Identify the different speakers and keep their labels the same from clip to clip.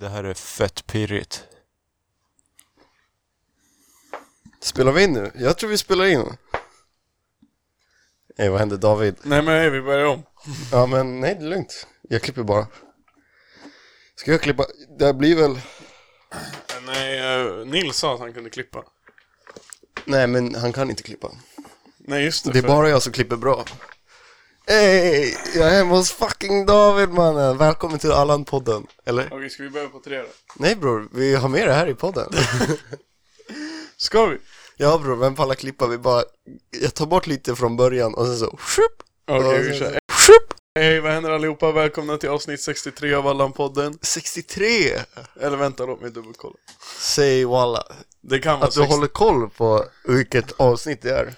Speaker 1: Det här är fett pirrigt.
Speaker 2: Spelar vi in nu? Jag tror vi spelar in. Nej, vad hände David?
Speaker 3: Nej men hej, vi börjar om.
Speaker 2: Ja, men nej, det är lugnt. Jag klipper bara. Ska jag klippa? Det här blir väl...
Speaker 3: Nej, eh, Nils sa att han kunde klippa.
Speaker 2: Nej, men han kan inte klippa.
Speaker 3: Nej just det.
Speaker 2: Det är
Speaker 3: för-
Speaker 2: bara jag som klipper bra. Hej! Jag är hemma hos fucking David mannen! Välkommen till Allan-podden. Eller?
Speaker 3: Okej, ska vi börja på tre då?
Speaker 2: Nej bror, vi har med det här i podden.
Speaker 3: Ska vi?
Speaker 2: ja bror, vem pallar klippa? Vi bara... Jag tar bort lite från början och sen så... Shup,
Speaker 3: Okej,
Speaker 2: och sen
Speaker 3: vi
Speaker 2: så-
Speaker 3: kör.
Speaker 2: Shup!
Speaker 3: Hej, vad händer allihopa? Välkomna till avsnitt 63 av Allan-podden.
Speaker 2: 63!
Speaker 3: Eller vänta, låt mig dubbelkolla.
Speaker 2: Säg walla.
Speaker 3: Det kan vara
Speaker 2: Att du
Speaker 3: 60.
Speaker 2: håller koll på vilket avsnitt det är.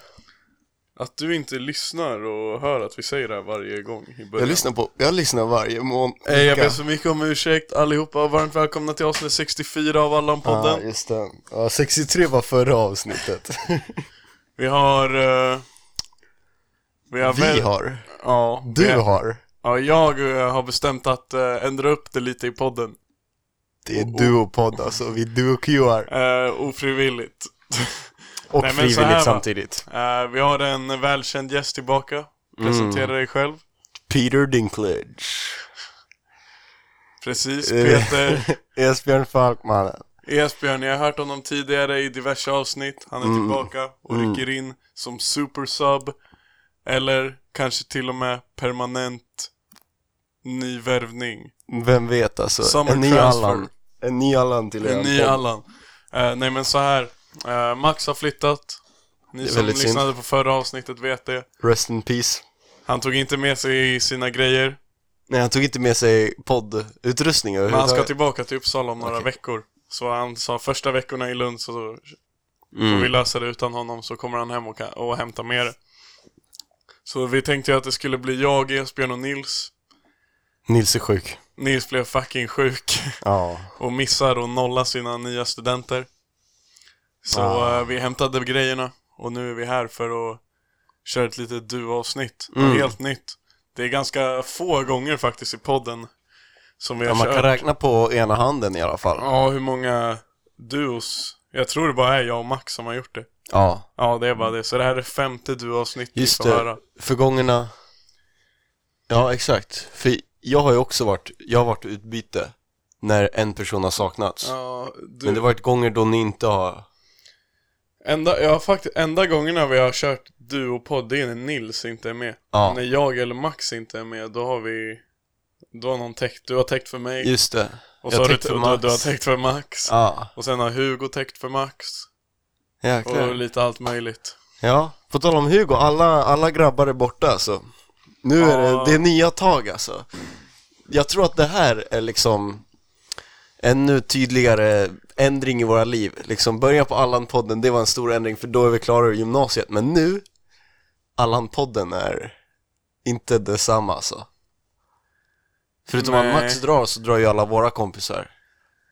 Speaker 3: Att du inte lyssnar och hör att vi säger det här varje gång i början.
Speaker 2: Jag lyssnar på, jag lyssnar varje mån- vecka.
Speaker 3: Hej, jag ber så mycket om ursäkt allihopa. Varmt välkomna till avsnitt 64 av
Speaker 2: Ja,
Speaker 3: Allan-podden.
Speaker 2: just det. Ja, 63 var förra avsnittet.
Speaker 3: Vi har... eh, vi har...
Speaker 2: Vi
Speaker 3: väl-
Speaker 2: har.
Speaker 3: Ja, vi
Speaker 2: Du har.
Speaker 3: Ja, jag eh, har bestämt att eh, ändra upp det lite i podden.
Speaker 2: Det är duopodd alltså, vi duo-QR.
Speaker 3: Eh, ofrivilligt.
Speaker 2: Och
Speaker 3: Nej, men så här,
Speaker 2: frivilligt
Speaker 3: va?
Speaker 2: samtidigt.
Speaker 3: Eh, vi har en välkänd gäst tillbaka. Presentera
Speaker 2: Mm.
Speaker 3: dig själv.
Speaker 2: Peter Dinklage.
Speaker 3: Precis,
Speaker 2: Eh.
Speaker 3: Peter.
Speaker 2: Esbjörn Falkmannen.
Speaker 3: Esbjörn, jag har hört honom tidigare i diverse avsnitt. Han är
Speaker 2: Mm.
Speaker 3: tillbaka och rycker in som supersub. Eller kanske till och med permanent nyvärvning.
Speaker 2: Vem vet alltså.
Speaker 3: Summer
Speaker 2: en ny
Speaker 3: transfer.
Speaker 2: Allan. En ny Allan till
Speaker 3: En
Speaker 2: er
Speaker 3: ny
Speaker 2: podd.
Speaker 3: Allan. Eh, nej men så här. Eh, Max har flyttat. Ni
Speaker 2: är
Speaker 3: som
Speaker 2: väldigt synd.
Speaker 3: lyssnade på förra avsnittet vet det.
Speaker 2: Rest in peace.
Speaker 3: Han tog inte med sig sina grejer.
Speaker 2: Nej, han tog inte med sig poddutrustning
Speaker 3: Men han ska
Speaker 2: överhuvudtaget.
Speaker 3: tillbaka till Uppsala om några
Speaker 2: Okej.
Speaker 3: veckor. Så han sa första veckorna i Lund så får
Speaker 2: Mm.
Speaker 3: vi lösa det utan honom så kommer han hem och, kan, och hämta med det. Så vi tänkte ju att det skulle bli jag, Esbjörn och Nils.
Speaker 2: Nils är sjuk.
Speaker 3: Nils blev fucking sjuk
Speaker 2: Ja.
Speaker 3: och missar och nollar sina nya studenter. Så
Speaker 2: Ah.
Speaker 3: eh, vi hämtade grejerna och nu är vi här för att köra ett litet duo-avsnitt. Och
Speaker 2: Mm.
Speaker 3: Helt nytt. Det är ganska få gånger faktiskt i podden som vi har
Speaker 2: ja man
Speaker 3: kört.
Speaker 2: kan räkna på ena handen i alla fall.
Speaker 3: Ja, hur många duos? Jag tror det bara är jag och Max som har gjort det.
Speaker 2: Ja.
Speaker 3: Ja, det är bara det. Så det här är femte duoavsnittet vi
Speaker 2: Just
Speaker 3: får
Speaker 2: det,
Speaker 3: höra.
Speaker 2: förgångna... Ja, exakt. För jag har ju också varit, jag har varit utbyte när en person har saknats.
Speaker 3: Ja, du,
Speaker 2: Men det har varit gånger då ni inte har...
Speaker 3: enda, ja, faktiskt, enda gångerna vi har kört duopodd, det är när Nils inte är med.
Speaker 2: Ja.
Speaker 3: När jag eller Max inte är med, då har vi... Då har någon täckt, du har täckt för mig.
Speaker 2: Just det. jag
Speaker 3: och så har du,
Speaker 2: täckte
Speaker 3: du,
Speaker 2: Max.
Speaker 3: du har täckt för Max.
Speaker 2: Ja,
Speaker 3: Och sen har Hugo täckt för Max. Och
Speaker 2: jäklar.
Speaker 3: lite allt möjligt.
Speaker 2: Ja, på tal om Hugo, alla, alla grabbar är borta alltså. Nu är
Speaker 3: Ja.
Speaker 2: det, det är nya tag alltså. Jag tror att det här är liksom ännu tydligare ändring i våra liv. Liksom börja på Allan-podden, det var en stor ändring för då är vi klara över gymnasiet. Men nu, Allan-podden är inte detsamma alltså. Förutom
Speaker 3: Nej.
Speaker 2: att Max drar så drar ju alla våra kompisar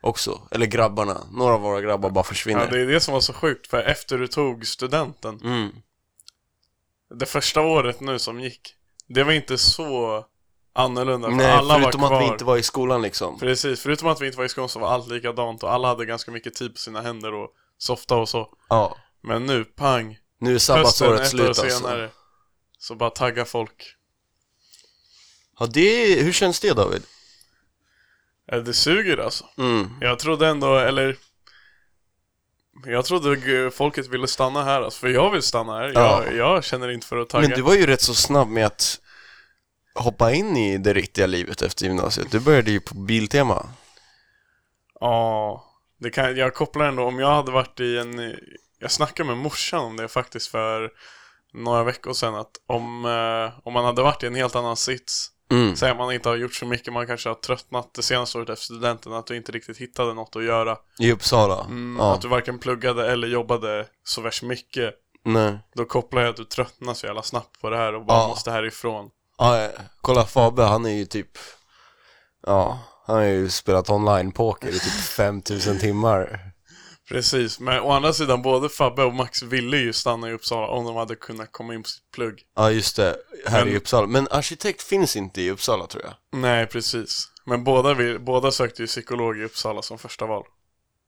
Speaker 2: också. Eller grabbarna, några av våra grabbar bara försvinner.
Speaker 3: Ja, det är det som var så sjukt, för efter du tog studenten,
Speaker 2: Mm.
Speaker 3: det första året nu som gick, det var inte så annorlunda för
Speaker 2: Nej,
Speaker 3: alla
Speaker 2: förutom
Speaker 3: var kvar.
Speaker 2: att vi inte var i skolan liksom.
Speaker 3: Precis, förutom att vi inte var i skolan så var allt likadant och alla hade ganska mycket tid på sina händer och softa och så.
Speaker 2: Ja,
Speaker 3: Men nu, pang,
Speaker 2: nu är
Speaker 3: hösten
Speaker 2: sabbatsåret
Speaker 3: ett
Speaker 2: slut
Speaker 3: år
Speaker 2: alltså.
Speaker 3: senare, så bara tagga folk.
Speaker 2: Ja, det, hur känns det David?
Speaker 3: Eh, Det suger alltså.
Speaker 2: Mm.
Speaker 3: Jag trodde ändå, eller jag trodde g- folket ville stanna här alltså, för jag vill stanna här.
Speaker 2: Ja.
Speaker 3: Jag, jag känner inte för att tagga.
Speaker 2: Men du var ju rätt så snabb med att hoppa in i det riktiga livet efter gymnasiet. Du började ju på Biltema.
Speaker 3: Ja, det kan, jag kopplar ändå om jag hade varit i en... Jag snackade med morsan om det faktiskt för några veckor sedan att om, eh, om man hade varit i en helt annan sits,
Speaker 2: Mm.
Speaker 3: säg att man inte har gjort så mycket, man kanske har tröttnat det senaste året efter studenten, att du inte riktigt hittade något att göra.
Speaker 2: I Uppsala?
Speaker 3: Mm,
Speaker 2: ja.
Speaker 3: Att du varken pluggade eller jobbade så värst mycket.
Speaker 2: Nej.
Speaker 3: Då kopplar jag att du tröttnar så jävla snabbt på det här och bara
Speaker 2: Ja.
Speaker 3: måste härifrån.
Speaker 2: Ja, ja. kolla Fabe, han är ju typ... Ja, han har ju spelat online-poker i typ 5000 timmar.
Speaker 3: Precis, men å andra sidan både Fabbe och Max ville ju stanna i Uppsala om de hade kunnat komma in på sitt plugg.
Speaker 2: Ja, just det. Här
Speaker 3: Men-
Speaker 2: i Uppsala. Men arkitekt finns inte i Uppsala tror jag.
Speaker 3: Nej, precis. Men båda, vill, båda sökte ju psykolog i Uppsala som första val.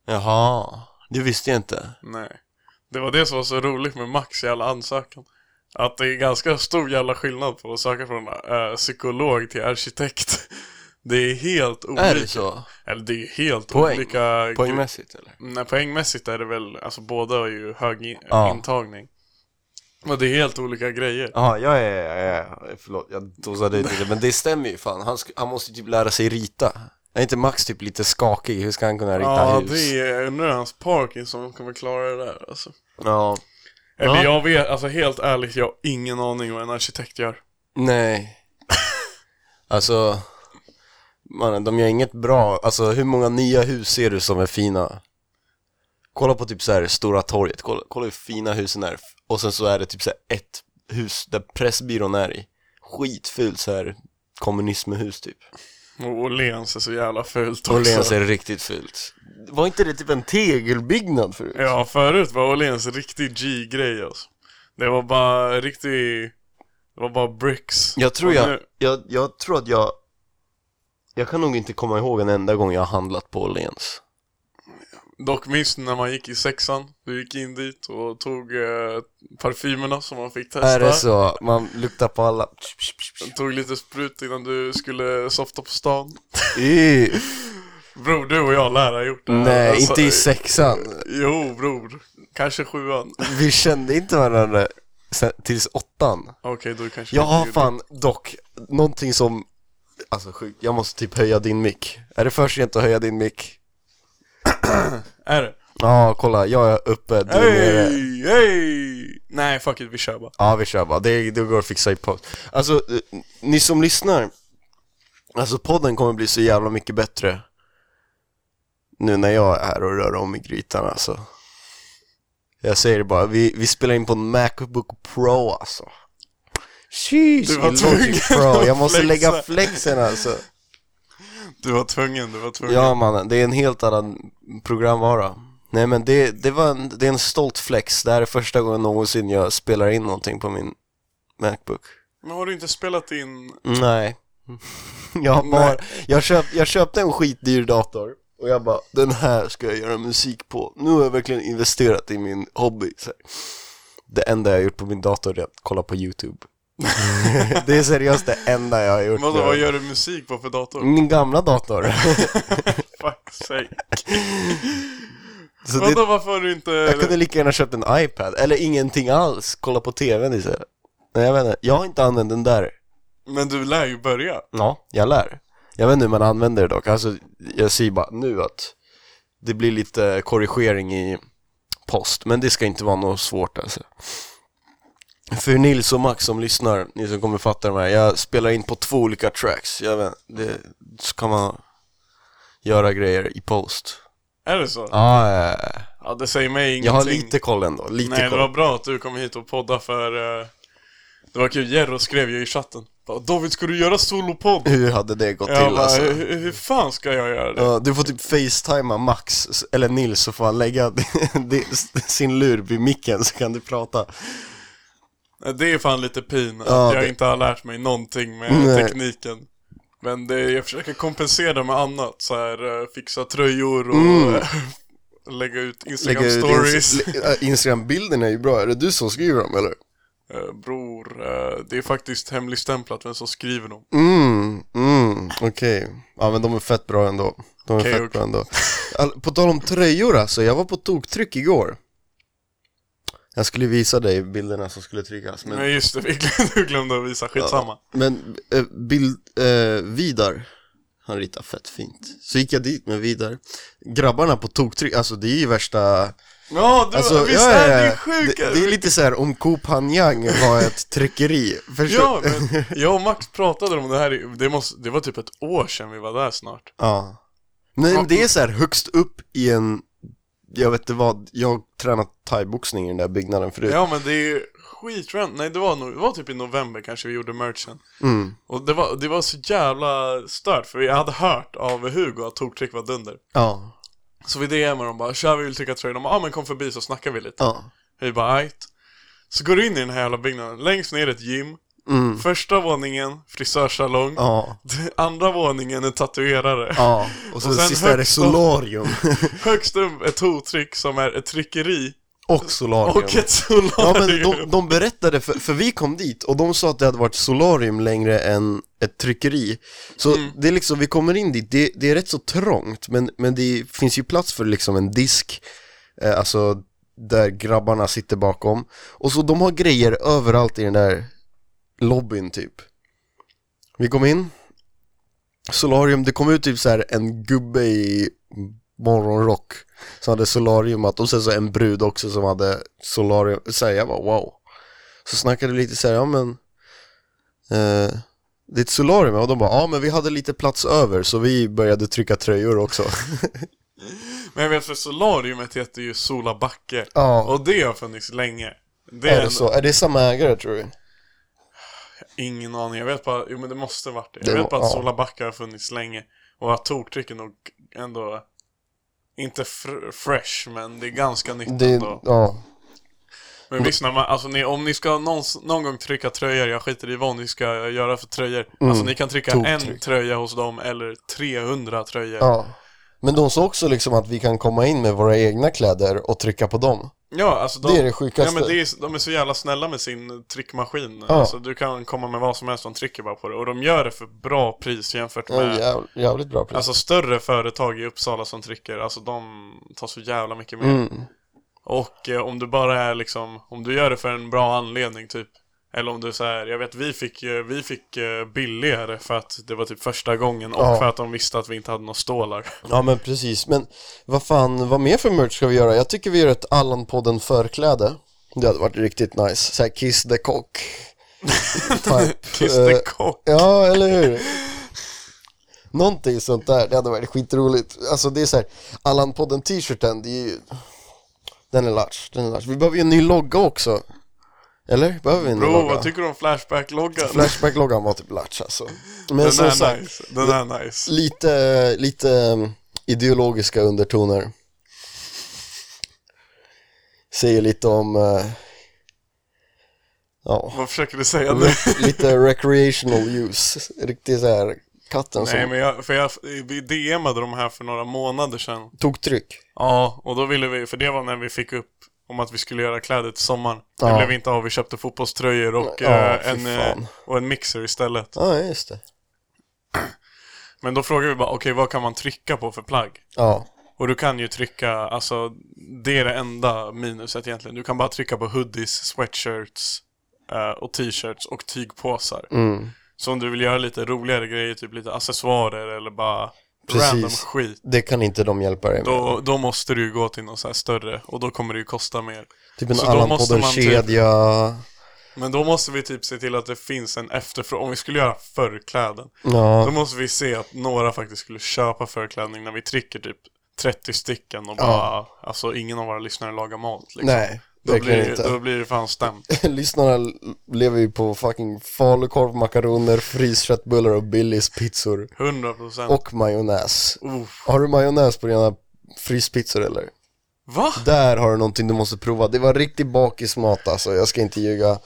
Speaker 2: Jaha, det visste jag inte.
Speaker 3: Nej. Det var det som var så roligt med Max i alla ansökan. Att det är ganska stor jävla skillnad på att söka från eh, psykolog till arkitekt. Det är helt olika.
Speaker 2: Är det så?
Speaker 3: Eller det är ju helt
Speaker 2: Poäng.
Speaker 3: olika.
Speaker 2: Poängmässigt eller?
Speaker 3: Nej, poängmässigt är det väl, alltså båda har ju hög in-
Speaker 2: Ja.
Speaker 3: intagning. Men det är helt olika grejer.
Speaker 2: Jaha, ja, ja, ja, ja, ja, förlåt, jag dosade ut lite, men det stämmer ju fan. Han, sk- han måste ju typ lära sig rita. Är inte Max typ lite skakig? Hur ska han kunna rita
Speaker 3: Ja,
Speaker 2: hus?
Speaker 3: det är, undrar hur hans Parkinson kommer klara det där alltså.
Speaker 2: Ja,
Speaker 3: Eller
Speaker 2: Ja.
Speaker 3: jag vet, alltså helt ärligt, jag har ingen aning vad en arkitekt gör.
Speaker 2: nej. alltså, mannen, de gör inget bra. Alltså, hur många nya hus ser du som är fina? Kolla på typ så här Stora torget, kolla, kolla hur fina husen är. Och sen så är det typ så här ett hus där Pressbyrån är i. Skitfult så här kommunismhus typ.
Speaker 3: Och Åhléns är så jävla fult också.
Speaker 2: Åhléns är riktigt fult. Var inte det typ en tegelbyggnad förut?
Speaker 3: Ja, förut var Åhléns en riktig G-grej alltså. Det var bara riktig... Det var bara bricks.
Speaker 2: Jag tror
Speaker 3: Och
Speaker 2: jag,
Speaker 3: nu-
Speaker 2: jag, jag tror att jag, jag kan nog inte komma ihåg en enda gång jag har handlat på Åhléns.
Speaker 3: Dock minst när man gick i sexan, du gick in dit och tog eh, parfymerna som man fick testa.
Speaker 2: Är det så? Man luktar på alla.
Speaker 3: Tog lite sprut innan du skulle softa på stan.
Speaker 2: Ih,
Speaker 3: Bror, du och jag lär ha gjort det här.
Speaker 2: Nej,
Speaker 3: Alltså,
Speaker 2: inte i sexan.
Speaker 3: Jo, bror. Kanske sjuan.
Speaker 2: Vi kände inte varandra sen, tills åttan.
Speaker 3: Okej, då kanske
Speaker 2: Jag
Speaker 3: inte
Speaker 2: har
Speaker 3: gjorde.
Speaker 2: fan dock någonting som, alltså sjukt, jag måste typ höja din mick. Är det för sent att höja din mick?
Speaker 3: Är det?
Speaker 2: Ja, kolla, jag är uppe, du är nere.
Speaker 3: Hej, hej! Nej, fuck it, vi kör bara.
Speaker 2: Ja vi kör bara, det, det går att fixa i post. Alltså, eh, ni som lyssnar, alltså podden kommer bli så jävla mycket bättre nu när jag är här och rör om i grytan alltså. Jag säger det bara, vi, vi spelar in på en Macbook Pro alltså. Sheesh,
Speaker 3: Du var
Speaker 2: i
Speaker 3: tvungen
Speaker 2: Logic Pro.
Speaker 3: att
Speaker 2: Jag måste
Speaker 3: flexa.
Speaker 2: lägga flexen alltså.
Speaker 3: Du var tvungen, du var tvungen.
Speaker 2: Ja mannen, det är en helt annan programvara. Nej men det, det, var en, det är en stolt flex. Det här är första gången någonsin jag spelar in någonting på min Macbook.
Speaker 3: Men har du inte spelat in...
Speaker 2: Nej. Jag, har bara, jag, köp, jag köpte en skitdyr dator och jag bara, den här ska jag göra musik på. Nu har jag verkligen investerat i min hobby. Så här. Det enda jag har gjort på min dator är att kolla på YouTube. det är seriöst det enda jag har gjort.
Speaker 3: Mm. Vadå, vad gör du musik på för dator?
Speaker 2: Min gamla dator.
Speaker 3: Fuck sake.
Speaker 2: Så det,
Speaker 3: Vadå, varför har du inte...
Speaker 2: jag kunde lika gärna köpt en iPad, eller ingenting alls. Kolla på TVn istället. Nej jag vet inte, jag har inte använt den där.
Speaker 3: Men du lär ju börja.
Speaker 2: Ja, jag lär. Jag vet inte hur man använder det dock. Alltså, jag säger bara nu att det blir lite korrigering i post, men det ska inte vara något svårt alltså. För Nils och Max som lyssnar, ni som kommer fatta de här, jag spelar in på två olika tracks. Jag vet, det så kan man göra grejer i post.
Speaker 3: Är det så?
Speaker 2: Ah, ja, ja, ja.
Speaker 3: Ja, det säger mig ingenting.
Speaker 2: jag har lite koll ändå, lite
Speaker 3: Nej,
Speaker 2: koll.
Speaker 3: det var bra att du kom hit och podda för... eh, Det var kul, Jerro skrev ju i chatten. Bara, David, ska du göra solopodd?
Speaker 2: Hur hade det gått
Speaker 3: Jag
Speaker 2: till
Speaker 3: bara,
Speaker 2: alltså?
Speaker 3: hur, hur fan ska jag göra det?
Speaker 2: Ja, du får typ facetimea Max, eller Nils, så får han lägga di- sin lur vid micken så kan du prata.
Speaker 3: Det är fan lite pin att
Speaker 2: Ja,
Speaker 3: jag
Speaker 2: det-
Speaker 3: inte har lärt mig någonting med
Speaker 2: Nej.
Speaker 3: tekniken. Men det, jag försöker kompensera med annat, så här eh, fixa tröjor och eh, lägga ut Instagram
Speaker 2: Mm. ut
Speaker 3: stories.
Speaker 2: ins- le- äh, Instagram-bilderna är ju bra, är det du som skriver dem eller?
Speaker 3: Eh, Bror, eh, det är faktiskt hemligstämplat vem som skriver dem.
Speaker 2: Mm, mm, okej. Ja men de är fett bra ändå. De är
Speaker 3: Okej,
Speaker 2: fett
Speaker 3: okej.
Speaker 2: bra ändå. All, på tal om tröjor alltså, jag var på toktryck igår. Jag skulle visa dig bilderna som skulle tryckas, men,
Speaker 3: Men just det, vi glömde, du glömde att visa, skitsamma.
Speaker 2: men eh, bild, eh, Vidar, han ritar fett fint. Så gick jag dit med Vidar. Grabbarna på toktryck, alltså det är ju värsta
Speaker 3: Ja, du,
Speaker 2: Alltså,
Speaker 3: visst
Speaker 2: ja, ja,
Speaker 3: är
Speaker 2: ja.
Speaker 3: det sjukt?
Speaker 2: Det, det är lite så här om Coop Hanyang var ett tryckeri. Förstår?
Speaker 3: Ja, men jag och Max pratade om det här, i- det, måste, det var typ ett år sedan vi var där snart.
Speaker 2: Ja. Nej, men det är så här högst upp i en, jag vet inte vad, jag har tränat thaiboxning i den där byggnaden förut.
Speaker 3: Ja men det är ju skitrent, nej det var, nog, det var typ i november kanske vi gjorde merchen
Speaker 2: Mm.
Speaker 3: Och det var, det var så jävla stört för jag hade hört av Hugo att Tortrick var dunder
Speaker 2: Ja.
Speaker 3: Så vi DMade dem bara 'Tja vi vill trycka tröjor' De bara 'Ja ah, men kom förbi så snackar vi lite'
Speaker 2: ja.
Speaker 3: Vi bara 'Ajt' Så går du in i den här jävla byggnaden, längst ner är ett gym
Speaker 2: Mm.
Speaker 3: Första våningen, frisörsalong.
Speaker 2: Ja,
Speaker 3: Andra våningen är tatuerare.
Speaker 2: ja. Och så
Speaker 3: Och sen
Speaker 2: sista är det
Speaker 3: högst upp.
Speaker 2: solarium.
Speaker 3: Högst upp ett hotryck som är ett tryckeri
Speaker 2: Och solarium.
Speaker 3: och ett
Speaker 2: Ja
Speaker 3: solarium.
Speaker 2: men de, de berättade, för, för vi kom dit och de sa att det hade varit solarium längre än ett tryckeri Så det är liksom, vi kommer in dit, det, det är rätt så trångt men, men det finns ju plats för liksom en disk eh, Alltså där grabbarna sitter bakom Och så de har grejer överallt i den där lobbyn typ Vi kom in Solarium, det kom ut typ så här en gubbe i morgonrock som hade solariumat och sen så en brud också som hade solarium, så här, jag bara wow. Så snackade vi lite så här, ja men eh, det är ett solarium och de bara, ja men vi hade lite plats över så vi började trycka tröjor också.
Speaker 3: Men jag vet för solariumet heter ju Solabacke.
Speaker 2: ja,
Speaker 3: Och det har funnits länge. Det
Speaker 2: är
Speaker 3: är
Speaker 2: det
Speaker 3: en,
Speaker 2: så? Är det samma ägare tror du?
Speaker 3: ingen aning. Jag vet bara, jo men det måste varit det.
Speaker 2: Det
Speaker 3: Jag vet
Speaker 2: var-
Speaker 3: bara att
Speaker 2: ja.
Speaker 3: Solabacke har funnits länge. Och att toktryck är nog ändå, inte fr- fresh, men det är ganska nytt
Speaker 2: Det,
Speaker 3: ändå.
Speaker 2: ja,
Speaker 3: Men visst, när man, alltså ni, om ni ska någon, någon gång trycka tröjor, jag skiter i vad ni ska göra för tröjor.
Speaker 2: Mm.
Speaker 3: Alltså ni kan trycka en
Speaker 2: Toktryck.
Speaker 3: tröja hos dem eller 300 tröjor. Ja,
Speaker 2: ja. Men de sa också liksom att vi kan komma in med våra egna kläder och trycka på dem.
Speaker 3: alltså de,
Speaker 2: Det är det sjukaste.
Speaker 3: ja, men det är, de är så jävla snälla med sin tryckmaskin.
Speaker 2: Ja.
Speaker 3: Alltså du kan komma med vad som helst, de trycker bara på det. Och de gör det för bra pris jämfört
Speaker 2: Ja,
Speaker 3: med
Speaker 2: jäv, jävligt bra pris.
Speaker 3: Alltså större företag i Uppsala som trycker, alltså de tar så jävla mycket mer.
Speaker 2: Mm.
Speaker 3: Och eh, om du bara är liksom, om du gör det för en bra anledning typ. Eller om du säger, jag vet vi fick, eh, vi fick eh, billigare för att det var typ första gången och
Speaker 2: Ja.
Speaker 3: för att de visste att vi inte hade några stålar.
Speaker 2: Ja men precis, men vad fan, vad mer för merch ska vi göra? Jag tycker vi gör ett Allan-podden förkläde Det hade varit riktigt nice, såhär Kiss the Cock type.
Speaker 3: Kiss
Speaker 2: Eh,
Speaker 3: the cock.
Speaker 2: Ja, eller hur? Någonting sånt där, det hade varit skitroligt Alltså det är såhär, Allan-podden t-shirten, det är ju Den är large, den är large Vi behöver ju en ny logga också Eller? Behöver vi en ny
Speaker 3: Bro,
Speaker 2: logga?
Speaker 3: vad tycker du om Flashback-loggan?
Speaker 2: Flashback-loggan var typ large alltså Men
Speaker 3: Den
Speaker 2: som
Speaker 3: är
Speaker 2: sagt,
Speaker 3: nice, den är nice.
Speaker 2: lite, lite um, ideologiska undertoner. Säger lite om, eh, ja,
Speaker 3: Vad försöker du säga nu?
Speaker 2: lite recreational use. Riktigt så här katten
Speaker 3: Nej
Speaker 2: som
Speaker 3: men jag, för jag, vi DMade de här för några månader sedan.
Speaker 2: tog tryck.
Speaker 3: Ja, och då ville vi, för det var när vi fick upp om att vi skulle göra kläder till sommaren. Det
Speaker 2: Ja.
Speaker 3: blev inte av, vi köpte fotbollströjor och,
Speaker 2: Ja,
Speaker 3: eh,
Speaker 2: fy
Speaker 3: en, eh,
Speaker 2: fan.
Speaker 3: och en mixer istället.
Speaker 2: Ja, just det.
Speaker 3: Men då frågade vi bara, okej vad kan man trycka på för plagg?
Speaker 2: Ja,
Speaker 3: Och du kan ju trycka, alltså det är det enda minuset egentligen. Du kan bara trycka på hoodies, sweatshirts eh, och t-shirts och tygpåsar.
Speaker 2: mm.
Speaker 3: Så om du vill göra lite roligare grejer, typ lite accessoarer eller bara
Speaker 2: Precis.
Speaker 3: random skit.
Speaker 2: det kan inte de hjälpa dig med.
Speaker 3: Då, då måste du ju gå till något så här större och då kommer det ju kosta mer.
Speaker 2: typ en
Speaker 3: så då
Speaker 2: annan
Speaker 3: måste
Speaker 2: podden
Speaker 3: man typ-
Speaker 2: kedja.
Speaker 3: Men då måste vi typ se till att det finns en efterfrågan. Om vi skulle göra förkläden, då
Speaker 2: Ja,
Speaker 3: måste vi se att några faktiskt skulle köpa förklädning när vi trycker typ 30 stycken och bara, alltså ingen av våra lyssnare lagar mat liksom.
Speaker 2: nej,
Speaker 3: då, blir,
Speaker 2: verkligen
Speaker 3: det-
Speaker 2: inte.
Speaker 3: då blir det fan stämt.
Speaker 2: Lyssnarna l- lever ju på fucking falukorv, makaroner, frisköttbullar och Billys pizzor.
Speaker 3: 100 procent.
Speaker 2: Och majonnäs.
Speaker 3: Oh.
Speaker 2: Har du majonnäs på dina fryspizzor eller?
Speaker 3: Va?
Speaker 2: Där har du någonting du måste prova. Det var riktig bakismat alltså, jag ska inte ljuga.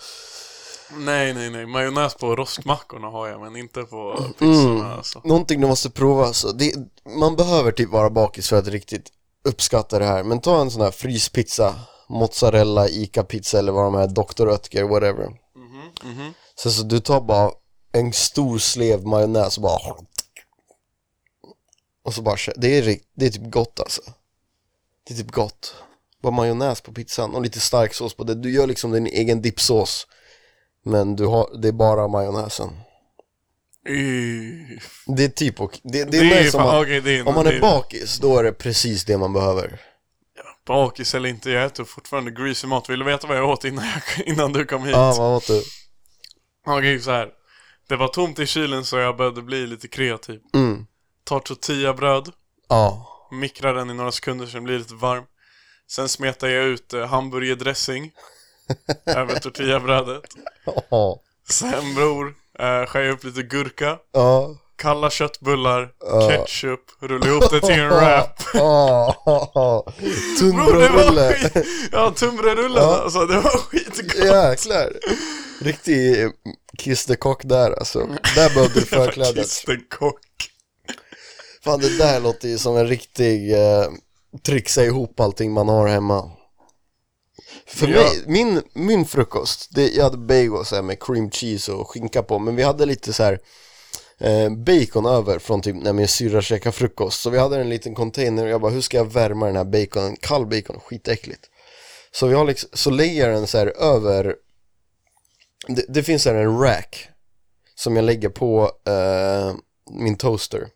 Speaker 3: Nej, nej, nej. Majonnäs på rostmackorna har jag, men inte på
Speaker 2: Mm.
Speaker 3: pizzorna alltså.
Speaker 2: Någonting du måste prova alltså. Det, man behöver typ vara bakis för att riktigt uppskatta det här. Men ta en sån här fryspizza, mozzarella, ICA-pizza eller vad de här, Dr. Oetker, whatever.
Speaker 3: Mhm, mhm.
Speaker 2: Sen så du tar bara en stor slev majonnäs och bara Och så bara, kö- det är, rikt- det är typ gott alltså Det är typ gott Bara majonnäs på pizzan och lite stark sås på det Du gör liksom din egen dippsås Men du har, det är bara majonnäsen
Speaker 3: Ih.
Speaker 2: Det är typ ok- det, det
Speaker 3: Det
Speaker 2: är,
Speaker 3: är
Speaker 2: nice
Speaker 3: ju
Speaker 2: om
Speaker 3: fan-
Speaker 2: man,
Speaker 3: okej, det är-
Speaker 2: om man
Speaker 3: det
Speaker 2: är
Speaker 3: är-
Speaker 2: bakis, då är det precis det man behöver
Speaker 3: Bakis eller inte, jag äter fortfarande greasy mat. Vill du veta vad jag åt innan, jag, innan du kom hit?
Speaker 2: Ja, ah, vad åt du?
Speaker 3: Okej, så här. Det var tomt i kylen så jag började bli lite kreativ.
Speaker 2: Mm,
Speaker 3: Tar tortillabröd,
Speaker 2: ja
Speaker 3: mikrar den i några sekunder så den blir lite varm. Sen smetar jag ut eh, hamburgerdressing över tortillabrödet.
Speaker 2: Ja,
Speaker 3: Sen bror, eh, skär jag upp lite gurka,
Speaker 2: ja,
Speaker 3: kalla köttbullar,
Speaker 2: Ja.
Speaker 3: ketchup, rulla ihop det till en wrap.
Speaker 2: ja, ja, ja
Speaker 3: Bror, det var
Speaker 2: Tunnbrödsrulle
Speaker 3: skit! Ja, tunnbrödsrullen
Speaker 2: Ja.
Speaker 3: alltså, det var skitgott.
Speaker 2: Jäklar. Riktig eh, kiss the cock där alltså. Där behövde du förklädet.
Speaker 3: Kiss the cock.
Speaker 2: Fan det där låter ju som en riktig eh, trixa ihop allting man har hemma. För
Speaker 3: Ja.
Speaker 2: mig, min, min frukost, det, jag hade bagels här med cream cheese och skinka på, men vi hade lite så här eh, bacon över från typ när min syrra käkade frukost. Så vi hade en liten container och jag bara, hur ska jag värma den här baconen? Kall bacon, skitäckligt. Så, vi har liksom, så lägger jag den så här över, det, det finns här en rack som jag lägger på eh, min toaster.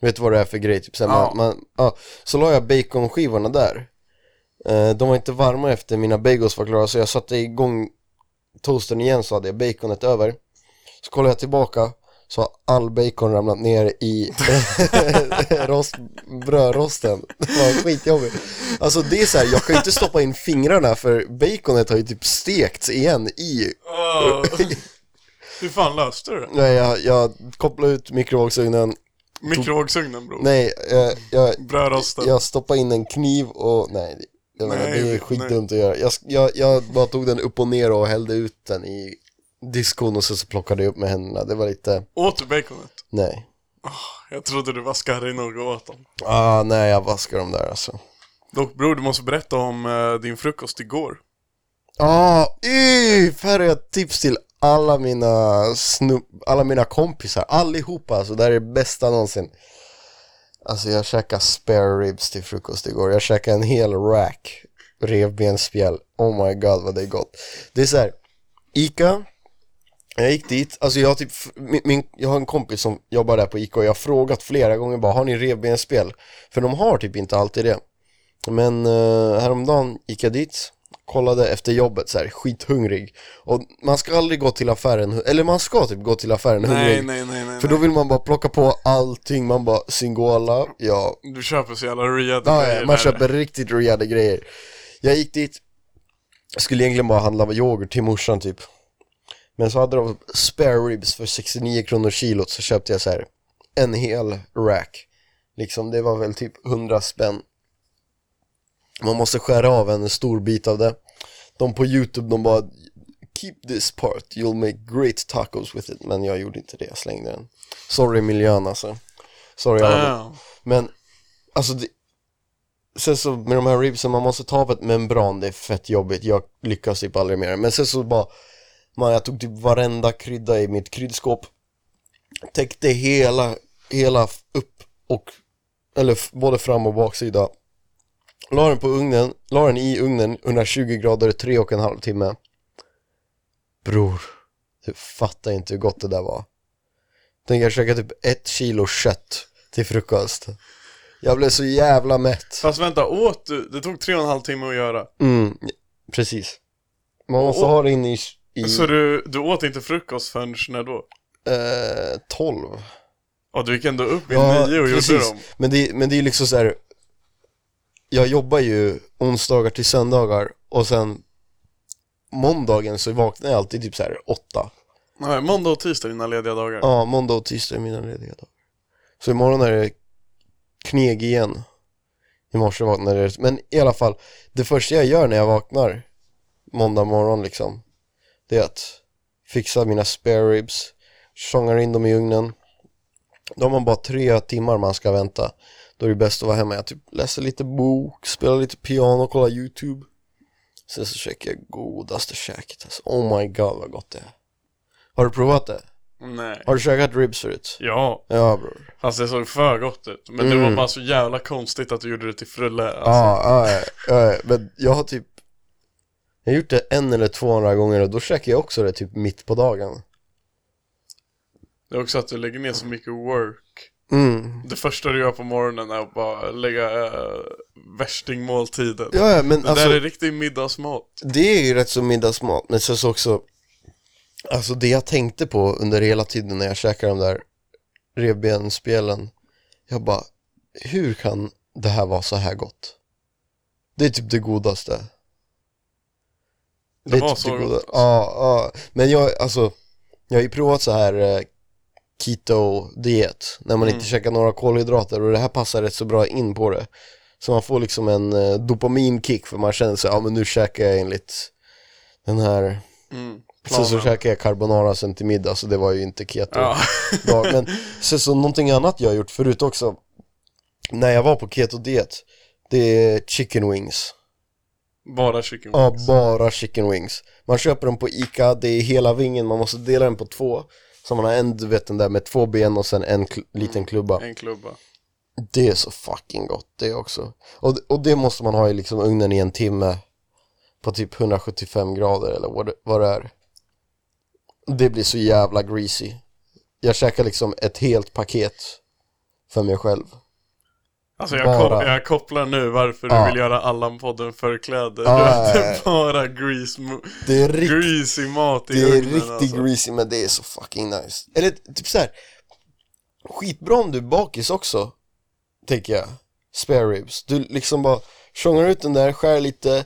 Speaker 2: Vet du vad det är för grej? Typ så, här,
Speaker 3: Ja.
Speaker 2: man, man, ja, så la jag baconskivorna där. Eh, de var inte varma efter mina bagels var klara så jag satte igång toastern igen så hade jag baconet över. Så kollade jag tillbaka så har all bacon ramlat ner i rost, brödrosten. Det var skitjobbigt. Alltså det är så här, jag kan ju inte stoppa in fingrarna för baconet har ju typ stekts igen i
Speaker 3: Åh. Hur fan löste du det?
Speaker 2: Nej, jag, jag kopplade ut mikrovågsugnen.
Speaker 3: Mikrovågsugnen bror.
Speaker 2: Nej, jag, jag,
Speaker 3: Brödrosten.
Speaker 2: jag stoppade in en kniv och nej, det- jag menar,
Speaker 3: Nej,
Speaker 2: det är
Speaker 3: nej.
Speaker 2: skitdumt att göra. Jag, jag, jag bara tog den upp och ner och hällde ut den i diskon och så, så plockade jag upp med händerna. Det var lite,
Speaker 3: Åt du baconet?
Speaker 2: nej.
Speaker 3: Jag trodde du var skarrig nog och åt dem.
Speaker 2: Ah, nej, jag vaskar dem där alltså.
Speaker 3: Dock bror, du måste berätta om eh, din frukost igår.
Speaker 2: Ja, ah, yff! Här har jag ett tips till alla mina snubb, alla mina kompisar, allihopa alltså, det här är det bästa någonsin. Alltså jag käkade spare ribs till frukost igår, jag käkade en hel rack revbensspjäll, oh my god vad det är gott. Det är så här, Ica, jag gick dit, alltså jag har typ, min, min, jag har en kompis som jobbar där på Ica och jag har frågat flera gånger bara, har ni revbensspjäll? För de har typ inte alltid det. Men uh, häromdagen gick jag dit, kollade efter jobbet så här, skithungrig. Och man ska aldrig gå till affären, eller man ska typ gå till affären
Speaker 3: Nej,
Speaker 2: hungrig.
Speaker 3: nej, nej, nej.
Speaker 2: För då vill man bara plocka på allting, man bara Singola, ja,
Speaker 3: nej. Du köper så jävla read
Speaker 2: ja, ja man köper riktigt rejäla grejer. Jag gick dit, skulle egentligen bara handla med yoghurt till morsan typ. Men så hade de spare ribs för 69 kronor kilot så köpte jag så här en hel rack. Liksom det var väl typ 100 spänn. Man måste skära av en stor bit av det. De på youtube de bara Keep this part, you'll make great tacos with it. Men jag gjorde inte det, jag slängde den. Sorry miljön alltså. Sorry alla
Speaker 3: Ja.
Speaker 2: men, alltså det, Sen så med de här ribsen, man måste ta av ett membran, det är fett jobbigt, jag lyckas typ aldrig med det. Men sen så bara, man, jag tog typ varenda krydda i mitt kryddskåp, täckte hela, hela f- upp och, eller f- både fram och baksida. La den på ugnen, la den i ugnen 120 grader, tre och en halv timme. Bror, du fattar inte hur gott det där var. Tänk jag käkade typ ett kilo kött till frukost. Jag blev så jävla mätt.
Speaker 3: Fast vänta, åt du? Det tog tre och en halv timme att göra.
Speaker 2: Mm, precis. Man måste
Speaker 3: Och- Alltså-
Speaker 2: ha det inne i, i
Speaker 3: Så du, du åt inte frukost förrän när då?
Speaker 2: eh, 12.
Speaker 3: Ja, du gick ändå upp vid
Speaker 2: Ja,
Speaker 3: nio och gjorde
Speaker 2: precis.
Speaker 3: dem.
Speaker 2: Men det, men det är ju liksom så här. Jag jobbar ju onsdagar till söndagar och sen måndagen så vaknar jag alltid typ så här åtta.
Speaker 3: Nej, måndag och tisdag, dina lediga dagar.
Speaker 2: Ja, måndag och tisdag är mina lediga dagar. Så imorgon är det kneg igen. I morse vaknade det. Men i alla fall, det första jag gör när jag vaknar måndag morgon liksom, det är att fixa mina spare ribs, tjongar in dem i ugnen. Då har man bara tre timmar man ska vänta. Då är det bäst att vara hemma. Jag typ läser lite bok, spelar lite piano, kollar YouTube. Sen så käkar jag godaste käket alltså. Oh my god vad gott det är. Har du provat det?
Speaker 3: Nej.
Speaker 2: Har du käkat ribs förut?
Speaker 3: Ja,
Speaker 2: Ja bror.
Speaker 3: fast det såg för gott ut. Men det
Speaker 2: Mm.
Speaker 3: var bara så jävla konstigt att du gjorde det till frulle. Alltså.
Speaker 2: Ja, ah, ja, ja, ja, men jag har typ Jag har gjort det en eller två andra gånger och då käkar jag också det typ mitt på dagen.
Speaker 3: Det är också att du lägger ner så mycket work.
Speaker 2: Mm.
Speaker 3: Det första du gör på morgonen är att bara lägga äh, värstingmåltiden.
Speaker 2: Ja, ja, men
Speaker 3: Det
Speaker 2: alltså
Speaker 3: där är riktig middagsmat.
Speaker 2: det är ju rätt så middagsmat, men sen så också Alltså det jag tänkte på under hela tiden när jag käkade de där revbensspjällen Jag bara, hur kan det här vara så här gott? Det är typ det godaste
Speaker 3: Det,
Speaker 2: är
Speaker 3: var
Speaker 2: typ
Speaker 3: så
Speaker 2: goda.
Speaker 3: gott.
Speaker 2: Ja, ja. Men jag, alltså, jag har ju provat så här eh, keto-diet, när man
Speaker 3: Mm.
Speaker 2: inte käkar några kolhydrater och det här passar rätt så bra in på det. Så man får liksom en eh, dopaminkick för man känner sig, ja men nu käkar jag enligt den här
Speaker 3: Mm.
Speaker 2: Sen så
Speaker 3: planen.
Speaker 2: käkade jag carbonara sen till middag, så det var ju inte keto.
Speaker 3: Ja.
Speaker 2: dag. Men sen så någonting annat jag har gjort förut också, när jag var på keto-diet, det är chicken wings.
Speaker 3: Bara chicken
Speaker 2: Ja,
Speaker 3: wings.
Speaker 2: bara chicken wings. Man köper dem på Ica, det är hela vingen, man måste dela den på två. Så man har en, du vet den där med två ben och sen en kl- liten klubba.
Speaker 3: En klubba.
Speaker 2: Det är så fucking gott det också. Och, och det måste man ha i liksom ugnen i en timme på typ 175 grader eller vad det, vad det är. Det blir så jävla greasy. Jag käkar liksom ett helt paket för mig själv.
Speaker 3: Alltså jag,
Speaker 2: Bara.
Speaker 3: kop- jag kopplar nu varför
Speaker 2: Ja.
Speaker 3: du vill göra Allan-podden förkläde.
Speaker 2: Ja,
Speaker 3: du
Speaker 2: ja,
Speaker 3: äter
Speaker 2: ja.
Speaker 3: bara grease, mo-
Speaker 2: Det är, rikt,
Speaker 3: greasy mat i
Speaker 2: det är
Speaker 3: ugnen
Speaker 2: riktigt
Speaker 3: alltså.
Speaker 2: greasy men det är så fucking nice. Eller typ så här. skitbra om du är bakis också, tänker jag. Spare ribs. Du liksom bara tjongar ut den där, skär lite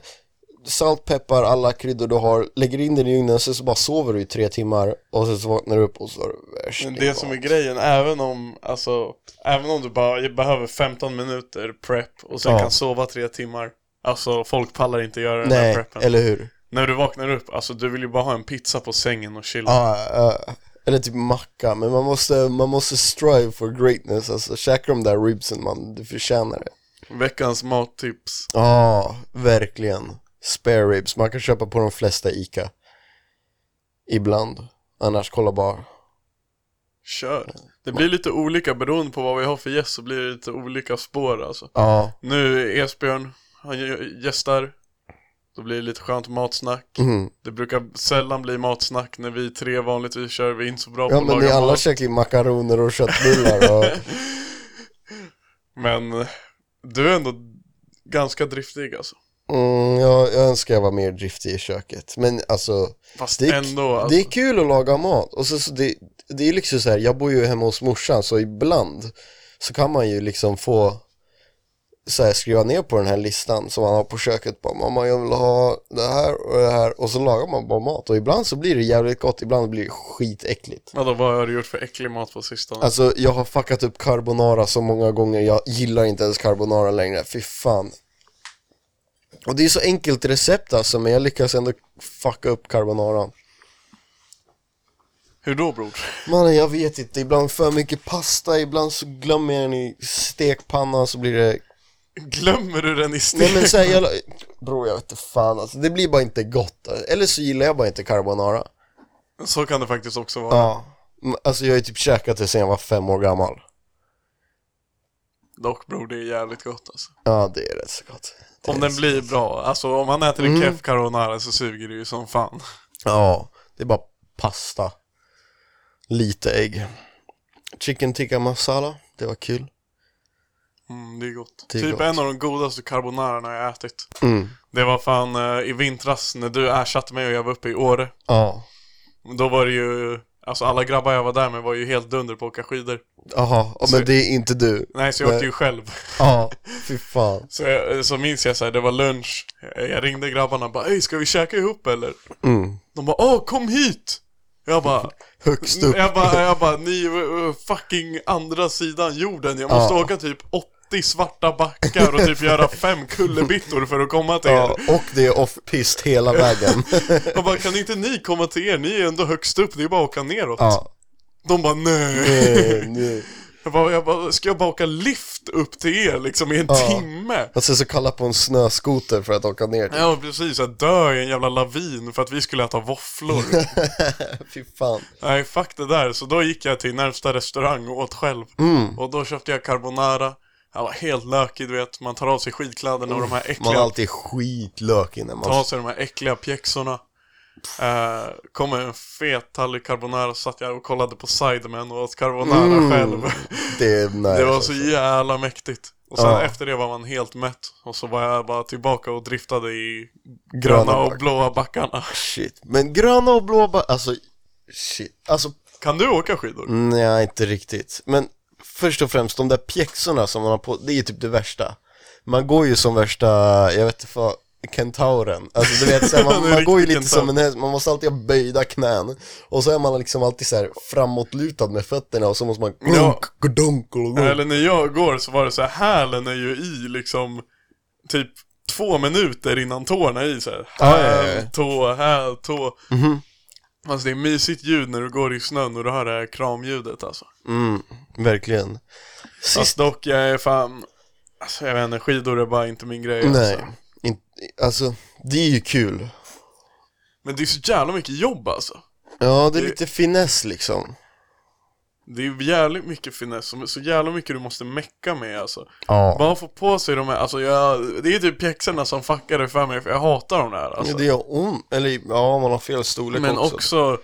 Speaker 2: salt, peppar, alla kryddor du har, lägger in den i ugnen, sen så bara sover du i tre timmar och sen så vaknar du upp och så har du
Speaker 3: Men
Speaker 2: värsting
Speaker 3: det som är
Speaker 2: mat.
Speaker 3: grejen, även om, alltså, även om du bara behöver 15 minuter prep och sen
Speaker 2: Ja.
Speaker 3: kan sova tre timmar Alltså folk pallar inte göra den där
Speaker 2: Nej,
Speaker 3: preppen
Speaker 2: eller hur?
Speaker 3: När du vaknar upp, alltså du vill ju bara ha en pizza på sängen och chilla
Speaker 2: Ja, ja. eller typ macka, men man måste, man måste strive for greatness, alltså käka de där ribsen man, du förtjänar det.
Speaker 3: Veckans mattips
Speaker 2: Ja, verkligen. Spare ribs. Man kan köpa på de flesta ICA. Ibland. Annars kolla bara.
Speaker 3: Kör! Det blir lite olika beroende på vad vi har för gäst så blir det lite olika spår alltså
Speaker 2: Ja.
Speaker 3: Nu är Esbjörn, han gä- gästar Då blir det lite skönt matsnack
Speaker 2: Mm.
Speaker 3: Det brukar sällan bli matsnack när vi tre vanligtvis kör, vi är inte så bra
Speaker 2: Ja
Speaker 3: på
Speaker 2: men
Speaker 3: att
Speaker 2: ni
Speaker 3: laga
Speaker 2: alla
Speaker 3: mat
Speaker 2: käkar ju makaroner och köttbullar och...
Speaker 3: Men du är ändå ganska driftig alltså.
Speaker 2: Mm, jag, jag önskar jag var mer driftig i köket. Men alltså,
Speaker 3: Fast
Speaker 2: Det är-
Speaker 3: ändå alltså.
Speaker 2: det är kul att laga mat. Och så, så det, det är ju liksom så här, jag bor ju hemma hos morsan så ibland så kan man ju liksom få så här, skriva ner på den här listan som man har på köket. Bara, Mamma jag vill ha det här och det här. Och så lagar man bara mat. Och ibland så blir det jävligt gott, ibland blir det skitäckligt.
Speaker 3: Vadå, vad har du gjort för äcklig mat på sistone?
Speaker 2: Alltså jag har fuckat upp carbonara så många gånger, jag gillar inte ens carbonara längre, fy fan. Och det är så enkelt recept alltså, men jag lyckas ändå fucka upp carbonara.
Speaker 3: Hur då bror?
Speaker 2: Mannen jag vet inte, ibland för mycket pasta, ibland så glömmer jag den i stekpannan så blir det...
Speaker 3: Glömmer du den i steg?
Speaker 2: Nej men såhär, jag... Bror jag vet inte fan alltså, det blir bara inte gott. Eller så gillar jag bara inte carbonara.
Speaker 3: Så kan det faktiskt också vara.
Speaker 2: Ja. Mm, Alltså jag har ju typ käkat det sen jag var fem år gammal.
Speaker 3: Dock bror, det är jävligt gott alltså.
Speaker 2: Ja det är rätt så gott. Det
Speaker 3: Om
Speaker 2: är
Speaker 3: den
Speaker 2: så- Mm.
Speaker 3: blir bra, alltså om man äter en keff carbonara så suger det ju som fan.
Speaker 2: Ja, det är bara pasta. Lite ägg. Chicken tikka masala, det var kul.
Speaker 3: Mm, det är gott.
Speaker 2: Det är
Speaker 3: typ
Speaker 2: gott.
Speaker 3: en av de godaste carbonararna jag ätit.
Speaker 2: Mm.
Speaker 3: Det var fan eh, i vintras när du ersatte mig och jag var uppe i Åre.
Speaker 2: Ja.
Speaker 3: Då var det ju, alltså alla grabbar jag var där med var ju helt dunder på att åka skidor.
Speaker 2: Jaha, ja, men det är inte du.
Speaker 3: Nej, så jag åkte
Speaker 2: Nej.
Speaker 3: ju själv.
Speaker 2: Ja, fy fan.
Speaker 3: Så, jag, eh, så minns jag så här, det var lunch, jag ringde grabbarna och bara Ey, ska vi käka ihop eller?
Speaker 2: Mm.
Speaker 3: De bara Åh, kom hit! Jag bara,
Speaker 2: Högst upp.
Speaker 3: jag bara, jag bara ni är eh, fucking andra sidan jorden, jag måste
Speaker 2: Ja.
Speaker 3: åka typ 80 svarta backar och typ göra fem kullerbittor för att komma till
Speaker 2: Ja,
Speaker 3: er.
Speaker 2: och det är off-pist hela vägen.
Speaker 3: Jag bara, kan inte ni komma till er? Ni är ändå högst upp, det är bara att åka neråt.
Speaker 2: Ja.
Speaker 3: De bara nej.
Speaker 2: Eh, nu.
Speaker 3: Jag bara, jag bara, ska jag bara åka lift upp till er liksom i en
Speaker 2: Ja.
Speaker 3: timme?
Speaker 2: Och sen så kalla på en snöskoter för att åka ner. till-
Speaker 3: Ja precis, jag dör i en jävla lavin för att vi skulle äta våfflor.
Speaker 2: Fy fan.
Speaker 3: Nej fuck det där, så då gick jag till närmsta restaurang och åt själv.
Speaker 2: Mm.
Speaker 3: Och då köpte jag carbonara. Jag var helt lökig du vet, man tar av sig skidkläderna och de här
Speaker 2: Man
Speaker 3: äckliga,
Speaker 2: har alltid skitlök innan
Speaker 3: tar av
Speaker 2: man...
Speaker 3: sig de här äckliga pjäxorna. Eh, kom med en fet tallrik carbonara så satt jag och kollade på Sidemen och åt carbonara
Speaker 2: Mm.
Speaker 3: själv.
Speaker 2: Det är nice.
Speaker 3: Det var så jävla mäktigt. Och sen
Speaker 2: Ja.
Speaker 3: efter det var man helt mätt. Och så var jag bara tillbaka och driftade i
Speaker 2: Gröna
Speaker 3: gröna och
Speaker 2: back.
Speaker 3: blåa backarna.
Speaker 2: Shit. Men gröna och blå ba- alltså... Shit. Alltså
Speaker 3: Kan du åka skidor?
Speaker 2: Nej, inte riktigt. Men först och främst, de där pjäxorna som man har på, det är ju typ det värsta. Man går ju som värsta, jag vet inte vad, kentauren. Alltså du vet, så här,
Speaker 3: En
Speaker 2: man, man går ju
Speaker 3: riktig
Speaker 2: lite som
Speaker 3: kentaur.
Speaker 2: en häst, man måste alltid ha böjda knän. Och så är man liksom alltid så här framåtlutad med fötterna och så måste man glunk,
Speaker 3: Ja.
Speaker 2: glunk, glunk.
Speaker 3: Eller när jag går så var det så här, hälen är ju i liksom typ två minuter innan tårna är i så här.
Speaker 2: Ja, Mhm. ja, ja, ja.
Speaker 3: Häl, tå, häl, tå. Alltså det är mysigt ljud när du går i snön och du hör det här kramljudet alltså.
Speaker 2: Mm, verkligen.
Speaker 3: Fast dock, jag är fan... Alltså jag vet inte, skidor är bara inte min grej
Speaker 2: Nej,
Speaker 3: Alltså.
Speaker 2: in, alltså det är ju kul.
Speaker 3: Men det är så jävla mycket jobb alltså.
Speaker 2: Ja, det är
Speaker 3: Det-
Speaker 2: lite finess liksom.
Speaker 3: Det är jävligt mycket finess, och så jävla mycket du måste mecka med alltså.
Speaker 2: Ja.
Speaker 3: Bara få på sig de här, alltså jag, det är typ pjäxorna som fuckar det för mig för jag hatar de där alltså.
Speaker 2: Det gör ont, eller ja, man har fel storlek
Speaker 3: Men
Speaker 2: också.
Speaker 3: också,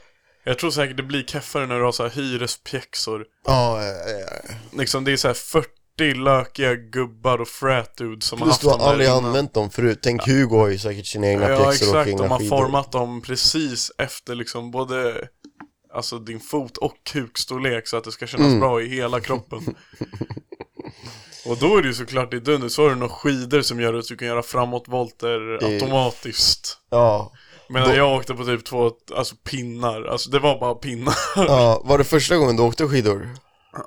Speaker 3: jag tror säkert det blir keffare när du har så här hyrespjäxor.
Speaker 2: Ja, ja, ja, ja.
Speaker 3: Liksom det är så här 40 lökiga gubbar och frat dudes som har
Speaker 2: Plus
Speaker 3: haft
Speaker 2: du har
Speaker 3: dem där
Speaker 2: aldrig
Speaker 3: innan.
Speaker 2: använt dem förut. Tänk Hugo har ju säkert sina egna
Speaker 3: Ja
Speaker 2: pjäxor och
Speaker 3: exakt,
Speaker 2: egna
Speaker 3: de har
Speaker 2: skidor.
Speaker 3: format dem precis efter liksom både Alltså din fot och kukstorlek så att det ska kännas
Speaker 2: Mm.
Speaker 3: bra i hela kroppen Och då är det ju såklart det är dunder, så har du några skidor som gör att du kan göra framåtvolter automatiskt
Speaker 2: Ja.
Speaker 3: Medan
Speaker 2: Då-
Speaker 3: jag åkte på typ två, alltså pinnar, alltså det var bara pinnar
Speaker 2: ja, var det första gången du åkte skidor?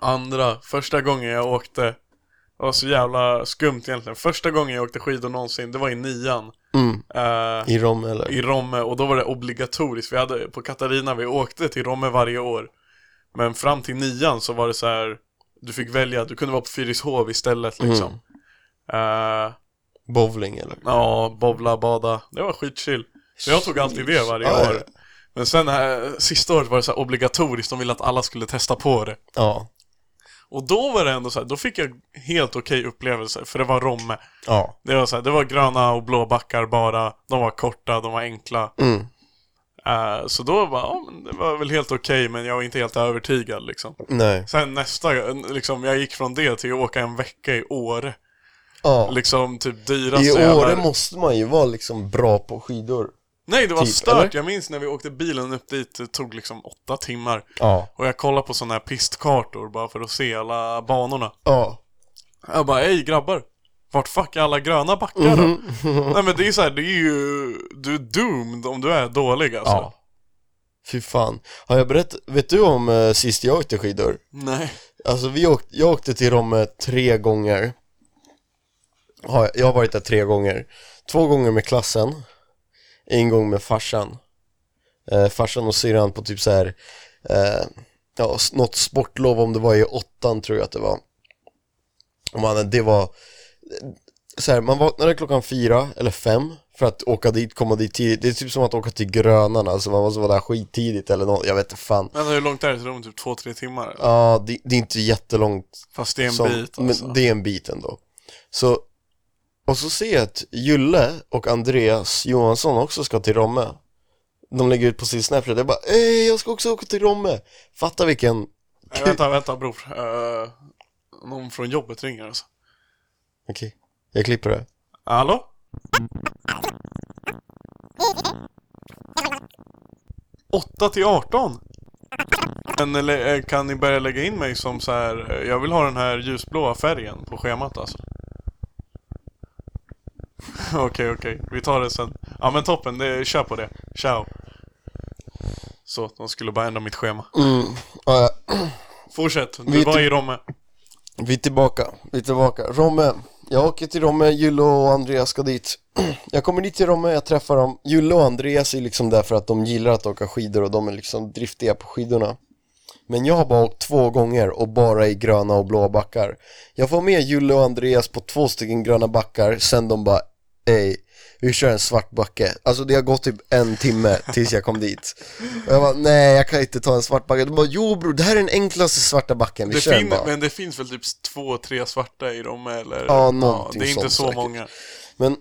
Speaker 3: Andra, första gången jag åkte Det var så jävla skumt egentligen, första gången jag åkte skidor någonsin, det var i nian
Speaker 2: Mm.
Speaker 3: Eh,
Speaker 2: I Rom eller?
Speaker 3: i Romme och då var det obligatoriskt. Vi hade på Katarina, vi åkte till Romme varje år. Men fram till nian så var det så här, du fick välja, du kunde vara på Fyrishov istället liksom. Eh,
Speaker 2: Bowling eller?
Speaker 3: ja, bobla, bada, det var skitchill. Så jag tog alltid det varje
Speaker 2: Ja, ja.
Speaker 3: år. Men sen här, sista året var det så här obligatoriskt, de ville att alla skulle testa på det.
Speaker 2: Ja.
Speaker 3: Och då var det ändå så här, då fick jag helt okej upplevelser, för det var Romme.
Speaker 2: Ja.
Speaker 3: Det var så här, det var gröna och blå backar bara, de var korta, de var enkla.
Speaker 2: Mm.
Speaker 3: Eh, så då var ja, men det var väl helt okej, men jag var inte helt övertygad liksom.
Speaker 2: Nej.
Speaker 3: Sen nästa, liksom, jag gick från det till att åka en vecka i Åre.
Speaker 2: Ja.
Speaker 3: Liksom typ dyraste
Speaker 2: I
Speaker 3: jävla-
Speaker 2: Åre måste man ju vara liksom bra på skidor.
Speaker 3: Nej, det var
Speaker 2: typ,
Speaker 3: stört.
Speaker 2: eller?
Speaker 3: Jag minns när vi åkte bilen upp dit, det tog liksom åtta timmar.
Speaker 2: Ja.
Speaker 3: Och jag kollade på sådana här pistkartor bara för att se alla banorna.
Speaker 2: Ja.
Speaker 3: Jag bara, ej grabbar. Vart fuck är alla gröna backar då?
Speaker 2: Mhm.
Speaker 3: Nej men det är så här, det är ju... Du är doomed om du är dålig alltså.
Speaker 2: Ja. Fy fan. Har jag berättat, vet du om eh, sist jag åkte skidor?
Speaker 3: Nej.
Speaker 2: Alltså vi åkte, jag åkte till Romme tre gånger. Har jag- Jag har varit där tre gånger. Två gånger med klassen, en gång med farsan. Eh, farsan och syrran på typ så här, eh, ja, s- något sportlov om det var i åttan tror jag att det var. Och man, det var, så här, man vaknade klockan fyra eller fem för att åka dit, komma dit tidigt. Det är typ som att åka till Grönarna, alltså man måste vara där skittidigt eller något, jag vet inte fan.
Speaker 3: Men hur långt är det till Rom? Typ två, tre timmar? eller?
Speaker 2: Ja, det, det är inte jättelångt
Speaker 3: Fast det är en
Speaker 2: som-
Speaker 3: bit alltså.
Speaker 2: Men det är en bit ändå. Så, och så ser jag att Julle och Andreas Johansson också ska till Romme. De lägger ut på sin Snapchat, jag bara Ey, jag ska också åka till Romme. Fatta vilken,
Speaker 3: Nej, vänta, vänta bror. Eh, någon från jobbet ringer alltså.
Speaker 2: okej, jag klipper det.
Speaker 3: Hallå? Åtta till 18? Men eller, eh, kan ni börja lägga in mig som så här, eh, jag vill ha den här ljusblåa färgen på schemat alltså. Okej, okej, vi tar det sen. Ja men toppen, det, kör på det. Ciao. Så, de skulle bara ändra mitt schema.
Speaker 2: Ja,
Speaker 3: Fortsätt, du
Speaker 2: Vet
Speaker 3: var
Speaker 2: du-
Speaker 3: i Romme.
Speaker 2: vi är tillbaka, vi är tillbaka. Romme, jag åker till Romme, Julle och Andreas ska dit. Jag kommer dit till Romme, jag träffar dem. Julle och Andreas är liksom där för att de gillar att åka skidor och de är liksom driftiga på skidorna. Men jag har bara åkt två gånger och bara i gröna och blåa backar. Jag får med Julle och Andreas på två stycken gröna backar, sen de bara Ey, vi kör en svart backe. Alltså det har gått typ en timme tills jag kom dit. Och jag bara, nej jag kan inte ta en svart backe. De bara, jo bror, det här är den enklaste svarta backen, vi
Speaker 3: Det
Speaker 2: kör den
Speaker 3: fin-
Speaker 2: bara.
Speaker 3: men det finns väl typ två, tre svarta i Romme eller?
Speaker 2: Ja, någonting
Speaker 3: Det är inte
Speaker 2: sånt
Speaker 3: så
Speaker 2: säkert.
Speaker 3: många.
Speaker 2: Men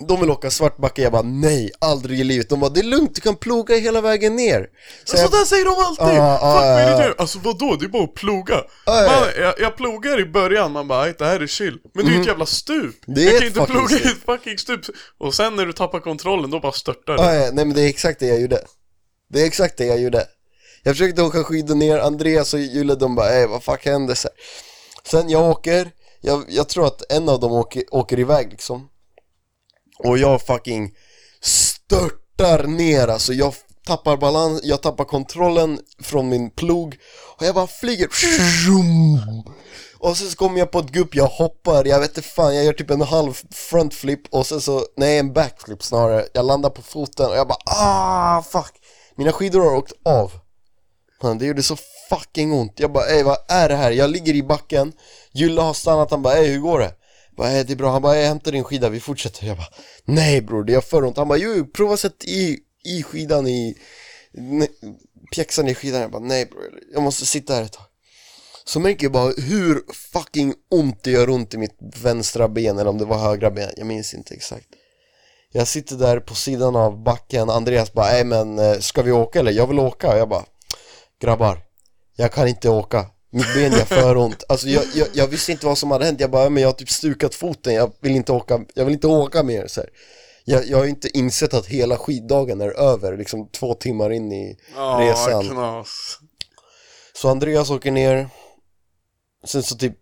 Speaker 2: de vill åka svartbacke, jag bara nej, aldrig i livet. De bara det är lugnt, du kan ploga hela vägen ner. Så
Speaker 3: Så
Speaker 2: jag,
Speaker 3: där säger de alltid!
Speaker 2: Ja,
Speaker 3: Fuck
Speaker 2: ja,
Speaker 3: vad är det
Speaker 2: ja,
Speaker 3: du? Alltså vadå, det är bara att ploga.
Speaker 2: Ja, ja, ja.
Speaker 3: Man, jag, jag plogar i början, man bara "Aj, det här är chill. Men det är ju ett jävla stup.
Speaker 2: Mhm. Det är
Speaker 3: jag
Speaker 2: ett
Speaker 3: kan inte
Speaker 2: fucking
Speaker 3: ploga i
Speaker 2: stup.
Speaker 3: ett fucking stup. Och sen när du tappar kontrollen, då bara störtar du.
Speaker 2: ah, ja, nej men det är exakt det jag gjorde. Det är exakt det jag gjorde. Jag försökte åka skidor ner, Andreas och Julle de bara ey vad fuck händer? Så här. Sen jag åker, jag, jag tror att en av dem åker, åker iväg liksom. Och jag fucking störtar ner alltså, jag tappar balans, jag tappar kontrollen från min plog och jag bara flyger Och sen så kommer jag på ett gupp, jag hoppar, jag vet inte fan, jag gör typ en halv frontflip och sen så, nej en backflip snarare, jag landar på foten och jag bara ah fuck Mina skidor har åkt av. Fan, det gjorde så fucking ont. Jag bara, ey vad är det här? Jag ligger i backen, Julla har stannat, han bara, ey hur går det? Jag bara, ey det är bra, han bara, ey hämta din skida, vi fortsätter. Jag bara, nej bror, det gör för ont. Han bara, jo jo, prova sätt i, i skidan i, ne- pjäxan i skidan. Jag bara, nej bror, jag måste sitta här ett tag. Så märker jag bara hur fucking ont det gör ont i mitt vänstra ben, eller om det var högra ben, jag minns inte exakt. Jag sitter där på sidan av backen, Andreas bara, nej men eh, ska vi åka eller? Jag vill åka. Jag bara, grabbar, jag kan inte åka. Mitt ben gör för ont. Alltså jag, jag, jag visste inte vad som hade hänt. Jag bara, men jag har typ stukat foten. Jag vill inte åka, jag vill inte åka mer. Så här. Jag, jag har ju inte insett att hela skiddagen är över, liksom två timmar in i
Speaker 3: Ja,
Speaker 2: resan.
Speaker 3: knas.
Speaker 2: Så Andreas åker ner, sen så typ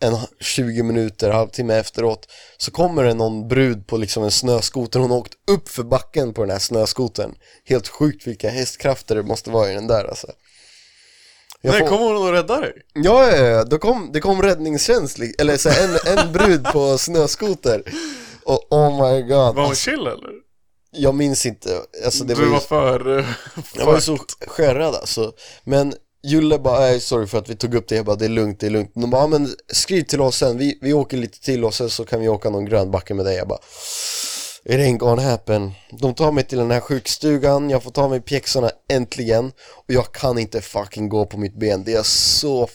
Speaker 2: en 20 minuter, halvtimme efteråt, så kommer det någon brud på liksom en snöskoter, hon har åkt upp för backen på den här snöskotern. Helt sjukt vilka hästkrafter det måste vara i den där alltså. Jag
Speaker 3: Nej,
Speaker 2: får-
Speaker 3: kommer hon och räddar dig?
Speaker 2: Ja, ja, ja. Då kom, det kom räddningstjänst, li- eller så här, en, en brud på snöskoter. Och oh my god,
Speaker 3: Var hon
Speaker 2: alltså,
Speaker 3: chill eller?
Speaker 2: jag minns inte. Alltså, det
Speaker 3: du
Speaker 2: var ju...
Speaker 3: var för... eh,
Speaker 2: Jag var ju så skärrad alltså. Men Julle bara, "Äh, sorry för att vi tog upp det, jag bara, det är lugnt, det är lugnt. De bara, "Ja, men skriv till oss sen, vi, vi åker lite till och sen så kan vi åka någon grön backe med dig. Jag bara, it ain't gonna happen. De tar mig till den här sjukstugan, jag får ta mig pjäxorna äntligen. Och jag kan inte fucking gå på mitt ben, det är så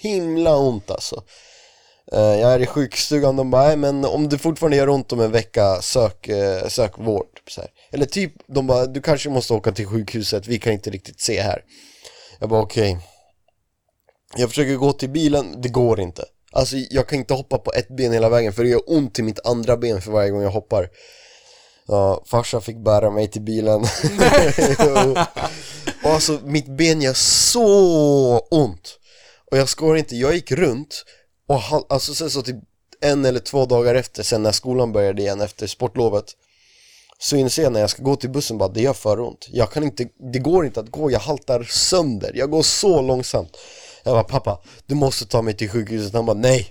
Speaker 2: himla ont alltså. Eh, Jag är i sjukstugan, de bara, "Nej, men om det fortfarande gör ont om en vecka, sök, eh, sök vård. Typ så här. Eller typ, de bara, du kanske måste åka till sjukhuset, vi kan inte riktigt se här. Jag bara, okej. Jag försöker gå till bilen, det går inte. Alltså jag kan inte hoppa på ett ben hela vägen för det gör ont i mitt andra ben för varje gång jag hoppar. Ja, farsan fick bära mig till bilen. Jo. och alltså mitt ben gör så ont. Och jag skojar inte, jag gick runt och hal- alltså sen så typ en eller två dagar efter sen när skolan började igen efter sportlovet så inser jag när jag ska gå till bussen bara det gör för ont. Jag kan inte, det går inte att gå, jag haltar sönder. Jag går så långsamt. Jag bara pappa, du måste ta mig till sjukhuset. Han bara nej.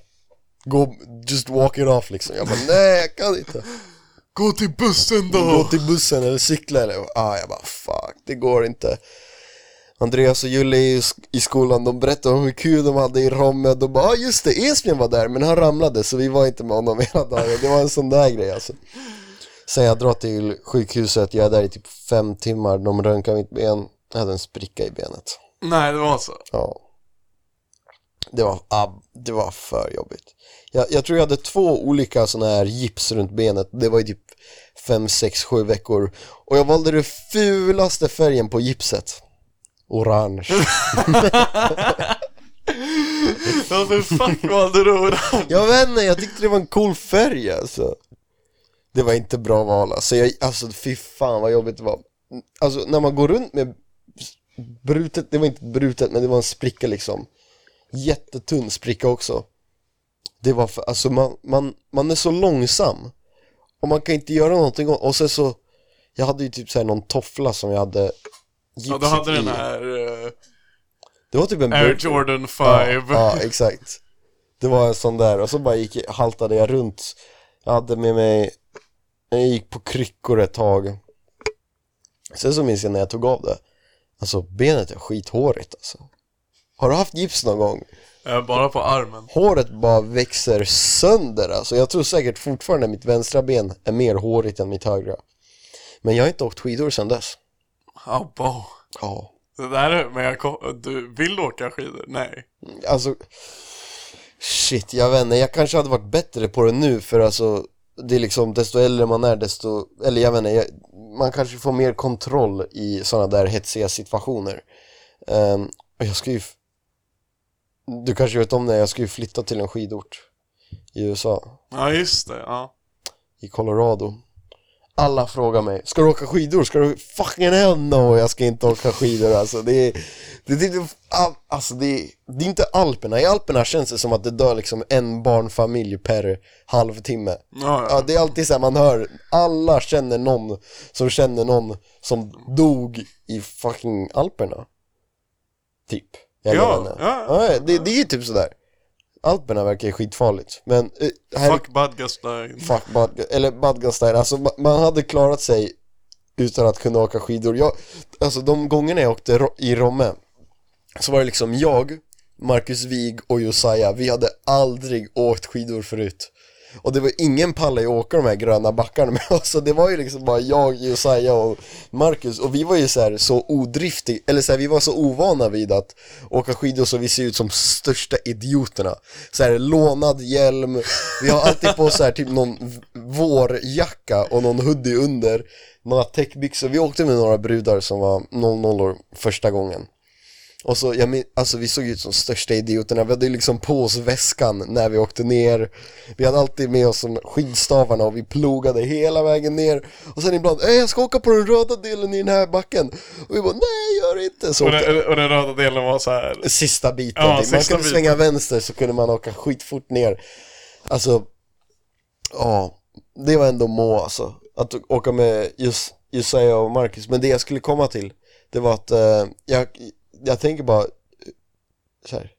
Speaker 2: Gå, just walk it off liksom. Jag bara nej jag kan inte.
Speaker 3: Gå till bussen då!
Speaker 2: Gå till bussen eller cykla eller, ah, jag bara fuck, det går inte. Andreas och Julle i, sk- i skolan, de berättade om hur kul de hade i Romme, de bara ah, just det, Esbjörn var där men han ramlade så vi var inte med honom hela dagen, det var en sån där grej alltså. Sen jag drar till sjukhuset, jag är där i typ fem timmar, de röntgar mitt ben, jag hade en spricka i benet.
Speaker 3: Nej, det var så.
Speaker 2: Ja. Det var, ah, det var för jobbigt. Jag, jag tror jag hade två olika sådana här gips runt benet. Det var ju typ 5, 6, 7 veckor. Och jag valde den fulaste färgen på gipset. Orange.
Speaker 3: Varför fuck valde du orange?
Speaker 2: jag vet inte, jag tyckte det var en cool färg alltså. Det var inte bra val alltså. Jag, alltså fy fan vad jobbigt det var. Alltså när man går runt med brutet, det var inte brutet men det var en spricka liksom. Jättetunn spricka också. Det var för, alltså man, man, man är så långsam. Och man kan inte göra någonting åt- och sen så, jag hade ju typ såhär någon toffla som jag hade
Speaker 3: Ja, du hade
Speaker 2: gipset
Speaker 3: den
Speaker 2: i.
Speaker 3: här eh,
Speaker 2: Det var typ en
Speaker 3: Air
Speaker 2: burk-
Speaker 3: Jordan 5.
Speaker 2: Ja, ja, exakt. Det var en sån där och så bara gick, haltade jag runt. Jag hade med mig, jag gick på kryckor ett tag. Sen så minns jag när jag tog av det. Alltså benet är skithårigt alltså. Har du haft gips någon gång?
Speaker 3: Eh, Bara på armen.
Speaker 2: Håret bara växer sönder alltså. Jag tror säkert fortfarande mitt vänstra ben är mer hårigt än mitt högra. Men jag har inte åkt skidor sedan dess.
Speaker 3: Abba.
Speaker 2: Ja.
Speaker 3: Det där är, men jag kom, du vill åka skidor? Nej.
Speaker 2: Alltså, shit, jag vet inte, jag kanske hade varit bättre på det nu för alltså det är liksom, desto äldre man är desto, eller jag vet inte, jag, man kanske får mer kontroll i sådana där hetsiga situationer. Ehm, och jag ska ju, f- du kanske vet om det, jag ska ju flytta till en skidort i USA,
Speaker 3: Ja, just det. Ja.
Speaker 2: i Colorado. Alla frågar mig, ska du åka skidor? Ska du, fucking hell no, jag ska inte åka skidor alltså. Det är, det, det, det, all- alltså det, är- det är inte Alperna, i Alperna känns det som att det dör liksom en barnfamilj per halvtimme.
Speaker 3: Ja,
Speaker 2: Ja,
Speaker 3: ja.
Speaker 2: det är alltid så här man hör, alla känner någon som känner någon som dog i fucking Alperna. Typ. Jag
Speaker 3: Ja,
Speaker 2: menar.
Speaker 3: ja.
Speaker 2: ja det, det är ju typ sådär. Alperna verkar ju skitfarligt, men eh, här
Speaker 3: Fuck Budgastein.
Speaker 2: Fuck Badga, eller Badgastein, alltså ma- man hade klarat sig utan att kunna åka skidor. Jag, alltså de gångerna jag åkte ro- i Romme så var det liksom jag, Marcus Wig och Josiah, vi hade aldrig åkt skidor förut. Och det var ingen palla i att åka de här gröna backarna med oss, så det var ju liksom bara jag, Josiah och Marcus och vi var ju så här så odriftiga, eller så här, vi var så ovana vid att åka skidor så vi ser ut som största idioterna. Så här lånad hjälm, vi har alltid på så här typ någon v- vårjacka och någon hoodie under, några täckbyxor, vi åkte med några brudar som var 00 första gången. Och så, jag min, alltså vi såg ut som största idioterna, vi hade ju liksom på oss väskan när vi åkte ner Vi hade alltid med oss som skidstavarna och vi plogade hela vägen ner Och sen ibland, "Ey, jag ska åka på den röda delen i den här backen Och vi bara, nej gör det inte! Så
Speaker 3: Och
Speaker 2: åkte,
Speaker 3: den, och den röda delen var så här.
Speaker 2: sista biten,
Speaker 3: Ja,
Speaker 2: typ. man
Speaker 3: sista
Speaker 2: kunde
Speaker 3: biten.
Speaker 2: svänga vänster så kunde man åka skitfort ner Alltså, ja, det var ändå må alltså Att åka med just Josiah och Marcus, men det jag skulle komma till Det var att eh, jag, jag tänker bara eh, så här,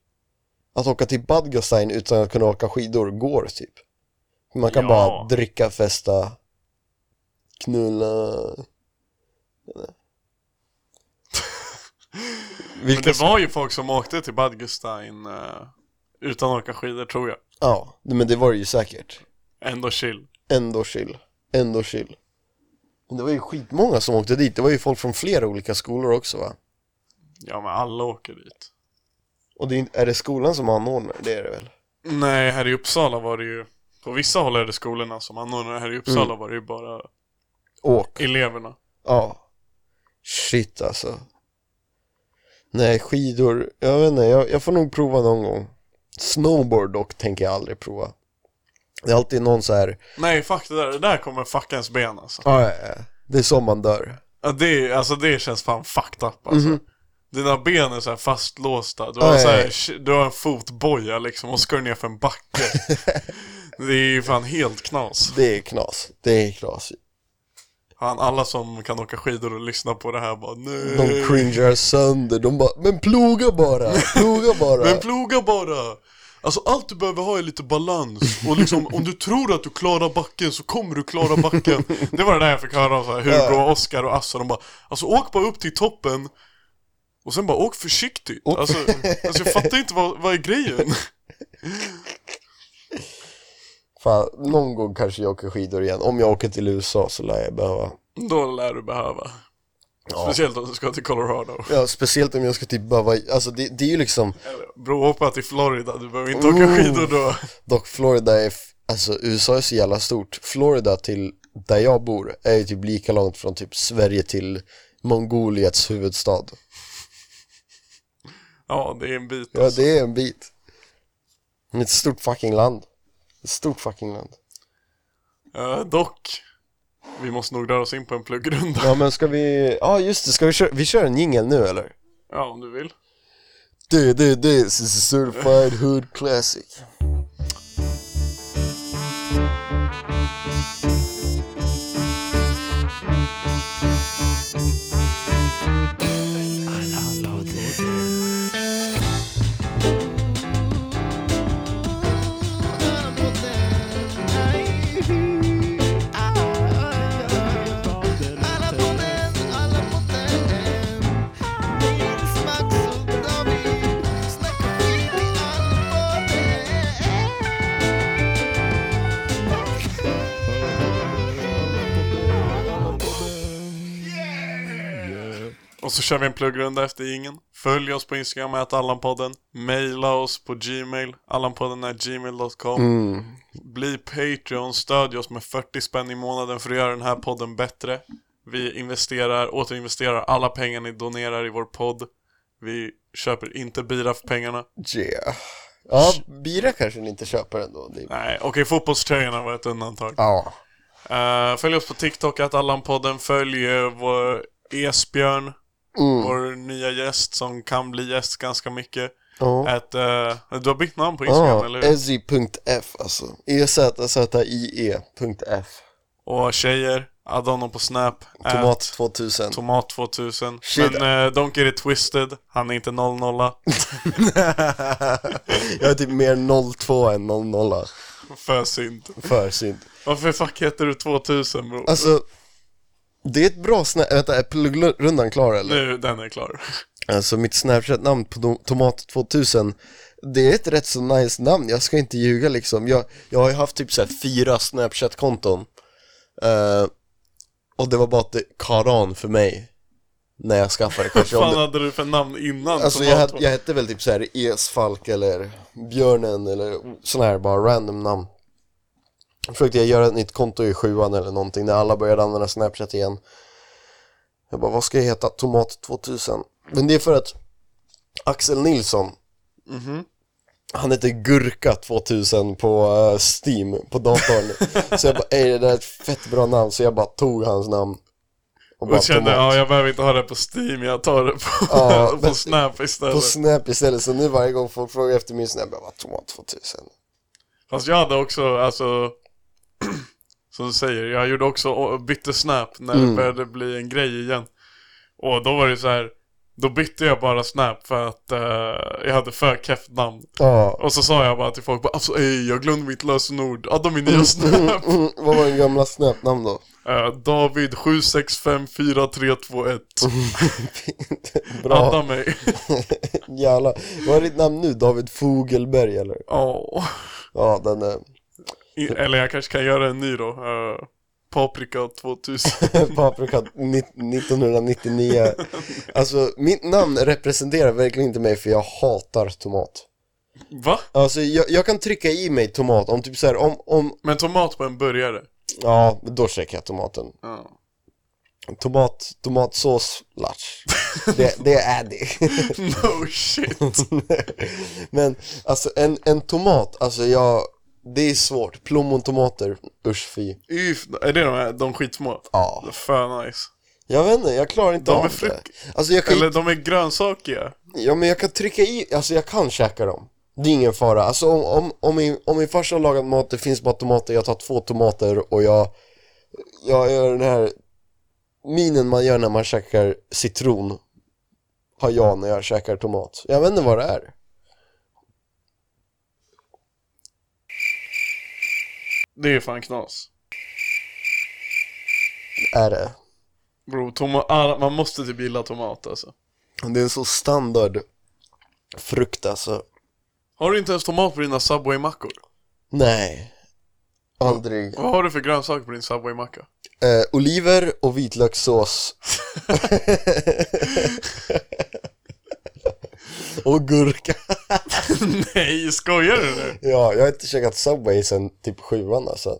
Speaker 2: Att åka till Badgastein utan att kunna åka skidor går typ Man kan
Speaker 3: Ja.
Speaker 2: bara dricka, festa, knulla
Speaker 3: Men det var ju folk som åkte till Bad Gustein eh, utan att åka skidor tror jag.
Speaker 2: Ja, men det var det ju säkert
Speaker 3: Ändå chill.
Speaker 2: ändå chill, ändå chill. Men det var ju skitmånga som åkte dit, det var ju folk från flera olika skolor också va?
Speaker 3: Ja men alla åker dit.
Speaker 2: Och det är, inte- är det skolan som anordnar det? är det väl?
Speaker 3: Nej, här i Uppsala var det ju på vissa håll är det skolorna som anordnar här i Uppsala var det ju bara
Speaker 2: Åk,
Speaker 3: eleverna.
Speaker 2: ja. Shit alltså. Nej, skidor, jag vet inte, jag, jag får nog prova någon gång. Snowboard dock tänker jag aldrig prova. Det är alltid någon så här,
Speaker 3: Nej, fuck det där. Det där kommer fucka ens ben alltså.
Speaker 2: "Ah, ja, ja, det är så man dör.
Speaker 3: Ja, det, alltså det känns fan fucked up alltså. Dina ben är så här fastlåsta, du har,
Speaker 2: Aj.
Speaker 3: så här, sh- du har en fotboja liksom och ska du ner för en backe. det är ju fan helt knas.
Speaker 2: Det är knas, det är knas.
Speaker 3: Han, alla som kan åka skidor och lyssna på det här bara nej.
Speaker 2: De cringear sönder, de bara, men ploga bara, ploga bara.
Speaker 3: Men ploga bara! Alltså allt du behöver ha är lite balans och liksom om du tror att du klarar backen så kommer du klara backen Det var det där jag fick höra av så här, Hugo, Oscar och Assa, de bara Alltså åk bara upp till toppen och sen bara åk försiktigt Alltså, alltså jag fattar inte vad, vad är grejen?
Speaker 2: Fan, någon gång kanske jag åker skidor igen. Om jag åker till USA så lär jag behöva.
Speaker 3: Då lär du behöva Speciellt om du ska till Colorado
Speaker 2: Ja, speciellt om jag ska till Hawaii. Alltså det, det är ju liksom,
Speaker 3: Eller Brohoppa till Florida, du behöver inte åka skidor då
Speaker 2: dock Florida är, f- alltså USA är så jävla stort. Florida till där jag bor är ju typ lika långt från typ Sverige till Mongoliets huvudstad.
Speaker 3: Ja, det är en bit
Speaker 2: Ja,
Speaker 3: alltså.
Speaker 2: det är en bit. Det är Ett stort fucking land. Ett stort fucking land.
Speaker 3: Eh, Dock, vi måste nog röra oss in på en pluggrunda
Speaker 2: Ja men ska vi, ja just det, ska vi köra, vi kör en jingel nu eller?
Speaker 3: Ja, om du vill
Speaker 2: Du, du, du, this is a certified hood classic.
Speaker 3: Och så kör vi en pluggrunda efter ingen. Följ oss på Instagram, ät Allanpodden. Maila oss på Gmail, allanpodden.gmail.com. Bli Patreon, stödj oss med 40 spänn i månaden för att göra den här podden bättre. Vi investerar, återinvesterar alla pengar ni donerar i vår podd. Vi köper inte bira för pengarna.
Speaker 2: Yeah. Ja, bira kanske ni inte köper ändå. Det...
Speaker 3: Nej, okej fotbollströjorna var ett undantag.
Speaker 2: Ja.
Speaker 3: Eh, följ oss på TikTok, att Allan-podden. Följ eh, vår Esbjörn,
Speaker 2: Mm.
Speaker 3: vår nya gäst som kan bli gäst ganska mycket.
Speaker 2: Ja.
Speaker 3: Att, eh, du har bytt namn på Instagram,
Speaker 2: Ja, Eh.
Speaker 3: eller hur?
Speaker 2: Ezzy.f alltså. E E-Z-Z-I-E.f.
Speaker 3: Och tjejer, adda honom på Snap. at
Speaker 2: Tomat 2000.
Speaker 3: Tomat 2000.
Speaker 2: Shit.
Speaker 3: Men eh, don't get it twisted, han är inte 00
Speaker 2: Jag är typ mer 02 än 00.
Speaker 3: För synd.
Speaker 2: För synd.
Speaker 3: Varför fuck heter du 2000 bror?
Speaker 2: Alltså, Det är ett bra snap... Vänta, är pluggrundan klar eller?
Speaker 3: Nu, den är klar.
Speaker 2: Alltså mitt Snapchat-namn på Dom- Tomat 2000 Det är ett rätt så nice namn, jag ska inte ljuga liksom Jag, jag har ju haft typ så här fyra Snapchat-konton Eh, Och det var bara att det, Karan för mig När jag skaffade
Speaker 3: Vad
Speaker 2: kanske om
Speaker 3: fan
Speaker 2: det,
Speaker 3: hade du för namn innan?
Speaker 2: Alltså
Speaker 3: som
Speaker 2: jag,
Speaker 3: var-
Speaker 2: het- jag hette väl typ så här Esfalk eller Björnen eller sådana här bara random namn Försökte jag göra ett nytt konto i sjuan eller någonting när alla började använda Snapchat igen Jag bara, vad ska jag heta? Tomat 2000 Men det är för att Axel Nilsson
Speaker 3: Mhm.
Speaker 2: Han heter Gurka 2000 på eh, Steam, på datorn Så jag bara, ey det där är ett fett bra namn Så jag bara tog hans namn och bara,
Speaker 3: Och kände,
Speaker 2: "Tomat."
Speaker 3: ja jag behöver inte ha det på Steam, jag tar det på,
Speaker 2: Ja,
Speaker 3: på
Speaker 2: men-
Speaker 3: Snap istället.
Speaker 2: på Snap istället, så nu varje gång folk frågar efter min Snap, jag bara tomat 2000
Speaker 3: Fast jag hade också, alltså Som du säger, jag gjorde också, bytte Snap när det började bli en grej igen Och då var det så här Då bytte jag bara Snap för att eh, jag hade för kefft namn
Speaker 2: Ja,
Speaker 3: Och så sa jag bara till folk bara, alltså ey, jag glömde mitt lösenord, ja de är nya Snap
Speaker 2: Mm, vad var din gamla Snap-namn då?
Speaker 3: Eh, David 7654321
Speaker 2: Bra,
Speaker 3: Adda mig
Speaker 2: jävlar Vad är ditt namn nu? David Fogelberg eller?
Speaker 3: Ja
Speaker 2: Ja, den är
Speaker 3: I- Eller jag kanske kan göra en ny då Eh, Paprika 2000
Speaker 2: Paprika ni- 1999 Alltså, mitt namn representerar verkligen inte mig för jag hatar tomat
Speaker 3: Va?
Speaker 2: Alltså, jag, jag kan trycka i mig tomat om typ så här, om, om,
Speaker 3: Men tomat på en burgare?
Speaker 2: ja, då käkar jag tomaten
Speaker 3: Ja
Speaker 2: Tomat, tomatsås, latch det, det är det
Speaker 3: No shit.
Speaker 2: Men alltså en, en tomat, alltså jag, det är svårt. Plommontomater, usch fy.
Speaker 3: Yf, är det de, här, de skitsmå?
Speaker 2: Ja.
Speaker 3: För nice.
Speaker 2: Jag vet inte, jag klarar inte
Speaker 3: De är
Speaker 2: av det.
Speaker 3: frukt-
Speaker 2: Alltså jag kan,
Speaker 3: Eller de är grönsakiga.
Speaker 2: ja, men jag kan trycka i, alltså jag kan käka dem. Det är ingen fara. Alltså om, om, om, min, om min farsa har lagat mat, det finns bara tomater, jag tar två tomater och jag, jag gör den här minen man gör när man käkar citron. Har jag när jag käkar tomat. Jag vet inte vad det är.
Speaker 3: Det är fan knas.
Speaker 2: Är det?
Speaker 3: Bro, toma, ah, man måste typ gilla tomat alltså.
Speaker 2: Det är en så standard frukt alltså.
Speaker 3: Har du inte ens tomat på dina Subway-mackor?
Speaker 2: Nej. Aldrig.
Speaker 3: Vad har du för grönsaker på din Subway-macka?
Speaker 2: Eh, oliver och vitlökssås. och gurka.
Speaker 3: Nej, skojar du nu?
Speaker 2: Ja, jag har inte käkat Subway sen typ sjuan alltså.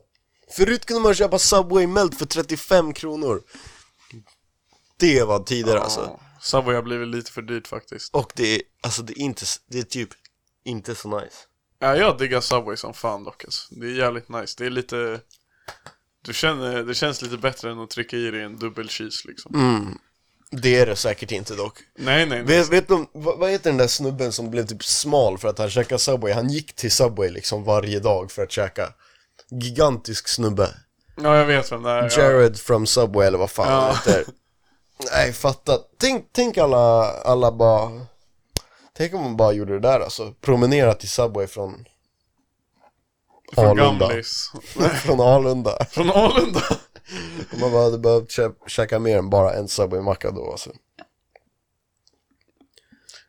Speaker 2: Förut kunde man köpa Subway Melt för 35 kronor. Det var tider alltså.
Speaker 3: Ja, Subway har blivit lite för dyrt faktiskt.
Speaker 2: Och det är, alltså det är inte, s- det är typ inte så nice.
Speaker 3: Ja, jag diggar Subway som fan dock alltså. Det är jävligt nice. Det är lite... Du känner, det känns lite bättre än att trycka i dig en dubbel cheese liksom.
Speaker 2: Mm. Det är det säkert inte dock.
Speaker 3: Nej, nej, nej.
Speaker 2: Vet, vet du, om- vad, vad heter den där snubben som blev typ smal för att han käkade Subway? Han gick till Subway liksom varje dag för att käka. Gigantisk snubbe.
Speaker 3: Ja, jag vet vem det är. Ja.
Speaker 2: Jared from Subway eller vad fan han heter. Nej, fatta. Tänk, tänk alla, alla bara... Tänk om man bara gjorde det där alltså. Promenera till Subway från,
Speaker 3: Från
Speaker 2: Alunda.
Speaker 3: Gamlis.
Speaker 2: från Alunda.
Speaker 3: Från Alunda?
Speaker 2: Om man bara hade behövt kä- käka mer än bara en Subway-macka då alltså.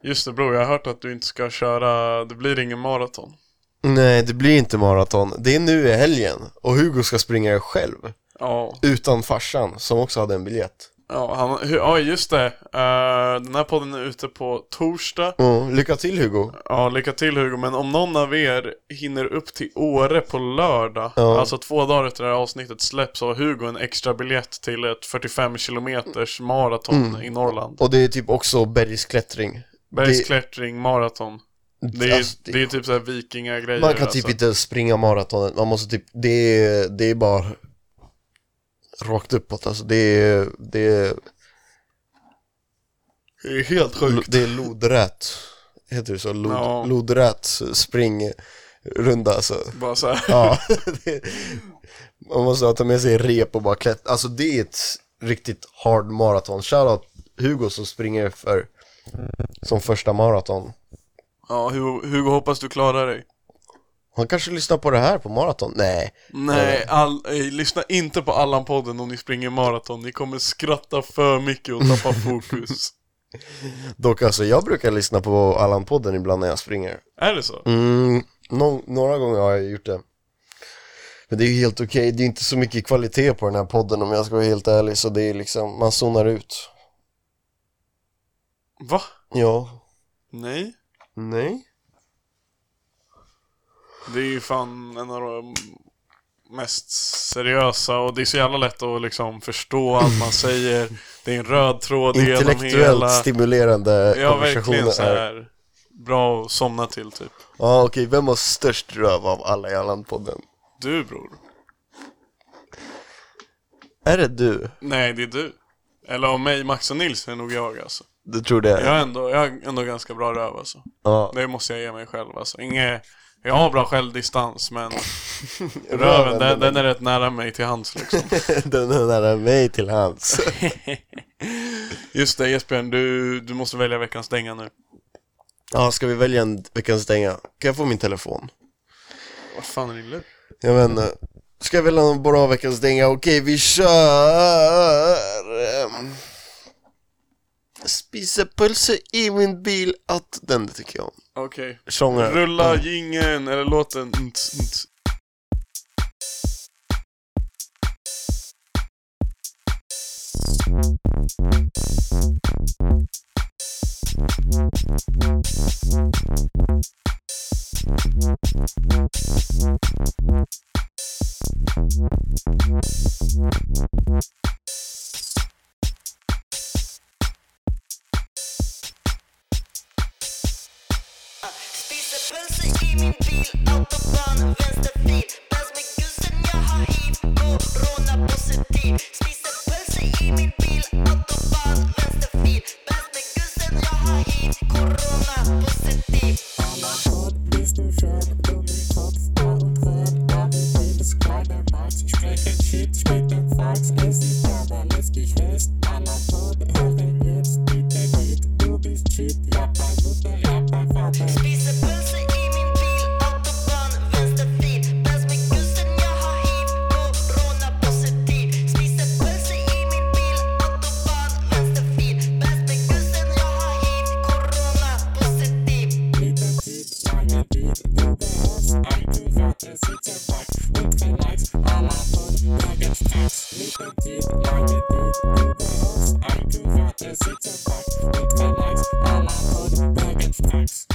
Speaker 3: Just det bror, jag har hört att du inte ska köra, det blir ingen maraton.
Speaker 2: Nej, det blir inte maraton. Det är nu i helgen och Hugo ska springa det själv.
Speaker 3: Ja,
Speaker 2: Utan farsan som också hade en biljett.
Speaker 3: ja, han, hu- ja just det. Eh, den här podden är ute på torsdag.
Speaker 2: Mm, lycka till Hugo.
Speaker 3: Ja, lycka till Hugo, men om någon av er hinner upp till Åre på lördag,
Speaker 2: Ja.
Speaker 3: alltså två dagar efter det här avsnittet släpps, så har Hugo en extra biljett till ett 45 kilometers maraton
Speaker 2: Mm.
Speaker 3: i Norrland.
Speaker 2: Och det är typ också bergsklättring.
Speaker 3: Bergsklättring, maraton. Det är,
Speaker 2: Alltså, det-
Speaker 3: det är typ såhär vikingagrejer
Speaker 2: Man kan typ
Speaker 3: alltså.
Speaker 2: inte ens springa maratonet, man måste typ, det är, det är bara rakt uppåt alltså. Det är, det är,
Speaker 3: Det är helt sjukt.
Speaker 2: det är lodrät. Heter det så? Lod,
Speaker 3: Ja.
Speaker 2: Lodrät springrunda alltså.
Speaker 3: Bara såhär.
Speaker 2: Ja, det, man måste ta med sig rep och bara klättra. Alltså det är ett riktigt hard maraton. Shoutout Hugo som springer för, som första maraton.
Speaker 3: Ja, Hugo, Hugo hoppas du klarar dig.
Speaker 2: Han kanske lyssnar på det här på maraton. Nej.
Speaker 3: Nej, all, eh, lyssna inte på Allan-podden om ni springer maraton. Ni kommer skratta för mycket och tappa fokus.
Speaker 2: Dock alltså, jag brukar lyssna på Allan-podden ibland när jag springer.
Speaker 3: Är det så?
Speaker 2: Mm, nå- några gånger har jag gjort det. Men det är ju helt okej, det är inte så mycket kvalitet på den här podden om jag ska vara helt ärlig, så det är liksom, man zonar ut.
Speaker 3: Va?
Speaker 2: Ja.
Speaker 3: Nej?
Speaker 2: Nej.
Speaker 3: Det är ju fan en av de mest seriösa och det är så jävla lätt att liksom förstå allt man säger. Det är en röd tråd genom
Speaker 2: Intellektuellt
Speaker 3: hela...
Speaker 2: stimulerande
Speaker 3: Ja, verkligen
Speaker 2: konversationer
Speaker 3: så
Speaker 2: är.
Speaker 3: här. Bra att somna till typ.
Speaker 2: Ja, okej, vem har störst röv av alla i Allan-podden?
Speaker 3: Du bror?
Speaker 2: Är det du?
Speaker 3: Nej, det är du. Eller av mig, Max och Nils är nog jag alltså.
Speaker 2: Du tror det?
Speaker 3: Jag har ändå, jag har ändå ganska bra röv alltså.
Speaker 2: Ja.
Speaker 3: Det måste jag ge mig själv alltså. Inge, jag har bra självdistans men röven, den, den är rätt nära mig till hands liksom.
Speaker 2: den är nära mig till hands.
Speaker 3: Just det Esbjörn, du, du måste välja veckans dänga nu.
Speaker 2: Ja, ska vi välja en veckans stänga? Kan jag få min telefon?
Speaker 3: Vad fan är din lur?
Speaker 2: Jag vet inte. Ska jag välja någon bra veckans stänga? Okej, vi kör! ehm, Spisepölse i min bil, att den tycker jag om.
Speaker 3: Okej.
Speaker 2: Sånger.
Speaker 3: Rulla jingeln eller låten. Mm, tss, mm, tss.
Speaker 4: Spiser pölse i min bil, autobahn, vänsterfil Dans med gussen, jag har hiv, corona-positiv Spiser pölse i min bil, autobahn, vänsterfil Dans med gussen, jag har hiv, corona-positiv
Speaker 5: Alla Gott bist du fett und mit Kopf voll und rot. Aber jedes kleine Max, ich spreche Shit mit dem Fax. Es ist aber letztlich fest. Alla Gott, hören jetzt bitte mit. Du bist Shit, ja, bei Mutter, ja, bei Vater.
Speaker 4: Spiser pölse i min bil, autobahn, vänsterfil Dans med gussen, jag har hiv, corona-positiv Spiser pölse i min bil, autobahn, vänsterfil Dans med gussen, jag har hiv, corona-positiv
Speaker 5: Mit dem Beat, lange Beat, du behörst ein privater Sitzerbock und relax. Alla Gott, hören Fax. Mit dem Beat, lange Beat, du behörst ein privater Sitzerbock und relax. Alla Gott, hören Fax.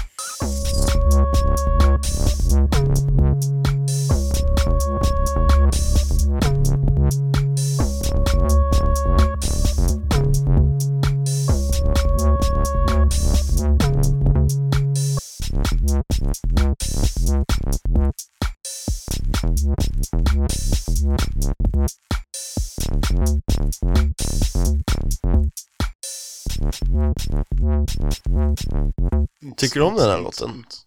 Speaker 2: Tycker du om den här låten?
Speaker 3: Mm, tss.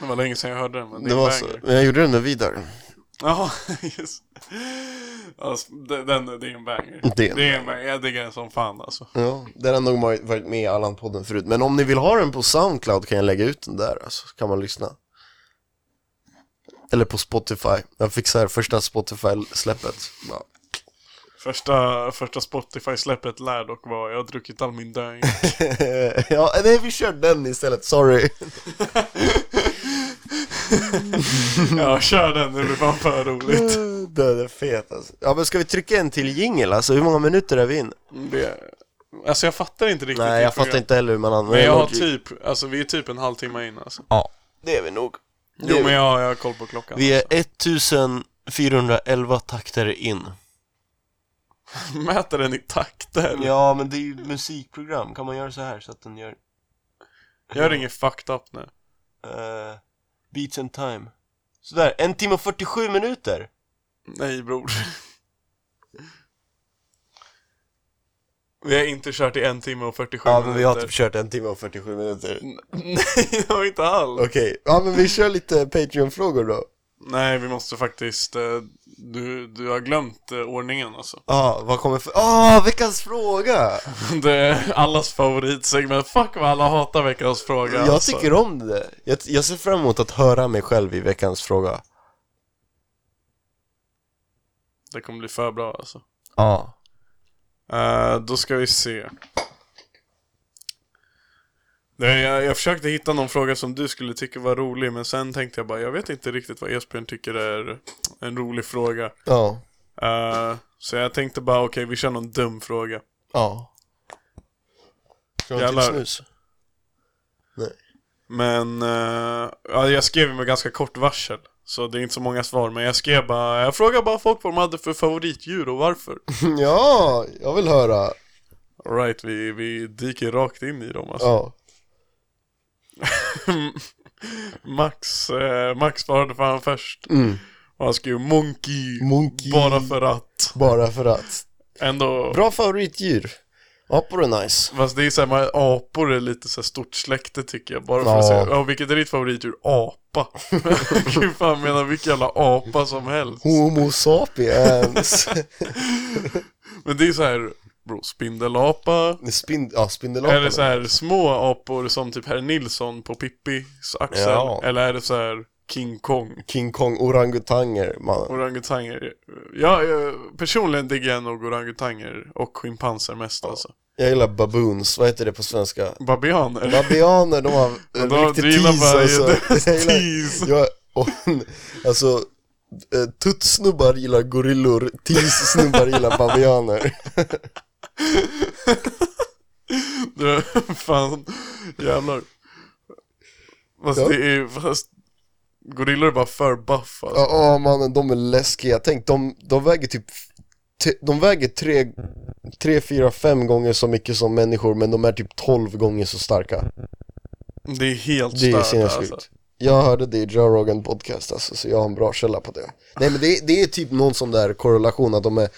Speaker 3: Det var länge sedan jag hörde den men det,
Speaker 2: Det var så,
Speaker 3: är en banger.
Speaker 2: men jag gjorde den med Vidar.
Speaker 3: Ja, just alltså, det. Den, det är en banger.
Speaker 2: Det är en
Speaker 3: det är en banger. Jag diggar den som fan alltså.
Speaker 2: Ja, den har nog varit- varit med i Allan-podden förut. Men om ni vill ha den på Soundcloud kan jag lägga ut den där, alltså, så kan man lyssna. Eller på Spotify. Jag fixar första Spotify-släppet. Ja.
Speaker 3: Första, första Spotify-släppet lär dock vara jag har druckit all min döing.
Speaker 2: ja, nej vi kör den istället, sorry.
Speaker 3: ja, kör den, det blir fan för roligt.
Speaker 2: den är fet alltså. Ja men ska vi trycka en till jingel alltså? Hur många minuter är vi in?
Speaker 3: Mm. Det, alltså jag fattar inte riktigt
Speaker 2: Nej
Speaker 3: ditt
Speaker 2: jag fattar
Speaker 3: program.
Speaker 2: inte heller hur man använder
Speaker 3: Men jag har
Speaker 2: emoji.
Speaker 3: typ, alltså vi är typ en halvtimme in alltså.
Speaker 2: Det är vi nog. Det
Speaker 3: Jo
Speaker 2: är
Speaker 3: men
Speaker 2: vi.
Speaker 3: jag, jag har koll på klockan.
Speaker 2: vi är 1411 takter in.
Speaker 3: Mäter den i takter.
Speaker 2: Ja men det är ju musikprogram, kan man göra så här så att den gör
Speaker 3: Jag ringer fucked up nu.
Speaker 2: eh, beats and time? Sådär, en timme och 47 minuter!
Speaker 3: Nej bror. Vi har inte kört i en timme och 47
Speaker 2: Ja men vi har
Speaker 3: minuter.
Speaker 2: typ kört en timme och 47 minuter.
Speaker 3: Nej, det har vi inte alls.
Speaker 2: Okej, ja men vi kör lite Patreon-frågor då.
Speaker 3: Nej, vi måste faktiskt eh, Du, du har glömt eh, ordningen alltså.
Speaker 2: Ja, vad kommer för... Ah, veckans fråga!
Speaker 3: Det är allas favoritsegment. Fuck vad alla hatar veckans fråga.
Speaker 2: Jag
Speaker 3: alltså.
Speaker 2: tycker om det. Jag, jag ser fram emot att höra mig själv i veckans fråga.
Speaker 3: Det kommer bli för bra alltså.
Speaker 2: Ja.
Speaker 3: Eh, då ska vi se. Det, jag, jag försökte hitta någon fråga som du skulle tycka var rolig, men sen tänkte jag bara, jag vet inte riktigt vad Esbjörn tycker är en rolig fråga.
Speaker 2: Ja.
Speaker 3: Eh, så jag tänkte bara, okej, vi kör någon dum fråga.
Speaker 2: Ja. Ska du ha till
Speaker 3: Jävlar.
Speaker 2: snus?
Speaker 3: Men eh, ja, jag skrev ju med ganska kort varsel. Så det är inte så många svar, men jag skrev bara, jag frågade bara folk vad de hade för favoritdjur och varför.
Speaker 2: ja, jag vill höra.
Speaker 3: Alright, vi, vi dyker rakt in i dem alltså.
Speaker 2: Ja.
Speaker 3: Max, eh, Max svarade fan först. Och han skrev monkey,
Speaker 2: Mm. Monkey.
Speaker 3: bara för att.
Speaker 2: Bara för att.
Speaker 3: Ändå,
Speaker 2: Bra favoritdjur. Apor är nice.
Speaker 3: fast det är såhär, apor är lite så här stort släkte tycker jag. Bara för
Speaker 2: Ja.
Speaker 3: att säga, ja vilket är ditt favoritdjur? Apa. Gud fan menar vilken jävla apa som helst.
Speaker 2: Homo sapiens.
Speaker 3: Men det är så här, bro, spindelapa.
Speaker 2: Spind ja, spindelapan.
Speaker 3: Är det så här små apor som typ herr Nilsson på Pippis axel?
Speaker 2: Ja.
Speaker 3: Eller är det så här King Kong?
Speaker 2: King Kong, orangutanger. Man.
Speaker 3: Orangutanger. Ja, jag, personligen diggar jag nog orangutanger och schimpanser mest alltså.
Speaker 2: Jag gillar baboons. Vad heter det på svenska?
Speaker 3: Babianer.
Speaker 2: Babianer, de har
Speaker 3: Men
Speaker 2: en
Speaker 3: då-
Speaker 2: riktig
Speaker 3: du gillar
Speaker 2: tis
Speaker 3: bara-
Speaker 2: alltså.
Speaker 3: det är
Speaker 2: Jag gillar-
Speaker 3: tis.
Speaker 2: Jag, och, alltså, eh, tuttsnubbar gillar gorillor, tis-snubbar gillar babianer.
Speaker 3: Du, fan, jävlar. Fast
Speaker 2: Ja.
Speaker 3: det är, fast gorillor är bara för buff alltså.
Speaker 2: Ja, åh, mannen, de är läskiga. Tänk, de, de väger typ, t- de väger tre, tre, fyra, fem gånger så mycket som människor, men de är typ 12 gånger så starka.
Speaker 3: Det är helt
Speaker 2: Det är
Speaker 3: stört
Speaker 2: sinnessjukt.
Speaker 3: alltså.
Speaker 2: Jag hörde det i Joe Rogan podcast alltså, så jag har en bra källa på det. Nej men det, det är typ någon sån där korrelation att de är,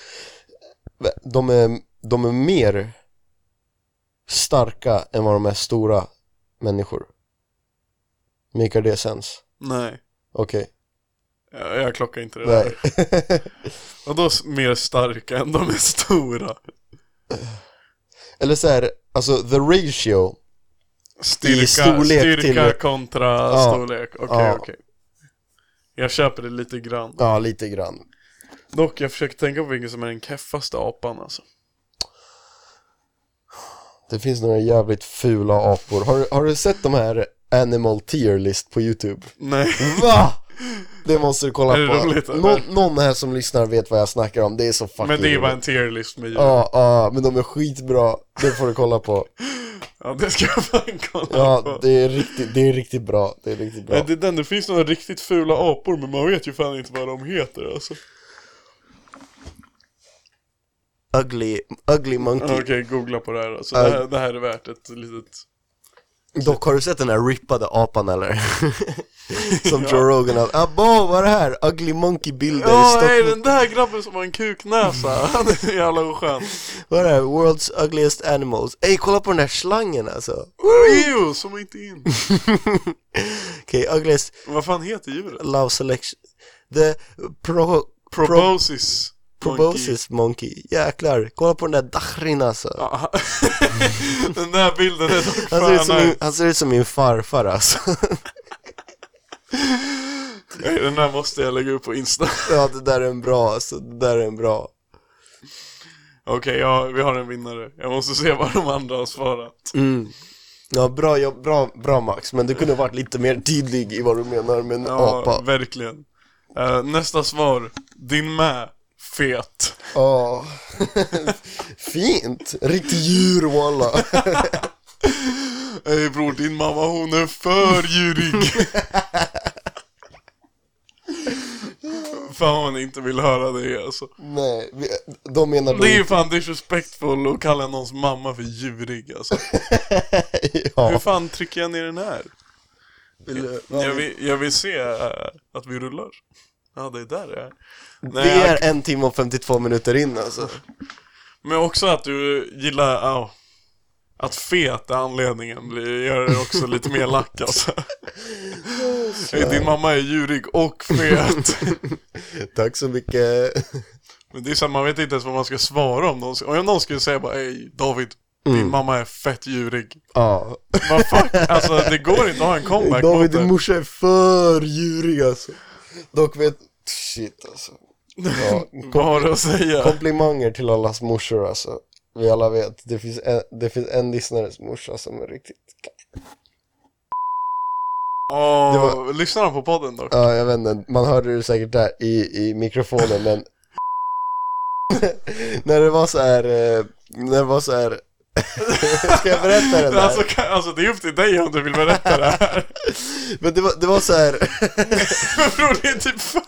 Speaker 2: de är, de är mer starka än vad de är stora människor. Maker det sens?
Speaker 3: Nej,
Speaker 2: Okej,
Speaker 3: jag, jag klockar inte det
Speaker 2: nej.
Speaker 3: där. Och då mer starka än de är stora.
Speaker 2: Eller så här, alltså the ratio,
Speaker 3: Styrka,
Speaker 2: I storlek
Speaker 3: styrka
Speaker 2: till-
Speaker 3: kontra
Speaker 2: Ja.
Speaker 3: storlek. Okej,
Speaker 2: Ja.
Speaker 3: okej. Jag köper det lite grann.
Speaker 2: ja lite grann.
Speaker 3: Dock, jag försöker tänka på vilken som är den keffaste apan alltså.
Speaker 2: Det finns några jävligt fula apor. Har, du- har du sett de här animal tier list på youtube?
Speaker 3: Nej.
Speaker 2: Va? Det måste du kolla
Speaker 3: Är det
Speaker 2: på.
Speaker 3: roligt, eller?
Speaker 2: Nå- någon här som lyssnar vet vad jag snackar om, det är så fucking
Speaker 3: Men det är bara en
Speaker 2: roligt.
Speaker 3: tier list med djur. Ja.
Speaker 2: Ja, ja, men de är skitbra. Det får du kolla på.
Speaker 3: det ska jag fan kolla
Speaker 2: Ja,
Speaker 3: på.
Speaker 2: det är riktigt, det är riktigt bra. Det är riktigt bra.
Speaker 3: Nej, det är den, det finns några riktigt fula apor men man vet ju fan inte vad de heter alltså.
Speaker 2: Ugly, ugly monkey.
Speaker 3: Okej, googla på det här alltså.
Speaker 2: Äh.
Speaker 3: Det här, det här är värt ett litet...
Speaker 2: Dock, har du sett den här rippade apan eller? som Joe Rogan har. Abo, vad är det här? Ugly monkey bilder i
Speaker 3: Ja, nej
Speaker 2: Stockholm.
Speaker 3: den där grabben som har en kuknäsa.
Speaker 2: Mm.
Speaker 3: Han är så jävla oskön.
Speaker 2: Vad är det här? World's ugliest animals. Ey, kolla på den här slangen alltså.
Speaker 3: Ew, zooma inte in.
Speaker 2: Okej, ugliest
Speaker 3: Vad fan heter djuret?
Speaker 2: love selection. The pro... pro-
Speaker 3: Proboscis.
Speaker 2: Proboscis monkey, jäklar. Kolla på den där Dachrin alltså.
Speaker 3: Ja. Den där bilden är dock
Speaker 2: han, ser ut
Speaker 3: fan
Speaker 2: som
Speaker 3: nice.
Speaker 2: min, han ser ut som min farfar alltså.
Speaker 3: Nej, Den där måste jag lägga upp på Insta.
Speaker 2: ja, det där är en bra alltså. Det där är en bra.
Speaker 3: Okej, ja, vi har en vinnare. Jag måste se vad de andra har svarat.
Speaker 2: Mm, Ja, bra, ja, bra, bra Max. Men du kunde varit lite mer tydlig i vad du menar med en
Speaker 3: Ja,
Speaker 2: apa.
Speaker 3: verkligen. Eh, nästa svar. Din med. Fet.
Speaker 2: Ja. Fint. Riktigt djur walla.
Speaker 3: Ey bror, din mamma hon är för djurig. fan vad man inte vill höra det alltså.
Speaker 2: Nej, vi, de menar då...
Speaker 3: Det är ju fan disrespectful att kalla någons mamma för djurig alltså. Hur
Speaker 2: ja.
Speaker 3: fan trycker jag ner den här? Jag vill, jag vill se eh, att vi rullar. Ja, det är där det är. Nej,
Speaker 2: Det är en timme och 52 minuter in alltså.
Speaker 3: Men också att du gillar, ja. Att fet är anledningen blir, gör det också lite mer lack alltså. Din mamma är djurig och fet.
Speaker 2: Tack så mycket.
Speaker 3: Men det är så här, man vet inte ens vad man ska svara om någon, om någon skulle säga bara Ey David, din
Speaker 2: Mm.
Speaker 3: mamma är fett djurig.
Speaker 2: Ja.
Speaker 3: Vad fuck, alltså det går inte att ha en comeback
Speaker 2: David,
Speaker 3: mot
Speaker 2: din
Speaker 3: det.
Speaker 2: morsa är för djurig alltså. Dock vet... Shit alltså. Ja,
Speaker 3: Vad har du att säga?
Speaker 2: komplimanger till allas morsor alltså. Vi alla vet, det finns en, det finns en lyssnares morsa som är riktigt...
Speaker 3: Åh,
Speaker 2: Det var-
Speaker 3: lyssnar han på podden dock?
Speaker 2: Ja, jag vet inte, man hörde det säkert där i, i mikrofonen men... när det var så här, eh, när det var så här... Ska jag berätta den där?
Speaker 3: Alltså, kan, alltså det är upp till dig om du vill berätta det här.
Speaker 2: Men det var, det var så här...
Speaker 3: Bror det är typ fan.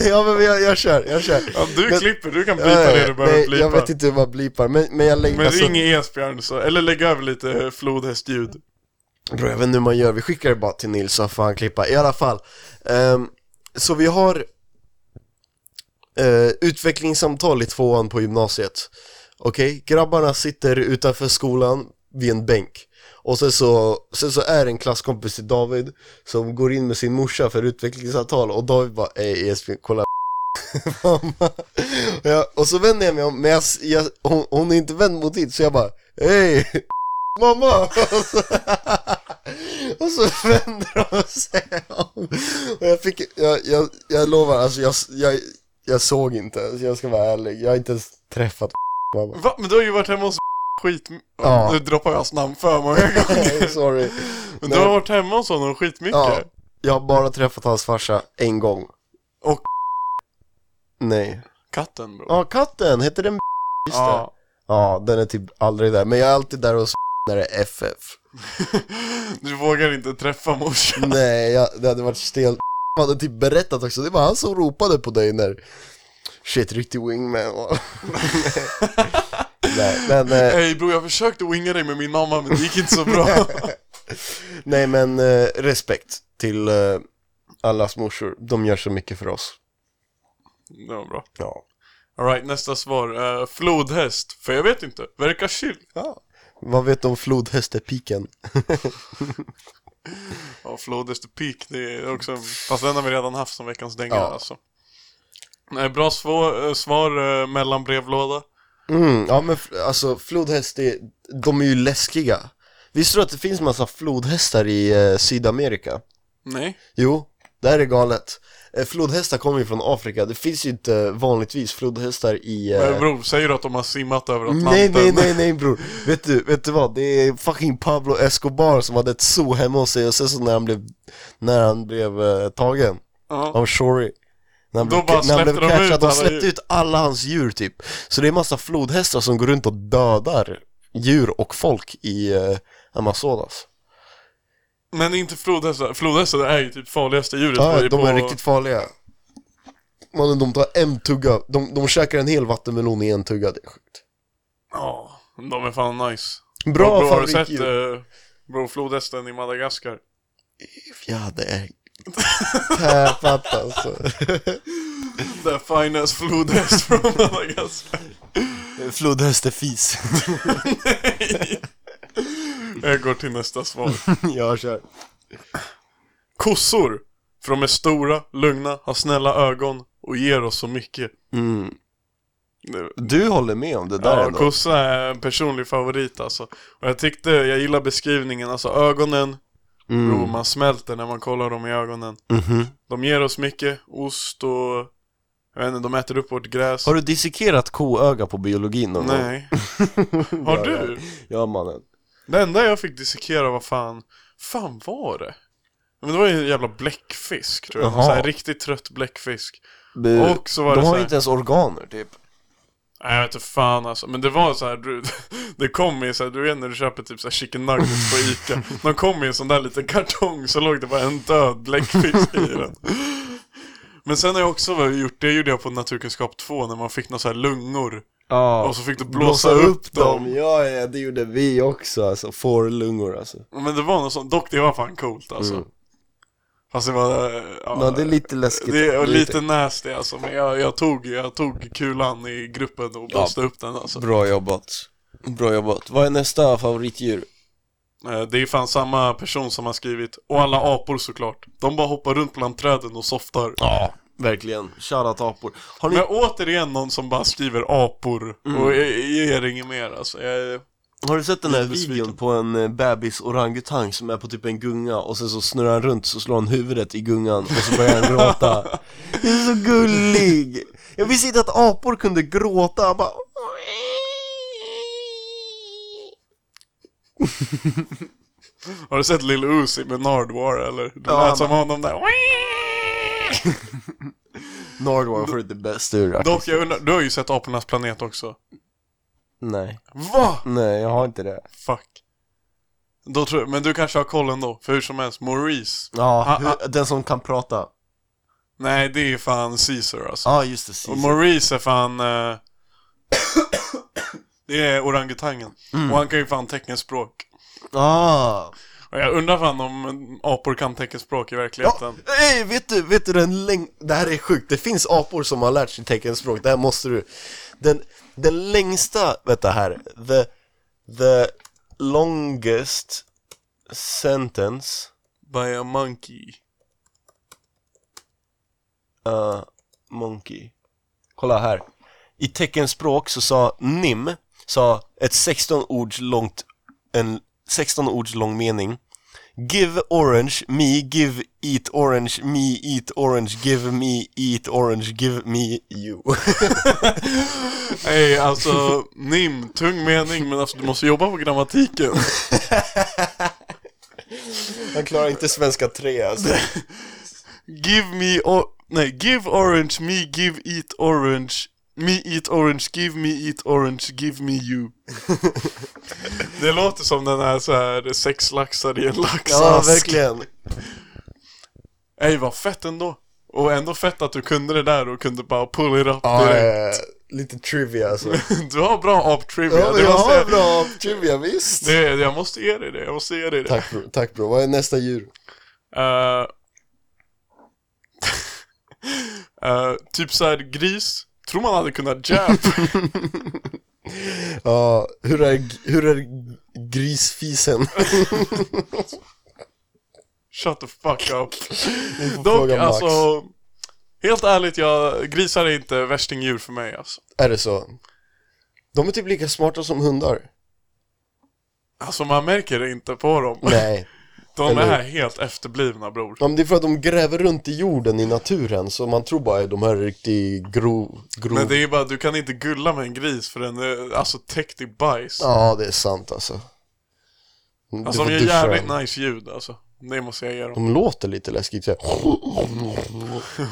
Speaker 2: ja men jag, jag kör, jag kör.
Speaker 3: Ja, du
Speaker 2: Men-
Speaker 3: klipper, du kan
Speaker 2: Ja,
Speaker 3: blipa
Speaker 2: ja,
Speaker 3: det du behöver
Speaker 2: nej, Jag
Speaker 3: blipa.
Speaker 2: vet inte hur man blipar, men, men jag lägger...
Speaker 3: Men
Speaker 2: alltså-
Speaker 3: ring Esbjörn så, eller lägg över lite eh, flodhästljud.
Speaker 2: Bro, jag vet inte hur man gör, vi skickar det bara till Nils så får han klippa. I alla fall. ehm, så vi har eh, utvecklingssamtal i tvåan på gymnasiet. Okej, grabbarna sitter utanför skolan vid en bänk. Och sen så, sen så är det en klasskompis till David som går in med sin morsa för utvecklingssamtal och David bara Ey Esbjörn, kolla mamma. Och, jag, och så vänder jag mig om, men jag, s- jag, hon, hon är inte vänd mot dit så jag bara Ey mamma! Och så, och så vänder de sig om. Och jag fick, jag, jag, jag lovar, alltså jag, jag, jag såg inte, alltså jag ska vara ärlig, jag har inte ens träffat mamma.
Speaker 3: Va? Men du har ju varit hemma hos skit...
Speaker 2: Ja.
Speaker 3: Nu droppar jag hans namn för många gånger.
Speaker 2: Sorry.
Speaker 3: Men du har varit hemma hos honom skitmycket.
Speaker 2: Ja, jag har bara träffat hans farsa en gång.
Speaker 3: Och-
Speaker 2: Nej.
Speaker 3: Katten bror.
Speaker 2: Ja, katten, heter den Just det.
Speaker 3: Ja.
Speaker 2: Ja, den är typ aldrig där, men jag är alltid där hos när det är FF.
Speaker 3: Du vågar inte träffa morsan.
Speaker 2: Nej, jag, det hade varit stelt. Han hade typ berättat också, det var han som ropade på dig när... Shit, riktig wingman. nej, men, eh,
Speaker 3: Hej bror, jag försökte winga dig med min mamma men det gick inte så bra.
Speaker 2: nej, men eh, respekt till eh, allas morsor. De gör så mycket för oss.
Speaker 3: det var bra.
Speaker 2: Ja.
Speaker 3: Alright, nästa svar. Eh, flodhäst. För jag vet inte, verkar chill.
Speaker 2: Vad vet du om flodhästepiken?
Speaker 3: Ja, Flodhäst och Pik, det är också en... Fast den har vi redan haft som veckans dänga
Speaker 2: Ja.
Speaker 3: alltså. Nej, bra svå- eh, svar eh, mellan brevlåda.
Speaker 2: Mm, ja men f- alltså flodhäst, är, de är ju läskiga. Visste du att det finns massa flodhästar i eh, Sydamerika?
Speaker 3: Nej.
Speaker 2: Jo, det här är galet. Eh, flodhästar kommer ju från Afrika, det finns ju inte vanligtvis flodhästar i...
Speaker 3: Men
Speaker 2: Eh...
Speaker 3: bror, säger du att de har simmat över Atlanten?
Speaker 2: Nej, nej, nej, nej bror. Vet du, vet du vad? Det är fucking Pablo Escobar som hade ett zoo hemma hos sig och sen så när han blev, när han blev eh, tagen
Speaker 3: Ja.
Speaker 2: av Shory. När han
Speaker 3: Då
Speaker 2: blev,
Speaker 3: bara
Speaker 2: när han blev
Speaker 3: släppte de
Speaker 2: catchad,
Speaker 3: ut
Speaker 2: de
Speaker 3: alla
Speaker 2: släppte
Speaker 3: djur.
Speaker 2: ut alla hans djur typ. Så det är massa flodhästar som går runt och dödar djur och folk i eh, Amazonas.
Speaker 3: Men inte flodhästar. Flodhästar är ju typ farligaste djuret.
Speaker 2: Ja,
Speaker 3: på-
Speaker 2: de är
Speaker 3: på-
Speaker 2: riktigt farliga. Mannen, de tar en tugga, de, de käkar en hel vattenmelon i en tugga, det är sjukt.
Speaker 3: Ja, de är fan nice.
Speaker 2: Bra
Speaker 3: bror, har du sett
Speaker 2: favoritdjur!
Speaker 3: eh, bror, flodhästen i Madagaskar? eh,
Speaker 2: Ja, det är... Täppat alltså.
Speaker 3: The finest flodhäst från Madagaskar.
Speaker 2: Flodhästefis.
Speaker 3: Jag går till nästa svar.
Speaker 2: Jag kör.
Speaker 3: Kossor! För de är stora, lugna, har snälla ögon och ger oss så mycket.
Speaker 2: Mm.
Speaker 3: Nu-
Speaker 2: Du håller med om det där
Speaker 3: Ja,
Speaker 2: ändå?
Speaker 3: kossa är en personlig favorit alltså. Och jag tyckte, jag gillar beskrivningen, alltså ögonen, bro, man smälter när man kollar dem i ögonen.
Speaker 2: Mm. Mhm.
Speaker 3: De ger oss mycket, ost och, jag vet inte, de äter upp vårt gräs.
Speaker 2: Har du dissekerat koöga på biologin någon gång?
Speaker 3: Nej. Har du?
Speaker 2: Ja mannen.
Speaker 3: Det enda jag fick dissekera var fan, fan var det? Men det var ju en jävla bläckfisk tror jag,
Speaker 2: Jaha.
Speaker 3: så här riktigt trött bläckfisk.
Speaker 2: Bu.
Speaker 3: Och så var
Speaker 2: de
Speaker 3: det så
Speaker 2: har
Speaker 3: här-
Speaker 2: ju inte ens organer typ.
Speaker 3: Nej jag vet inte fan alltså, men det var så här, du, det kom i så här, du vet när du köper typ så här chicken nuggets på Ica De kom i en sån där liten kartong så låg det bara en död bläckfisk i den Men sen har jag också vad jag gjort, det gjorde jag på naturkunskap 2 när man fick några så här lungor
Speaker 2: Ja.
Speaker 3: Och så fick du blåsa, upp dem,
Speaker 2: Ja, ja, det gjorde vi också alltså. Fårlungor alltså.
Speaker 3: Men det var något sånt, dock det var fan coolt alltså
Speaker 2: Mm.
Speaker 3: Fast det var, eh, ja,
Speaker 2: Ja, det är lite läskigt.
Speaker 3: det är lite nasty alltså, men jag, jag, tog, jag tog kulan i gruppen och blåste upp den alltså
Speaker 2: Bra jobbat.
Speaker 6: Bra jobbat. Vad är nästa favoritdjur?
Speaker 3: Eh, Det är fan samma person som har skrivit Och alla apor såklart De bara hoppar runt bland träden och softar
Speaker 6: Ja, verkligen. Shoutout apor. Har ni, Mm.
Speaker 3: Men återigen någon som bara skriver apor Och jag ger inget mer alltså jag,
Speaker 6: har du sett den här
Speaker 3: Lite besviken.
Speaker 6: videon på en eh, bebis orangutang som är på typ en gunga och sen så snurrar han runt så slår han huvudet i gungan och så börjar han gråta. Det är så gullig! Jag visste inte att apor kunde gråta. Jag bara...
Speaker 3: Har du sett Lil Uzi med Nardwar eller? Det
Speaker 6: Ja,
Speaker 3: lät som honom där
Speaker 6: Nardwar får inte bäst ur racket.
Speaker 3: Dock jag undrar, du har ju sett Apornas planet också
Speaker 6: Nej.
Speaker 3: Va?
Speaker 6: Nej, jag har inte det.
Speaker 3: Fuck då tror jag, men du kanske har koll ändå, för hur som helst, Maurice
Speaker 6: Ja,
Speaker 3: Ah,
Speaker 6: hur, den som kan prata.
Speaker 3: Nej det är fan Caesar alltså
Speaker 6: Ja, just det.
Speaker 3: Och
Speaker 6: Caesar.
Speaker 3: Maurice är fan... eh, det är orangutangen. Och han kan ju fan teckenspråk.
Speaker 6: Ah.
Speaker 3: Och jag undrar fan om apor kan teckenspråk i
Speaker 6: Ja,
Speaker 3: verkligheten.
Speaker 6: ey, vet du, vet du den läng... Det här är sjukt, det finns apor som har lärt sig teckenspråk, det här måste du Den, den längsta, vänta här, the, the longest sentence
Speaker 3: By a monkey.
Speaker 6: Uh, monkey. Kolla här. I teckenspråk så sa NIM, sa ett 16 ords långt, en 16 ords lång mening. Give orange, me, give, eat orange, me, eat orange, give me, eat orange, give me, you.
Speaker 3: Nej, alltså nim, tung mening, men alltså du måste jobba på grammatiken.
Speaker 6: Han klarar inte svenska 3 alltså.
Speaker 3: Give me, o- nej, give orange, me, give, eat orange. Me eat orange, give me eat orange, give me you. Det låter som den här så här sex laxar i en
Speaker 6: Ja,
Speaker 3: laxask.
Speaker 6: verkligen.
Speaker 3: Ey vad fett ändå! Och ändå fett att du kunde det där och kunde bara pull it up
Speaker 2: Ja,
Speaker 3: direkt.
Speaker 2: eh, lite trivia alltså.
Speaker 3: Du har bra ap-trivia,
Speaker 2: Ja,
Speaker 3: det,
Speaker 2: jag
Speaker 3: måste
Speaker 2: har
Speaker 3: jag,
Speaker 2: bra trivia, visst.
Speaker 3: det, jag måste ge dig det, jag måste ge dig det.
Speaker 2: Tack bro, tack bro. Vad är nästa djur?
Speaker 3: Eh, eh, typ såhär gris, tror man hade kunnat jab.
Speaker 2: Ja, hur är, hur är grisfisen?
Speaker 3: Shut the fuck up.
Speaker 2: får
Speaker 3: Dock
Speaker 2: fråga Max.
Speaker 3: alltså, helt ärligt, jag, grisar är inte värstingdjur för mig alltså.
Speaker 2: Är det så? De är typ lika smarta som hundar.
Speaker 3: Alltså man märker det inte på dem.
Speaker 2: Nej.
Speaker 3: De
Speaker 2: eller-
Speaker 3: är helt efterblivna bror.
Speaker 2: Ja, men det är för att de gräver runt i jorden i naturen, så man tror bara att de här är riktigt grov, grov.
Speaker 3: Men det är bara, du kan inte gulla med en gris för den är alltså täckt i bajs.
Speaker 2: Ja, det är sant alltså. Du
Speaker 3: alltså
Speaker 2: får
Speaker 3: de gör
Speaker 2: duscha Mm.
Speaker 3: jävligt
Speaker 2: dem.
Speaker 3: nice ljud alltså. Det måste jag ge dem.
Speaker 2: De låter lite läskigt så här.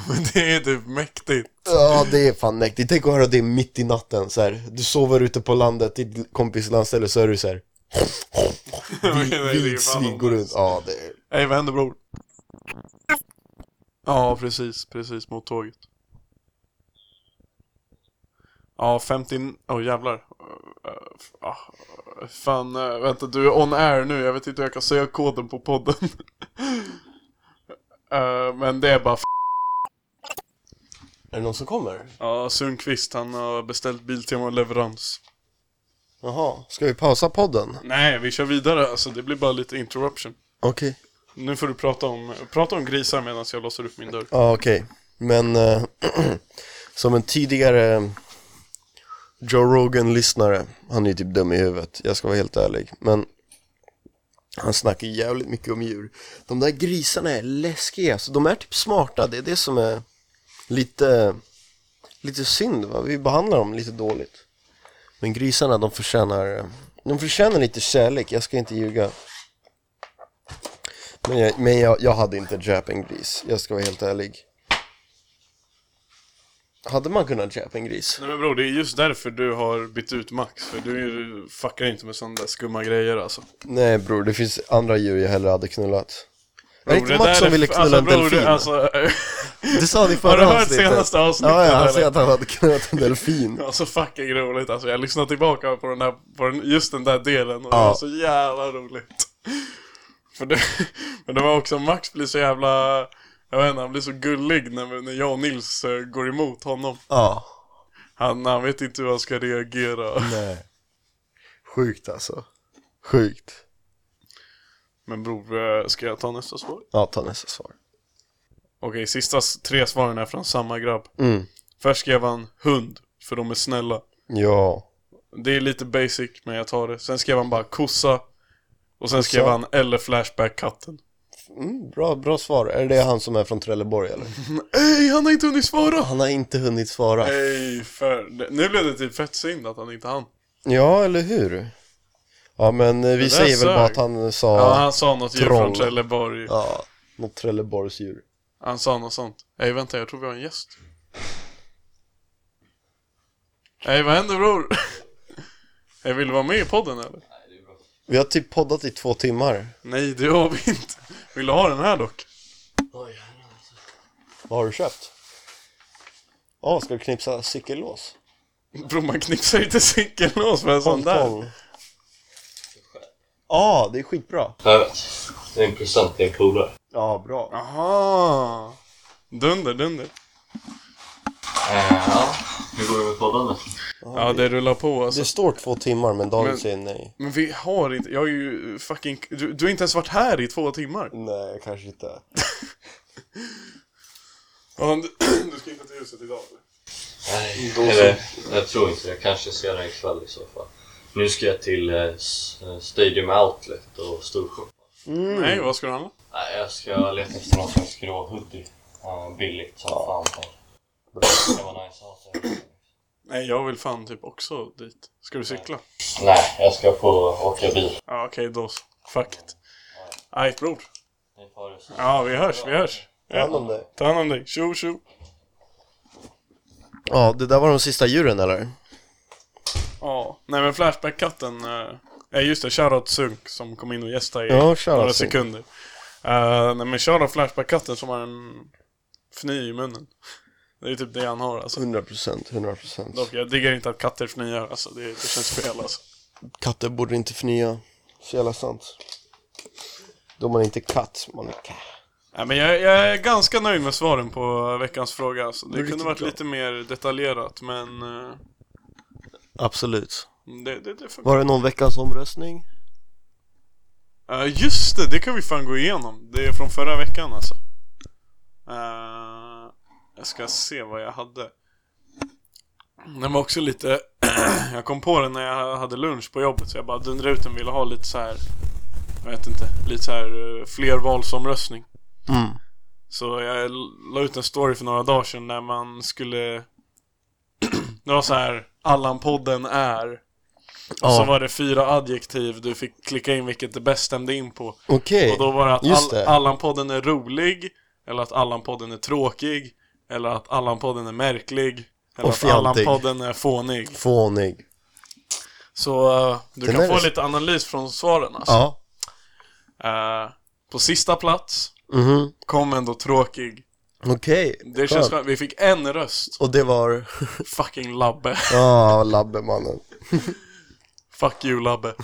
Speaker 3: Men det är typ mäktigt.
Speaker 2: Ja, det är fan mäktigt. Tänk att höra det mitt i natten så här. Du sover ute på landet, ditt kompis landställe, så är du så här. Vildsvin går runt. Ja, det är...
Speaker 3: Ey vad händer bror? Ja precis, precis mot tåget. Ja 50, åh oh, jävlar. Eh, ah, fan, eh, vänta du är on air nu, jag vet inte hur jag kan säga koden på podden. Eh, men det är bara
Speaker 2: är det någon som kommer?
Speaker 3: Ja, Sundqvist han har beställt Biltema och leverans.
Speaker 2: Jaha, ska vi pausa podden?
Speaker 3: Nej, vi kör vidare alltså, det blir bara lite interruption.
Speaker 2: Okej.
Speaker 3: Nu får du prata om, prata om grisar medan jag låser upp min dörr.
Speaker 2: Ja, okej. Men eh, som en tidigare Joe Rogan-lyssnare, han är ju typ dum i huvudet, jag ska vara helt ärlig. Men han snackar jävligt mycket om djur. De där grisarna är läskiga, så de är typ smarta, det är det som är lite, lite synd va, vi behandlar dem lite dåligt. Men grisarna, de förtjänar, eh, de förtjänar lite kärlek, jag ska inte ljuga. Men jag, men jag, jag hade inte dräpt en gris, jag ska vara helt ärlig. Hade man kunnat dräpa en gris?
Speaker 3: Nej men bror, det är just därför du har bytt ut Max. För du är- fuckar inte med sådana där skumma grejer alltså.
Speaker 2: Nej bror, det finns andra djur jag hellre hade knullat. är det
Speaker 3: Bror,
Speaker 2: inte Max
Speaker 3: där
Speaker 2: som
Speaker 3: är
Speaker 2: ville
Speaker 3: f-
Speaker 2: knulla en
Speaker 3: bror, det-
Speaker 2: delfin?
Speaker 3: Alltså,
Speaker 2: Du sa det i
Speaker 3: har du
Speaker 2: förra
Speaker 3: hört
Speaker 2: avsnittet.
Speaker 3: senaste avsnittet?
Speaker 2: Ja, ja, han säger
Speaker 3: eller?
Speaker 2: att han hade knullat en delfin.
Speaker 3: Alltså fucking roligt alltså, jag lyssnade tillbaka på den där, på den, just den där delen och det
Speaker 2: Ja.
Speaker 3: var så jävla roligt. För det, men det var också, Max blir så jävla, jag vet inte, han blir så gullig när, när jag och Nils eh, går emot honom.
Speaker 2: Ja.
Speaker 3: Han, han vet inte hur han ska reagera.
Speaker 2: Nej. Sjukt alltså. Sjukt.
Speaker 3: Men bror, eh, ska jag ta nästa svar?
Speaker 2: Ja, ta nästa svar.
Speaker 3: Okej, sista s- tre svaren är från samma grabb.
Speaker 2: Mm.
Speaker 3: Först skrev han hund, för de är snälla.
Speaker 2: Ja.
Speaker 3: Det är lite basic, men jag tar det. Sen skrev han bara kossa. Och sen skrev han eller Flashback katten.
Speaker 2: Mm, bra, bra svar. Är det han som är från Trelleborg eller?
Speaker 3: Ey, han har inte hunnit svara!
Speaker 2: Han har inte hunnit svara.
Speaker 3: Eh, Ey, för... Nu blev det typ fett synd att han inte hann.
Speaker 2: Ja, eller hur? Ja, men eh, vi
Speaker 3: där
Speaker 2: säger väl
Speaker 3: sög.
Speaker 2: bara att han sa
Speaker 3: Ja, han sa något djur
Speaker 2: troll.
Speaker 3: från Trelleborg.
Speaker 2: ja, något Trelleborgsdjur.
Speaker 3: Han sa något sånt. Ey, vänta, jag tror vi har en gäst. Ey, vad händer bror? Ey, vill du vara med i podden eller?
Speaker 2: Vi har typ poddat i två timmar.
Speaker 3: Nej, det har vi inte. Vill du ha den här dock?
Speaker 2: Vad har du köpt? Ja, ska du knipsa cykelås?
Speaker 3: Bror, man knipsar inte cykelås med en sån där.
Speaker 2: Tolv. Ja, det är skitbra.
Speaker 7: Jag vet. Det är en present till en polare.
Speaker 2: Ja, bra.
Speaker 3: Aha. Dunder, dunder.
Speaker 7: Eh, Ja, hur går det med poddandet?
Speaker 3: Ja, det rullar på alltså.
Speaker 2: Det står två timmar, men David
Speaker 3: Men-
Speaker 2: säger nej.
Speaker 3: Men vi har inte, jag är ju fucking, du, du har inte ens varit här i två timmar.
Speaker 2: Nej, kanske inte.
Speaker 3: Ja, du, du ska inte till huset idag eller?
Speaker 7: Nej, eller jag tror inte Jag kanske ser den ikväll i så fall. Nu ska jag till eh, S- eh, Stadium Outlet och Storsjö.
Speaker 3: Nej, vad ska du handla?
Speaker 7: Nej, jag ska leta efter någon slags grå hoodie. Ja, billigt som fan. Det kan vara nice att ha sig.
Speaker 3: Nej, jag vill fan typ också dit. Ska du cykla?
Speaker 7: Nej, jag ska på åka bil.
Speaker 3: Ja, okej då så. Fuck it. Aj, bror.
Speaker 7: Ni får det så.
Speaker 3: Ja, vi hörs, vi hörs.
Speaker 2: Ta hand om dig.
Speaker 3: Ta hand om dig. Tjo, tjo.
Speaker 2: Ja, det där var de sista djuren eller?
Speaker 3: Ja, nej men Flashback-katten. eh, Ja, just det. Shoutout Sunk som kom in och gästade i
Speaker 2: Ja, shoutout
Speaker 3: några
Speaker 2: Sunk.
Speaker 3: sekunder. Eh, nej men shoutout Flashback-katten som har en fny i munnen. Det är typ det han har alltså.
Speaker 2: 100%, 100%.
Speaker 3: Dock, jag diggar inte att katter fnyar alltså. Det, det känns fel alltså.
Speaker 2: Katter borde inte förnya. Så jävla sant. Då man inte katt, man är katt.
Speaker 3: Nej, men jag, jag är ganska nöjd med svaren på veckans fråga alltså. Det kunde
Speaker 2: riktigt
Speaker 3: varit
Speaker 2: bra.
Speaker 3: lite mer detaljerat men eh,
Speaker 2: Absolut.
Speaker 3: det, det, det funkar.
Speaker 2: Var det någon veckans omröstning?
Speaker 3: Eh, just det, det kan vi fan gå igenom. Det är från förra veckan alltså. Eh, jag ska se vad jag hade. Den var också lite... jag kom på den när jag hade lunch på jobbet så jag bara dundrade ut den ville ha lite så här. Jag vet inte, lite så här eh, flervalsomröstning.
Speaker 2: Mm.
Speaker 3: Så jag la ut en story för några dagar sedan när man skulle... det var så här, Allan-podden är... Och så
Speaker 2: Ja.
Speaker 3: var det fyra adjektiv du fick klicka in vilket det bäst stämde in på.
Speaker 2: Okej.
Speaker 3: Och då var det att
Speaker 2: Just
Speaker 3: all,
Speaker 2: det.
Speaker 3: Allan-podden är rolig, eller att Allan-podden är tråkig, eller att Allan-podden är märklig, eller
Speaker 2: Och
Speaker 3: att
Speaker 2: fjantig.
Speaker 3: Allan-podden är fånig.
Speaker 2: Fånig.
Speaker 3: Så eh, du
Speaker 2: Den
Speaker 3: kan
Speaker 2: är
Speaker 3: få
Speaker 2: det-
Speaker 3: lite analys från svaren alltså.
Speaker 2: Ja.
Speaker 3: Eh, på sista plats
Speaker 2: Mhm.
Speaker 3: kom ändå tråkig.
Speaker 2: Okej.
Speaker 3: Det känns skönt. Vi fick en röst.
Speaker 2: Och det var...
Speaker 3: Fucking Labbe.
Speaker 2: Ja, Labbemannen.
Speaker 3: Fuck you Labbe.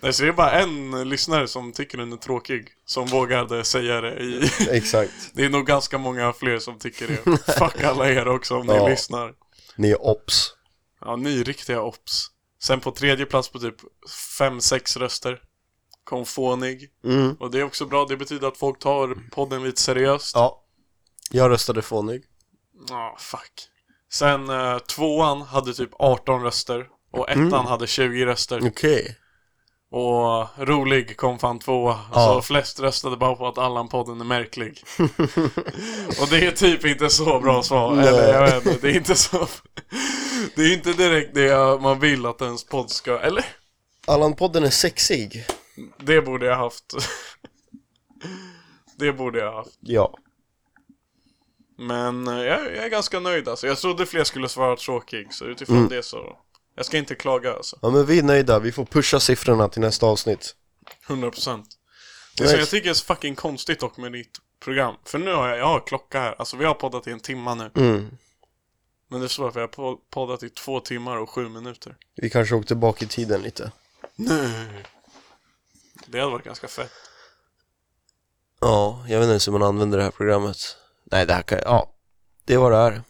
Speaker 3: Nej, så det är bara en lyssnare som tycker den är tråkig. Som vågade säga det i...
Speaker 2: Exakt.
Speaker 3: Det är nog ganska många fler som tycker det. Fuck alla er också om ni
Speaker 2: Ja.
Speaker 3: lyssnar.
Speaker 2: Ni är ops.
Speaker 3: Ja, ni är riktiga ops. Sen på tredje plats på typ 5-6 röster kom Fånig.
Speaker 2: Mm.
Speaker 3: Och det är också bra, det betyder att folk tar podden lite seriöst.
Speaker 2: Ja. Jag röstade fånig.
Speaker 3: Ja, fuck. Sen eh, tvåan hade typ 18 röster och ettan
Speaker 2: Mm.
Speaker 3: hade 20 röster.
Speaker 2: Okej.
Speaker 3: Och rolig kom fan tvåa. Så flest röstade bara på att Allan-podden är märklig. och det är typ inte så bra svar. Eller jag vet inte, det är inte så... det är inte direkt det jag- man vill att ens podd ska... Eller?
Speaker 2: Allan-podden är sexig.
Speaker 3: Det borde jag haft. det borde jag haft.
Speaker 2: Ja.
Speaker 3: Men eh, jag, jag är ganska nöjd alltså. Jag trodde fler skulle svara tråkig, så utifrån det så... Jag ska inte klaga alltså.
Speaker 2: Ja, men vi är nöjda. Vi får pusha siffrorna till nästa avsnitt.
Speaker 3: 100 procent. Det som jag tycker är så fucking konstigt dock med ditt program. För nu har jag, jag har klocka här. Alltså vi har poddat i en timma nu.
Speaker 2: Mm.
Speaker 3: Men det står att vi har po- poddat i två timmar och sju minuter.
Speaker 2: Vi kanske åkte bak i tiden lite.
Speaker 3: Det hade varit ganska fett.
Speaker 2: Ja, jag vet inte ens hur man använder det här programmet. Nej, det här kan... Ja, det var det här.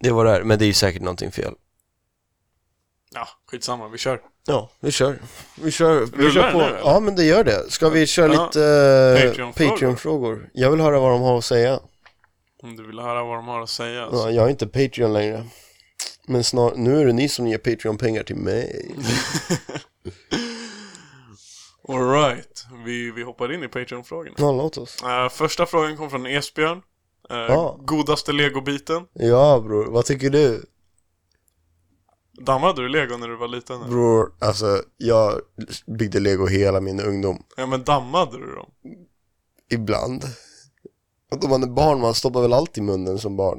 Speaker 2: Det var det här, men det är ju säkert någonting fel.
Speaker 3: Ja, skitsamma, vi kör.
Speaker 2: Ja, vi kör. Vi kör, vi
Speaker 3: Rullar
Speaker 2: kör
Speaker 3: det
Speaker 2: på.
Speaker 3: nu, eller?
Speaker 2: ja, men det gör det. Ska vi köra
Speaker 3: Ja.
Speaker 2: lite eh,
Speaker 3: Patreon-frågor.
Speaker 2: Patreon-frågor? jag vill höra vad de har att säga.
Speaker 3: Om du vill höra vad de har att säga. alltså. så-
Speaker 2: Ja, jag är inte Patreon längre. Men snar, nu är det ni som ger Patreon-pengar till mig.
Speaker 3: Alright, vi, vi hoppar in i Patreon-frågorna.
Speaker 2: Ja, låt oss.
Speaker 3: Eh, första frågan kom från Esbjörn. Eh,
Speaker 2: Ja.
Speaker 3: Godaste legobiten?
Speaker 2: Ja, bror. Vad tycker du?
Speaker 3: Dammade du lego när du var liten? eller?
Speaker 2: Bror, alltså jag byggde lego hela min ungdom.
Speaker 3: Ja men dammade du dem?
Speaker 2: Ibland. Och då man är barn, man stoppar väl allt i munnen som barn.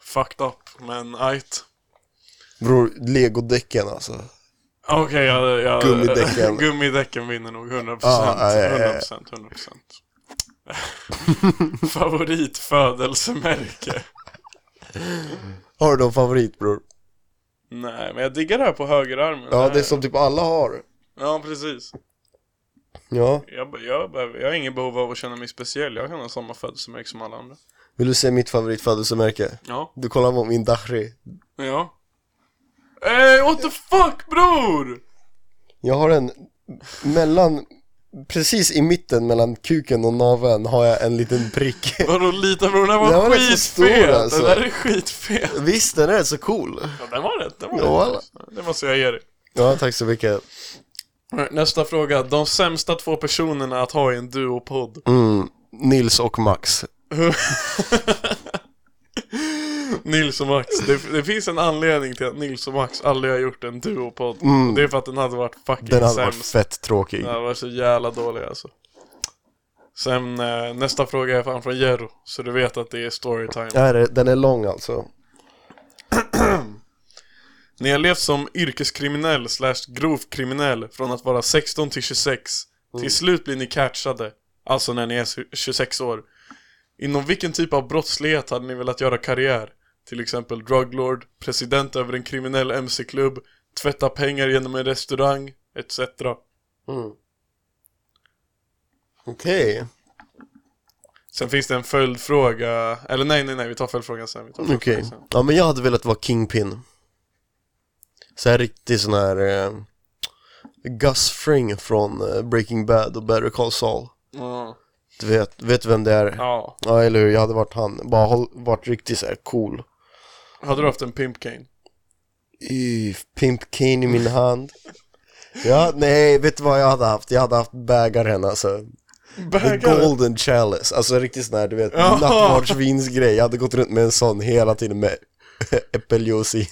Speaker 3: Fucked up, men ajt.
Speaker 2: Bror, legodäcken alltså.
Speaker 3: Okej, jag, jag,
Speaker 2: Gummidäcken.
Speaker 3: gummidäcken vinner nog 100%.
Speaker 2: Ja, ja, ja, ja.
Speaker 3: 100%, 100%. Favoritfödelsemärke?
Speaker 2: Har du någon favorit bror?
Speaker 3: Nej, men jag diggar det här på högerarmen.
Speaker 2: Ja,
Speaker 3: här-
Speaker 2: det är som typ alla har.
Speaker 3: Ja, precis.
Speaker 2: Ja.
Speaker 3: Jag, jag, behöver, jag har inget behov av att känna mig speciell. Jag kan ha samma födelsemärke som alla andra.
Speaker 2: Vill du se mitt favoritfödelsemärke?
Speaker 3: Ja.
Speaker 2: Du kollar på min Dahri.
Speaker 3: Ja. Ey, what the fuck bror!
Speaker 2: Jag har en mellan, precis i mitten mellan kuken och naveln har jag en liten prick.
Speaker 3: Vadå liten bror, den här
Speaker 2: Den
Speaker 3: var
Speaker 2: var rätt så stor,
Speaker 3: skitfet!
Speaker 2: alltså.
Speaker 3: Den där är skitfet!
Speaker 2: Visst, den är rätt så cool.
Speaker 3: Ja, den var rätt, den
Speaker 2: Ja,
Speaker 3: var rätt. Det måste jag ge dig.
Speaker 2: Ja, tack så mycket.
Speaker 3: Nästa fråga. De sämsta två personerna att ha i en duopodd.
Speaker 2: Mm, Nils och Max.
Speaker 3: Nils och Max. Det, det finns en anledning till att Nils och Max aldrig har gjort en duopodd. Det är för att den hade varit fucking
Speaker 2: Mm. Den hade varit
Speaker 3: sämst.
Speaker 2: fett tråkig.
Speaker 3: Den hade varit så jävla dålig alltså. Sen eh, nästa fråga är fan från Jerro, så du vet att det är storytime.
Speaker 2: Ja, det- den är lång alltså.
Speaker 3: Ni har levt som yrkeskriminell slash grov kriminell från att vara 16 till 26.
Speaker 2: Mm.
Speaker 3: Till slut blir ni catchade, alltså när ni är 26 år. Inom vilken typ av brottslighet hade ni velat göra karriär? Till exempel druglord, president över en kriminell mc-klubb, tvätta pengar genom en restaurang, etc.
Speaker 2: Okej.
Speaker 3: Sen finns det en följdfråga, eller nej nej nej, vi tar följdfrågan sen. Vi tar
Speaker 2: Okej.
Speaker 3: följdfrågan sen.
Speaker 2: Ja, men jag hade velat vara Kingpin. Så här riktig sån här... Eh, Gus Fring från eh, Breaking Bad och Better Call Saul.
Speaker 3: Ja.
Speaker 2: Du vet, vet du vem det är?
Speaker 3: Ja.
Speaker 2: Ja, eller hur? Jag hade varit han. Bara håll, varit riktigt så här cool.
Speaker 3: Hade du haft en pimp cane?
Speaker 2: Uff, Pimp Kane i min hand. Ja, nej, vet du vad jag hade haft? Jag hade haft bägaren alltså. The
Speaker 3: Bägare?
Speaker 2: golden chalice, alltså riktigt sån här du vet,
Speaker 3: Ja.
Speaker 2: nattvardsvinsgrej. Jag hade gått runt med en sån hela tiden med äppeljuice i.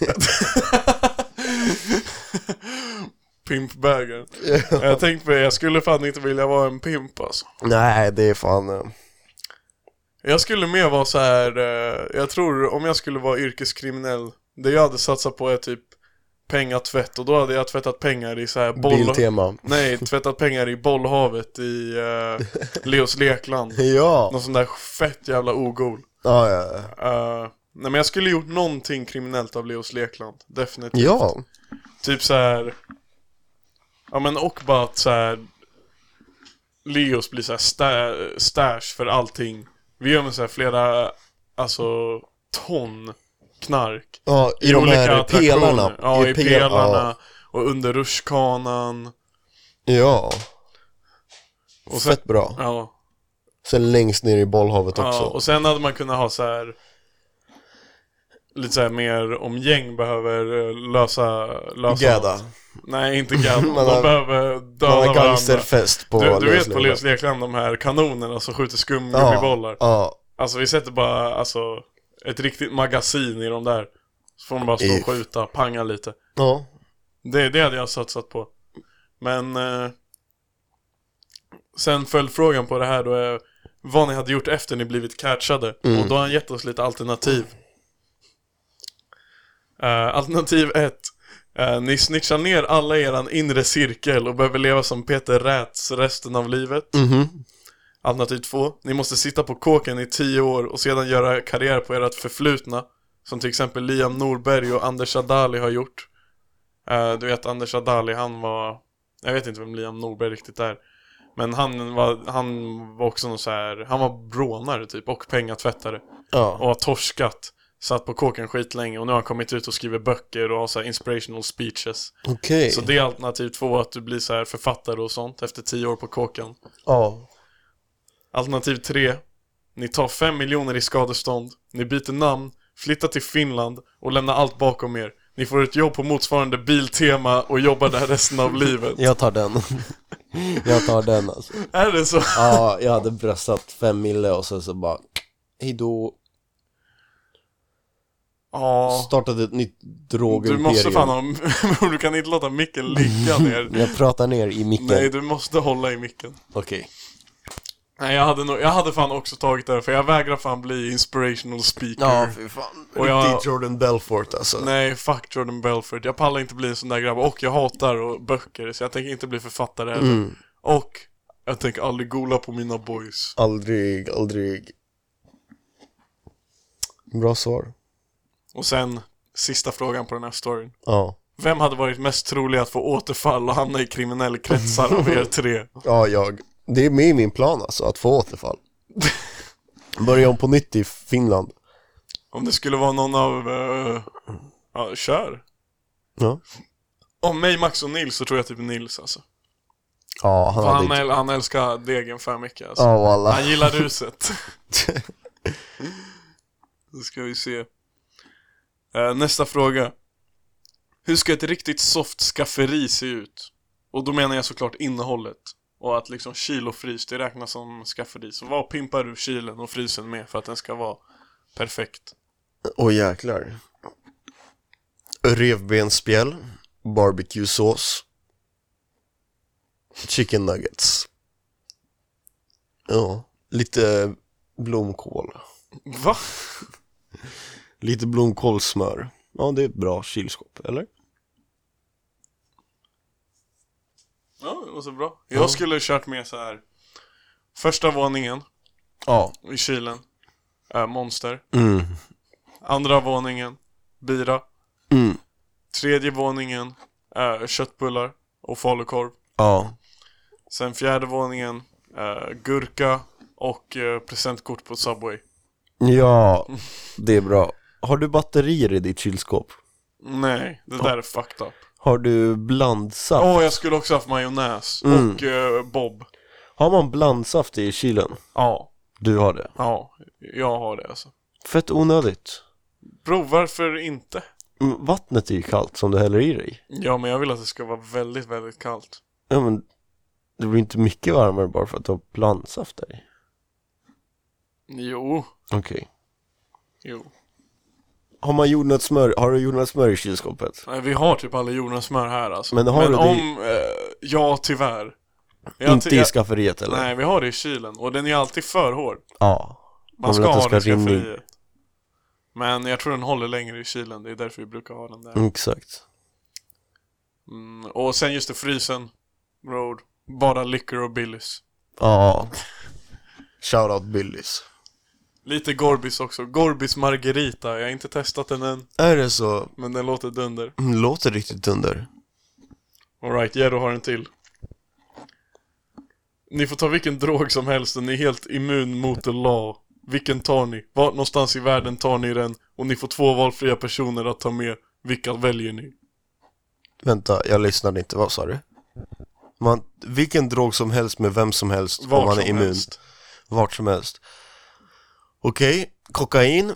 Speaker 3: Pimpbägaren. jag tänkte på det, jag skulle fan inte vilja vara en pimp alltså.
Speaker 2: Nej, det är fan... eh,
Speaker 3: Jag skulle mer vara så här. eh, jag tror om jag skulle vara yrkeskriminell, det jag hade satsat på är typ pengatvätt och då hade jag tvättat pengar i så här boll...
Speaker 2: Biltema.
Speaker 3: Nej, tvättat pengar i bollhavet i eh, Leos lekland.
Speaker 2: Ja.
Speaker 3: Någon sån där fett jävla ogol.
Speaker 2: Ja, ja, ja.
Speaker 3: Eh, nej men jag skulle gjort någonting kriminellt av Leos lekland, definitivt.
Speaker 2: Ja,
Speaker 3: Typ så här. Ja men och bara att så här. Leos blir så här sta- stash för allting. Vi gör med så här flera, alltså ton knark.
Speaker 2: ja i, de här pelarna.
Speaker 3: Ja, i
Speaker 2: pel-
Speaker 3: pelarna. Och under rutschkanan.
Speaker 2: Ja. ja.
Speaker 3: Och sen,
Speaker 2: Fett bra.
Speaker 3: ja,
Speaker 2: Sen längst ner i bollhavet också.
Speaker 3: ja, och sen hade man kunnat ha så här. Lite så här mer om gäng behöver eh, lösa... lösa
Speaker 2: Gäda.
Speaker 3: Nej, inte gadda. De
Speaker 2: Man har-
Speaker 3: behöver döda
Speaker 2: Man har
Speaker 3: varandra.
Speaker 2: gangsterfest på
Speaker 3: Du, du vet på
Speaker 2: Löslöv.
Speaker 3: Leos Lekland de här kanonerna som skjuter skumgummibollar?
Speaker 2: Ja, ja.
Speaker 3: Alltså vi sätter bara alltså, ett riktigt magasin i de där. Så får de bara stå och
Speaker 2: If.
Speaker 3: skjuta, panga lite.
Speaker 2: ja.
Speaker 3: Det, det hade jag satsat på. Men eh, sen följdfrågan på det här då är vad ni hade gjort efter ni blivit catchade. Och då har han gett oss lite alternativ. Eh, alternativ 1. ni snitchar ner alla i eran inre cirkel och behöver leva som Peter Rätz resten av livet. Alternativ 2. Ni måste sitta på kåken i 10 år och sedan göra karriär på ert förflutna. Som till exempel Liam Norberg och Anders Adali har gjort. Eh, du vet Anders Adali, han var... Jag vet inte vem Liam Norberg riktigt är. Men han var, han var också någon så här, han var brånare typ och pengatvättare.
Speaker 2: Ja.
Speaker 3: Och har torskat. satt på kåken skitlänge och nu har han kommit ut och skriver böcker och har så här inspirational speeches.
Speaker 2: Okej.
Speaker 3: Så det är alternativ två, att du blir så här författare och sånt efter tio år på kåken.
Speaker 2: Ja.
Speaker 3: Alternativ tre, ni tar fem miljoner i skadestånd, ni byter namn, flyttar till Finland och lämnar allt bakom er. Ni får ett jobb på motsvarande Biltema och jobbar där resten av livet.
Speaker 2: Jag tar den. jag tar den alltså.
Speaker 3: Är det så?
Speaker 2: Ja, jag hade bröstat fem mille och sen så bara hejdå.
Speaker 3: Ja.
Speaker 2: Startat ett nytt
Speaker 3: Du
Speaker 2: drogimperium.
Speaker 3: måste fan ha... Du kan inte låta micken ligga ner.
Speaker 2: Jag pratar ner i micken.
Speaker 3: Nej, du måste hålla i micken.
Speaker 2: Okej.
Speaker 3: Nej, jag hade, nog, jag hade fan också tagit det här, för jag vägrar fan bli inspirational speaker.
Speaker 6: Ja, fy fan.
Speaker 3: Och jag-
Speaker 6: Riktig Jordan Belfort alltså.
Speaker 3: Nej, fuck Jordan Belfort. Jag pallar inte bli en sån där grabb. Och jag hatar och böcker, så jag tänker inte bli författare heller.
Speaker 2: Mm.
Speaker 3: Och jag tänker aldrig gola på mina boys.
Speaker 2: Aldrig, aldrig. Bra svar.
Speaker 3: Och sen, sista frågan på den här storyn.
Speaker 2: Ja.
Speaker 3: Vem hade varit mest trolig att få återfall och hamna i kriminell kretsar av er tre?
Speaker 2: Ja, jag. Det är med i min plan alltså, att få återfall. Börja om på nytt i Finland.
Speaker 3: Om det skulle vara någon av... eh, ja, kör.
Speaker 2: Ja.
Speaker 3: Om mig, Max och Nils så tror jag typ Nils alltså.
Speaker 2: Ja, han
Speaker 3: För
Speaker 2: hade
Speaker 3: han,
Speaker 2: inte...
Speaker 3: äl- han älskar degen för mycket alltså.
Speaker 2: Ja, alla.
Speaker 3: Han gillar ruset. Då ska vi se. Eh, nästa fråga. Hur ska ett riktigt soft skafferi se ut? Och då menar jag såklart innehållet. Och att liksom kyl och frys, det räknas som skafferi. Så vad pimpar du kylen och frysen med för att den ska vara perfekt?
Speaker 6: Åh jäklar. Revbensspjäll, barbecuesås, chicken nuggets. Ja, lite blomkål.
Speaker 3: Va?
Speaker 6: Lite blomkålssmör. Ja, det är bra kylskåp, eller?
Speaker 3: Ja, det var så bra. Jag skulle ha kört med så här. Första våningen
Speaker 6: Ja.
Speaker 3: i kylen. eh, monster.
Speaker 6: Mm.
Speaker 3: Andra våningen, bira.
Speaker 6: Mm.
Speaker 3: Tredje våningen, eh, köttbullar och falukorv.
Speaker 6: Ja.
Speaker 3: Sen fjärde våningen, eh, gurka och eh, presentkort på Subway.
Speaker 2: Ja, det är bra. Har du batterier i ditt kylskåp?
Speaker 3: Nej, det där är fucked up.
Speaker 2: Har du blandsaft?
Speaker 3: Åh, jag skulle också haft majonnäs och eh, bob.
Speaker 2: Har man blandsaft i kylen?
Speaker 3: Ja,
Speaker 2: Du har det.
Speaker 3: ja, jag har det alltså.
Speaker 2: Fett onödigt.
Speaker 3: Bro, varför inte?
Speaker 2: Mm, Vattnet är ju kallt som du häller i dig.
Speaker 3: Ja, men jag vill att det ska vara väldigt, väldigt kallt.
Speaker 2: Ja, men det blir inte mycket varmare bara för att du har blandsaft där i.
Speaker 3: Jo,
Speaker 2: Okej.
Speaker 3: jo.
Speaker 2: Har man jordnötssmör, har du jordnötssmör i kylskåpet?
Speaker 3: Nej, vi har typ alla jordnötssmör här alltså.
Speaker 2: Men har du det i-
Speaker 3: om, eh, ja tyvärr. Jag
Speaker 2: inte
Speaker 3: ty-
Speaker 2: i
Speaker 3: jag-
Speaker 2: skafferiet eller?
Speaker 3: Nej, vi har det i kylen och den är alltid för hård.
Speaker 2: Ja.
Speaker 3: Man
Speaker 2: vill
Speaker 3: ska
Speaker 2: att
Speaker 3: ha
Speaker 2: den
Speaker 3: den i
Speaker 2: ska rinna in.
Speaker 3: skafferiet. Men jag tror den håller längre i kylen, det är därför vi brukar ha den där.
Speaker 2: Mm, exakt.
Speaker 3: Mm, och sen just det, frysen. Road. Bara liquor och Billys.
Speaker 2: Ja.
Speaker 6: Shoutout Billys.
Speaker 3: Lite Gorbis också. Gorbis Margarita, jag har inte testat den än,
Speaker 6: Är det så?
Speaker 3: men den låter dunder.
Speaker 6: Mm, Låter riktigt dunder.
Speaker 3: Alright, Jerry har en till. Ni får ta vilken drog som helst, den är helt immun mot the law. Vilken tar ni? Vart någonstans i världen tar ni den? Och ni får två valfria personer att ta med. Vilka väljer ni?
Speaker 6: Vänta, jag lyssnade inte. Vad sa du? Man, vilken drog som helst med vem som helst om
Speaker 3: Vart
Speaker 6: man är
Speaker 3: som
Speaker 6: immun.
Speaker 3: helst.
Speaker 6: Vart som helst. Okej, kokain.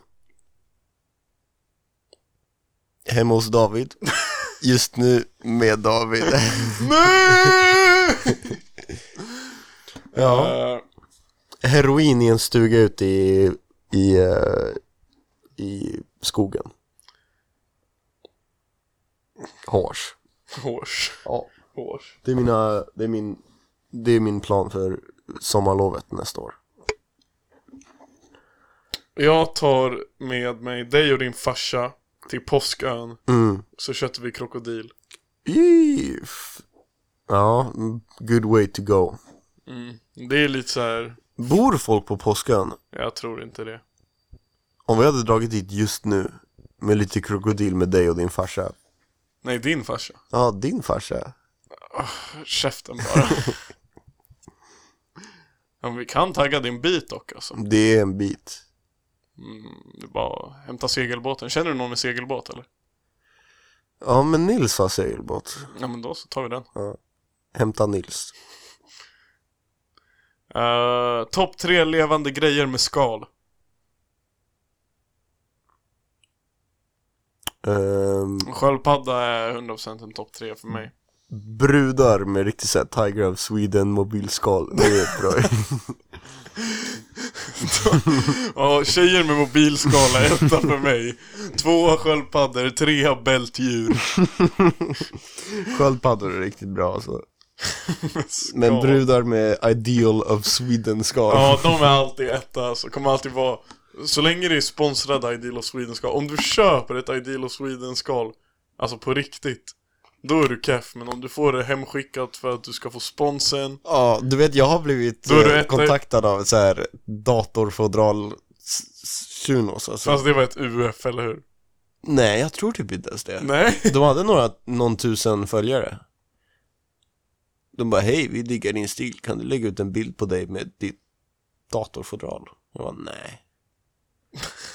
Speaker 6: Hemma hos David. Just nu med David. ja.
Speaker 3: Eh,
Speaker 6: Heroin i en stuga ute i, i, eh, i skogen. Hårs.
Speaker 3: Hårs.
Speaker 6: Ja.
Speaker 3: Hårs.
Speaker 6: Det är, mina, det, är min, det är min plan för sommarlovet nästa år.
Speaker 3: Jag tar med mig dig och din farsa till Påskön.
Speaker 6: Mm.
Speaker 3: Så köttar vi krokodil.
Speaker 6: Jeef. Ja, good way to go.
Speaker 3: Det är lite så här.
Speaker 6: Bor folk på Påskön?
Speaker 3: jag tror inte det.
Speaker 6: Om vi hade dragit dit just nu med lite krokodil med dig och din farsa.
Speaker 3: Nej, din farsa.
Speaker 6: Ja, din farsa.
Speaker 3: Käften bara. ja, men vi kan tagga din bit dock alltså.
Speaker 6: Det är en bit.
Speaker 3: Mm, det är bara att hämta segelbåten. Känner du någon med segelbåt eller?
Speaker 2: Ja, men Nils har segelbåt.
Speaker 3: Ja men då så tar vi den.
Speaker 2: Hämta Nils.
Speaker 3: Uh, Topp tre levande grejer med skal.
Speaker 2: Ehm,
Speaker 3: Sköldpadda är 100% en topp tre för mig.
Speaker 2: brudar med riktigt såhär Tiger of Sweden mobilskal. Det är bra.
Speaker 3: Ja, tjejer med mobilskala är etta för mig. Tvåa sköldpaddor, trea bältdjur.
Speaker 2: Sköldpaddor är riktigt bra alltså. Men
Speaker 3: Ja.
Speaker 2: brudar med Ideal of Sweden-skal.
Speaker 3: Ja, de är alltid etta alltså. Kommer alltid vara... Så länge det är sponsrade Ideal of Sweden-skal. Om du köper ett Ideal of Sweden-skal, alltså på riktigt, då är du keff. Men om du får det hemskickat för att du ska få sponsen.
Speaker 2: Ja, du vet jag har blivit
Speaker 3: Då är du
Speaker 2: eh,
Speaker 3: ett-
Speaker 2: kontaktad av så här datorfodral s- s- sunos alltså.
Speaker 3: Fast det var ett UF, eller hur?
Speaker 2: Nej, jag tror typ inte ens det.
Speaker 3: Nej.
Speaker 2: De hade några, någon tusen följare. De bara, hej vi diggar din stil, kan du lägga ut en bild på dig med ditt datorfodral? Jag bara, nej.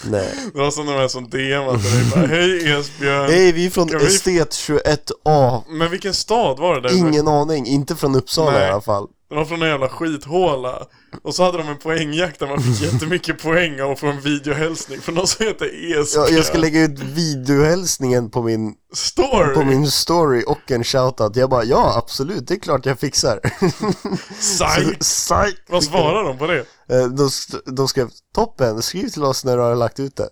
Speaker 2: nej.
Speaker 3: Det var som de här som DMade dig bara, Hej Esbjörn.
Speaker 2: Hej, vi är från
Speaker 3: Kan vi-
Speaker 2: Estet 21A.
Speaker 3: Men vilken stad var det där?
Speaker 2: Ingen aning, inte från Uppsala
Speaker 3: Nej.
Speaker 2: i alla fall.
Speaker 3: Det var från en jävla skithåla. Och så hade de en poängjakt där man fick jättemycket poäng av att få en videohälsning från någon som heter Esbjörn.
Speaker 2: Jag, jag ska lägga ut videohälsningen på min,
Speaker 3: Story!
Speaker 2: på min story och en shoutout. Jag bara, ja absolut, det är klart jag fixar.
Speaker 3: Psych!
Speaker 2: Psych!
Speaker 3: Vad svarar de på det?
Speaker 2: Eh, De, st- de skrev toppen, skriv till oss när du har lagt ut det.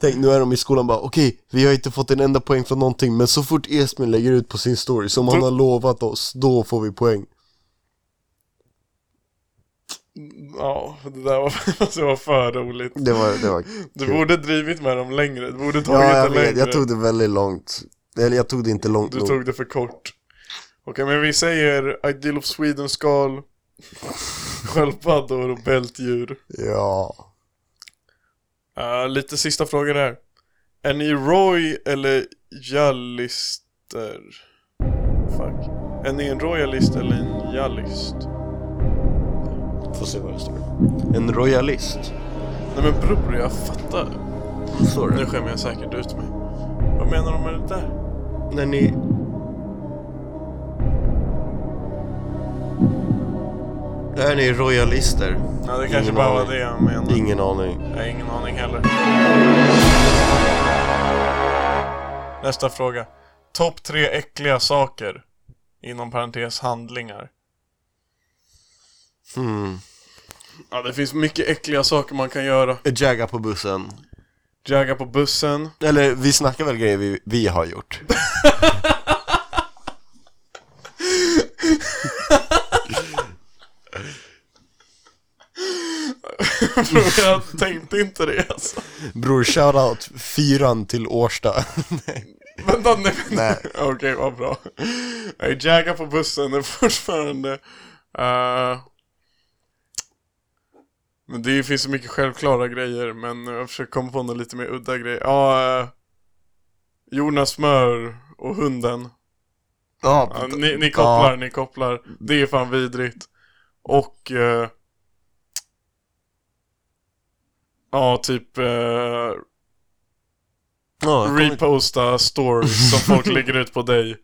Speaker 2: Tänk, nu är de i skolan bara okej, vi har inte fått en enda poäng från någonting men så fort Esmin lägger ut på sin story som
Speaker 3: Mm.
Speaker 2: han har lovat oss, då får vi poäng.
Speaker 3: Ja, det där var, alltså, det var för roligt.
Speaker 2: Det var, det var
Speaker 3: Du
Speaker 2: kul.
Speaker 3: borde drivit med dem längre. Du borde tagit
Speaker 2: Ja, jag
Speaker 3: det längre.
Speaker 2: vet, jag tog det väldigt långt. Eller jag tog det inte långt
Speaker 3: Du
Speaker 2: nog.
Speaker 3: tog det för kort. Okej, men vi säger Ideal of Sweden-skal, sköldpaddor och bältdjur.
Speaker 2: Ja.
Speaker 3: Eh, lite sista frågor här. Är ni Roy eller Jallister? Fuck. Är ni en royalist eller en jallist?
Speaker 2: Får se vad det står. En royalist.
Speaker 3: Nej men bror, jag fattar. Nu
Speaker 2: Sorry.
Speaker 3: skämmer jag säkert ut mig. Vad menar de med det där?
Speaker 2: När ni... Är ni royalister?
Speaker 3: Ja, det kanske bara var
Speaker 2: aning.
Speaker 3: det jag menade.
Speaker 2: Ingen aning.
Speaker 3: Jag har ingen aning heller. Nästa fråga. Topp tre äckliga saker. Inom parentes handlingar.
Speaker 2: Hmm.
Speaker 3: Ja, det finns mycket äckliga saker man kan göra.
Speaker 2: Jagga på bussen.
Speaker 3: Jagga på bussen.
Speaker 2: Eller vi snackar väl grejer vi, vi har gjort.
Speaker 3: jag tänkte inte det alltså.
Speaker 2: Bror, shoutout fyran till Årsta.
Speaker 3: Vänta, nej. men-
Speaker 2: Nej.
Speaker 3: Okej, vad bra. Nej, Jagga på bussen är fortfarande... eh, men det finns så mycket självklara grejer, men jag försöker komma på något lite mer udda grejer. Ja, eh, Jonas Smör och hunden.
Speaker 2: Ja,
Speaker 3: Ja, ni, ni kopplar, ni kopplar. Det är fan vidrigt. Och... eh, ja, typ... eh,
Speaker 2: Ja, jag kommer-
Speaker 3: reposta stories som folk lägger ut på dig.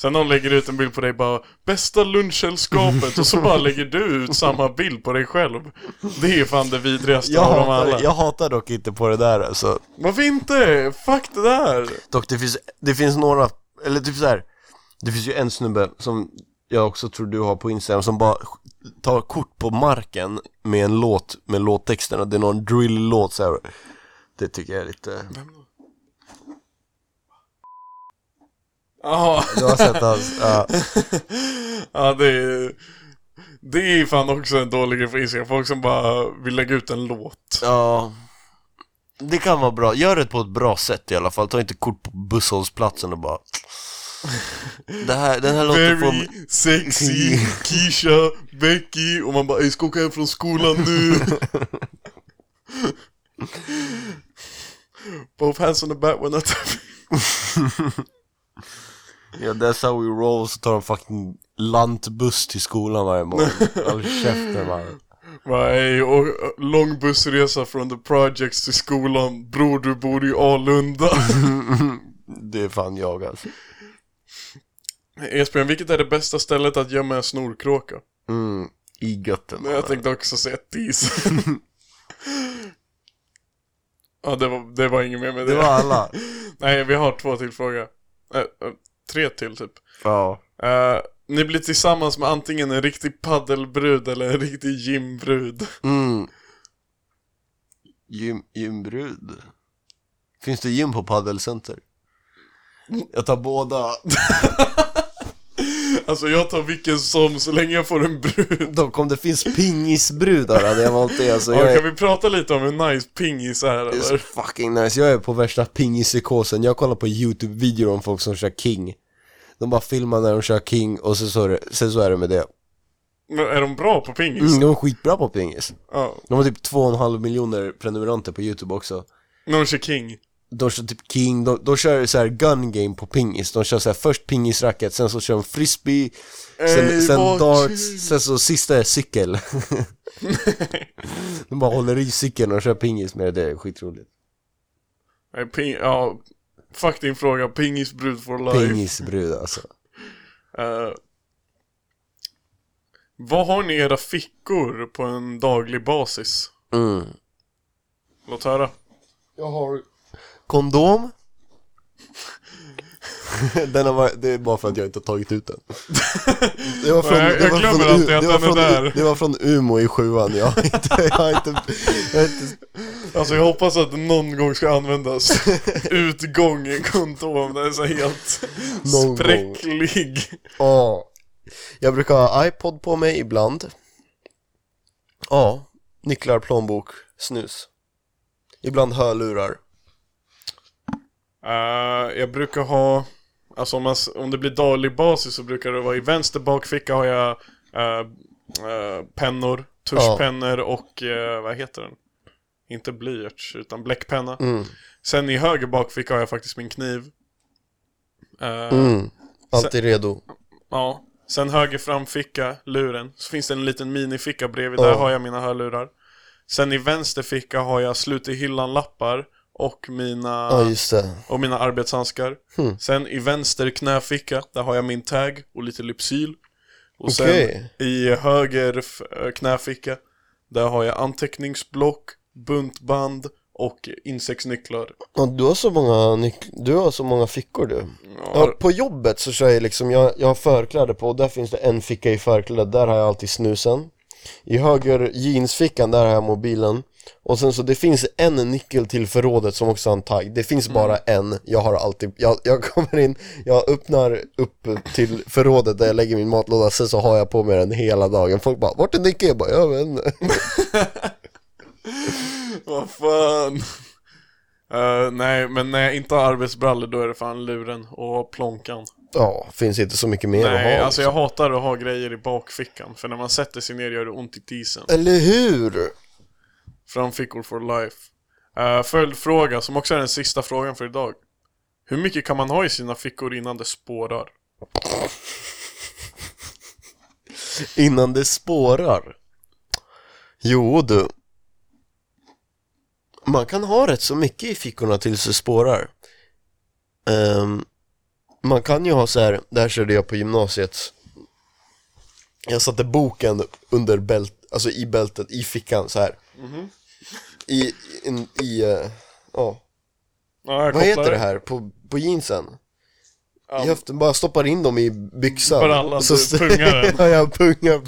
Speaker 3: Sen någon lägger ut en bild på dig bara Bästa lunchsällskapet och så bara lägger du ut samma bild på dig själv. Det är fan det vidrigaste
Speaker 2: jag,
Speaker 3: av dem
Speaker 2: hatar,
Speaker 3: alla.
Speaker 2: jag hatar dock inte på det där alltså.
Speaker 3: Varför inte? Fuck det där!
Speaker 2: Dock, det finns, det finns några, eller typ så här. Det finns ju en snubbe som jag också tror du har på Instagram som bara sk- tar kort på marken med en låt med låttexten och det är någon drill-låt så här. Det tycker jag är lite...
Speaker 3: Jaha,
Speaker 2: Du har sett hans... ja.
Speaker 3: ja det är... Det är fan också en dålig grej på Instagram. Folk som bara vill lägga ut en låt.
Speaker 2: Ja Det kan vara bra, gör det på ett bra sätt i alla fall Ta inte kort på busshållplatsen och bara det här, Den här låten får
Speaker 3: Very
Speaker 2: mig
Speaker 3: sexy, Keisha, Becky och man bara "Ey, ska åka hem från skolan nu. Both hands on the back when I tap-
Speaker 2: Ja, that's how we roll Så tar de fucking lantbuss till skolan varje morgon Håll käften man
Speaker 3: Bara, "Ey, och, och, lång bussresa från the projects till skolan. Bror, du bor i Alunda.
Speaker 2: Det är fan jag alltså.
Speaker 3: Esbjörn, vilket är det bästa stället att gömma en snorkråka?
Speaker 2: Mm, i götten. alltså.
Speaker 3: Men jag tänkte också säga tisen. ja, det var, det var inget mer med det.
Speaker 2: Det var alla.
Speaker 3: Nej, vi har två till fråga. Eh, eh, tre till typ.
Speaker 2: Ja.
Speaker 3: Eh, ni blir tillsammans med antingen en riktig paddelbrud eller en riktig gymbrud.
Speaker 2: Mm. Gym, gymbrud. Finns det gym på paddelcenter? Jag tar båda.
Speaker 3: Alltså jag tar vilken som så länge jag får en brud.
Speaker 2: Dock om det finns pingisbrudar hade jag valt det. Alltså, jag
Speaker 3: Ja,
Speaker 2: är,
Speaker 3: kan vi prata lite om hur nice pingis är
Speaker 2: det är så
Speaker 3: eller?
Speaker 2: fucking nice. Jag är på värsta pingispsykosen. Jag kollar på YouTube-videor om folk som kör king. De bara filmar när de kör king och så, så, är det- sen så är det med det.
Speaker 3: Men Är de bra på pingis?
Speaker 2: Mm, de är skitbra på pingis.
Speaker 3: Ja,
Speaker 2: De har typ 2,5 miljoner prenumeranter på YouTube också.
Speaker 3: när de kör king.
Speaker 2: De kör typ king, de, de kör så här gun game på pingis. De kör så här först pingisracket, sen så kör de frisbee, sen,
Speaker 3: Ey,
Speaker 2: sen
Speaker 3: vad
Speaker 2: darts,
Speaker 3: kul!
Speaker 2: sen så sista är cykel. de bara håller i cykeln och kör pingis med det, det är skitroligt.
Speaker 3: Nej, ping, ja, fuck din fråga. Pingis brud for life.
Speaker 2: Pingisbrud alltså.
Speaker 3: Eh, vad har ni i era fickor på en daglig basis?
Speaker 2: Mm.
Speaker 3: Låt höra.
Speaker 2: Jag har kondom. den har varit, det är bara för att jag inte har tagit ut den. Det var
Speaker 3: Nej, jag
Speaker 2: var
Speaker 3: glömmer
Speaker 2: från-
Speaker 3: alltid att
Speaker 2: det var
Speaker 3: den är
Speaker 2: från-
Speaker 3: där.
Speaker 2: Det var från Umo i sjuan, jag har inte, jag har inte, jag har inte
Speaker 3: Alltså jag hoppas att den någon gång ska användas. Utgång i kondom, den är så helt
Speaker 2: Någon gång.
Speaker 3: spräcklig.
Speaker 2: Ja. Jag brukar ha iPod på mig ibland. Ja. Nycklar, plånbok, snus. Ibland hörlurar.
Speaker 3: Eh, jag brukar ha, alltså om, man, s- om det blir daglig basis så brukar det vara i vänster bakficka har jag eh, eh, pennor, tuschpennor och eh, vad heter den? Inte blyerts utan bläckpenna. Sen i höger bakficka har jag faktiskt min kniv. Eh,
Speaker 2: Alltid redo.
Speaker 3: Ja. Sen höger framficka, luren. Så finns det en liten minificka bredvid.
Speaker 2: Ja.
Speaker 3: Där har jag mina hörlurar. Sen i vänster ficka har jag slut i hyllan-lappar och mina,
Speaker 2: Ja, just det.
Speaker 3: och mina arbetshandskar.
Speaker 2: Hmm.
Speaker 3: Sen i vänster knäficka, där har jag min tag och lite Lypsyl. Och
Speaker 2: Okej.
Speaker 3: sen i höger f- eh, knäficka, där har jag anteckningsblock, buntband och insektsnycklar.
Speaker 2: Ja, du har så många nyck- du har så många fickor du. Ja, på jobbet så kör jag liksom, jag, jag har förkläde på och där finns det en ficka i förklädet, där har jag alltid snusen. I höger jeansfickan, där har jag mobilen. Och sen så det finns en nyckel till förrådet som också har en tagg, det
Speaker 3: Mm.
Speaker 2: finns bara en, jag har alltid, jag, jag kommer in, jag öppnar upp till förrådet där jag lägger min matlåda, sen så har jag på mig den hela dagen. Folk bara, vart är nyckeln? Jag bara, jag vet inte.
Speaker 3: Vad fan? Eh, nej, men när jag inte har arbetsbrallor då är det fan luren och plånkan.
Speaker 2: Ja, finns inte så mycket mer
Speaker 3: nej,
Speaker 2: att ha. liksom.
Speaker 3: alltså jag hatar att ha grejer i bakfickan. För när man sätter sig ner gör det ont i tisen.
Speaker 2: Eller hur?
Speaker 3: Framfickor for life. Uh, följdfråga, som också är den sista frågan för idag. Hur mycket kan man ha i sina fickor innan det spårar?
Speaker 2: Innan det spårar. Jo du. Man kan ha rätt så mycket i fickorna tills det spårar. Ehm, man kan ju ha så här, det här körde jag på gymnasiet. Jag satte boken under bält, alltså i bältet, i fickan så här. I, i, en- i, eh, ja.
Speaker 3: Ja,
Speaker 2: Vad
Speaker 3: jag kopplar
Speaker 2: heter det här på, på jeansen?
Speaker 3: Ja.
Speaker 2: I höften, bara stoppar in dem i byxan
Speaker 3: Bara alla
Speaker 2: Så-
Speaker 3: du pungar den.
Speaker 2: Ja, jag pungar,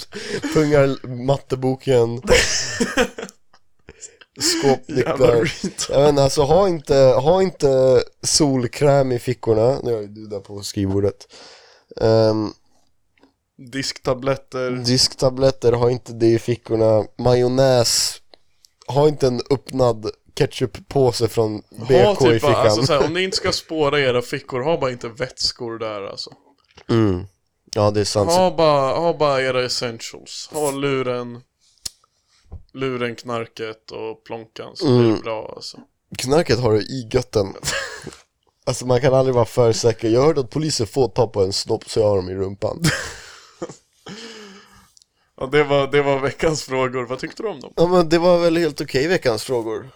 Speaker 2: pungar matteboken
Speaker 3: Jävla
Speaker 2: Skåpnycklar
Speaker 3: retards.
Speaker 2: Jag vet inte, alltså ha inte, ha inte solkräm i fickorna Nu har ju du där på skrivbordet Ehm,
Speaker 3: Disktabletter.
Speaker 2: Disktabletter, ha inte det i fickorna Majonnäs Ha inte en öppnad ketchuppåse från BK
Speaker 3: Ha
Speaker 2: i
Speaker 3: typ,
Speaker 2: fickan
Speaker 3: alltså, så här, om ni inte ska spåra i era fickor, ha bara inte vätskor där alltså.
Speaker 2: mm. Ja det är sant
Speaker 3: Ha bara, ha bara era essentials. Ha luren, luren, knarket och plånkan så
Speaker 2: Mm.
Speaker 3: blir det bra alltså.
Speaker 2: Knarket har du i götten Alltså man kan aldrig vara för säker Jag hörde att poliser får ta på en snopp så jag har dem i rumpan
Speaker 3: Ja, det var, det var veckans frågor. Vad tyckte du om dem?
Speaker 2: Ja men det var väl helt okej veckans frågor.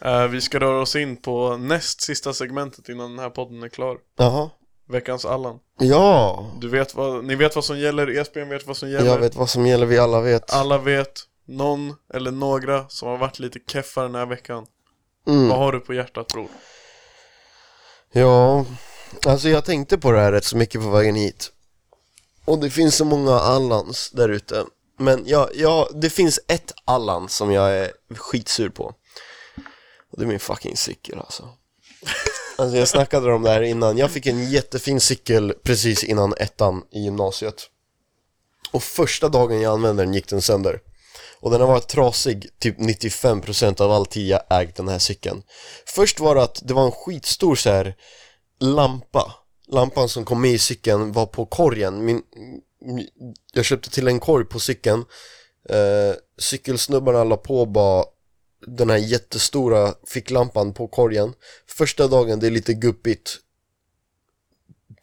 Speaker 3: Eh, vi ska röra oss in på näst sista segmentet innan den här podden är klar.
Speaker 2: Jaha.
Speaker 3: Veckans Allan.
Speaker 2: Ja,
Speaker 3: Du vet vad, ni vet vad som gäller, Esbjörn vet vad som gäller.
Speaker 2: jag vet vad som gäller, vi alla vet.
Speaker 3: Alla vet, någon eller några som har varit lite keffa den här veckan.
Speaker 2: Mm.
Speaker 3: Vad har du på hjärtat bror?
Speaker 2: Ja, alltså jag tänkte på det här rätt så mycket på vägen hit. Och det finns så många Allans där ute. Men ja, ja, det finns ett Allan som jag är skitsur på. Och det är min fucking cykel alltså. Alltså jag snackade om det här innan. Jag fick en jättefin cykel precis innan ettan i gymnasiet. Och första dagen jag använde den gick den sönder. Och den har varit trasig typ 95% av all tid jag ägt den här cykeln. Först var det att det var en skitstor så här lampa. Lampan som kom med i cykeln var på korgen. Min, min- jag köpte till en korg på cykeln. Eh, cykelsnubbarna la på bara den här jättestora ficklampan på korgen. Första dagen det är lite guppigt.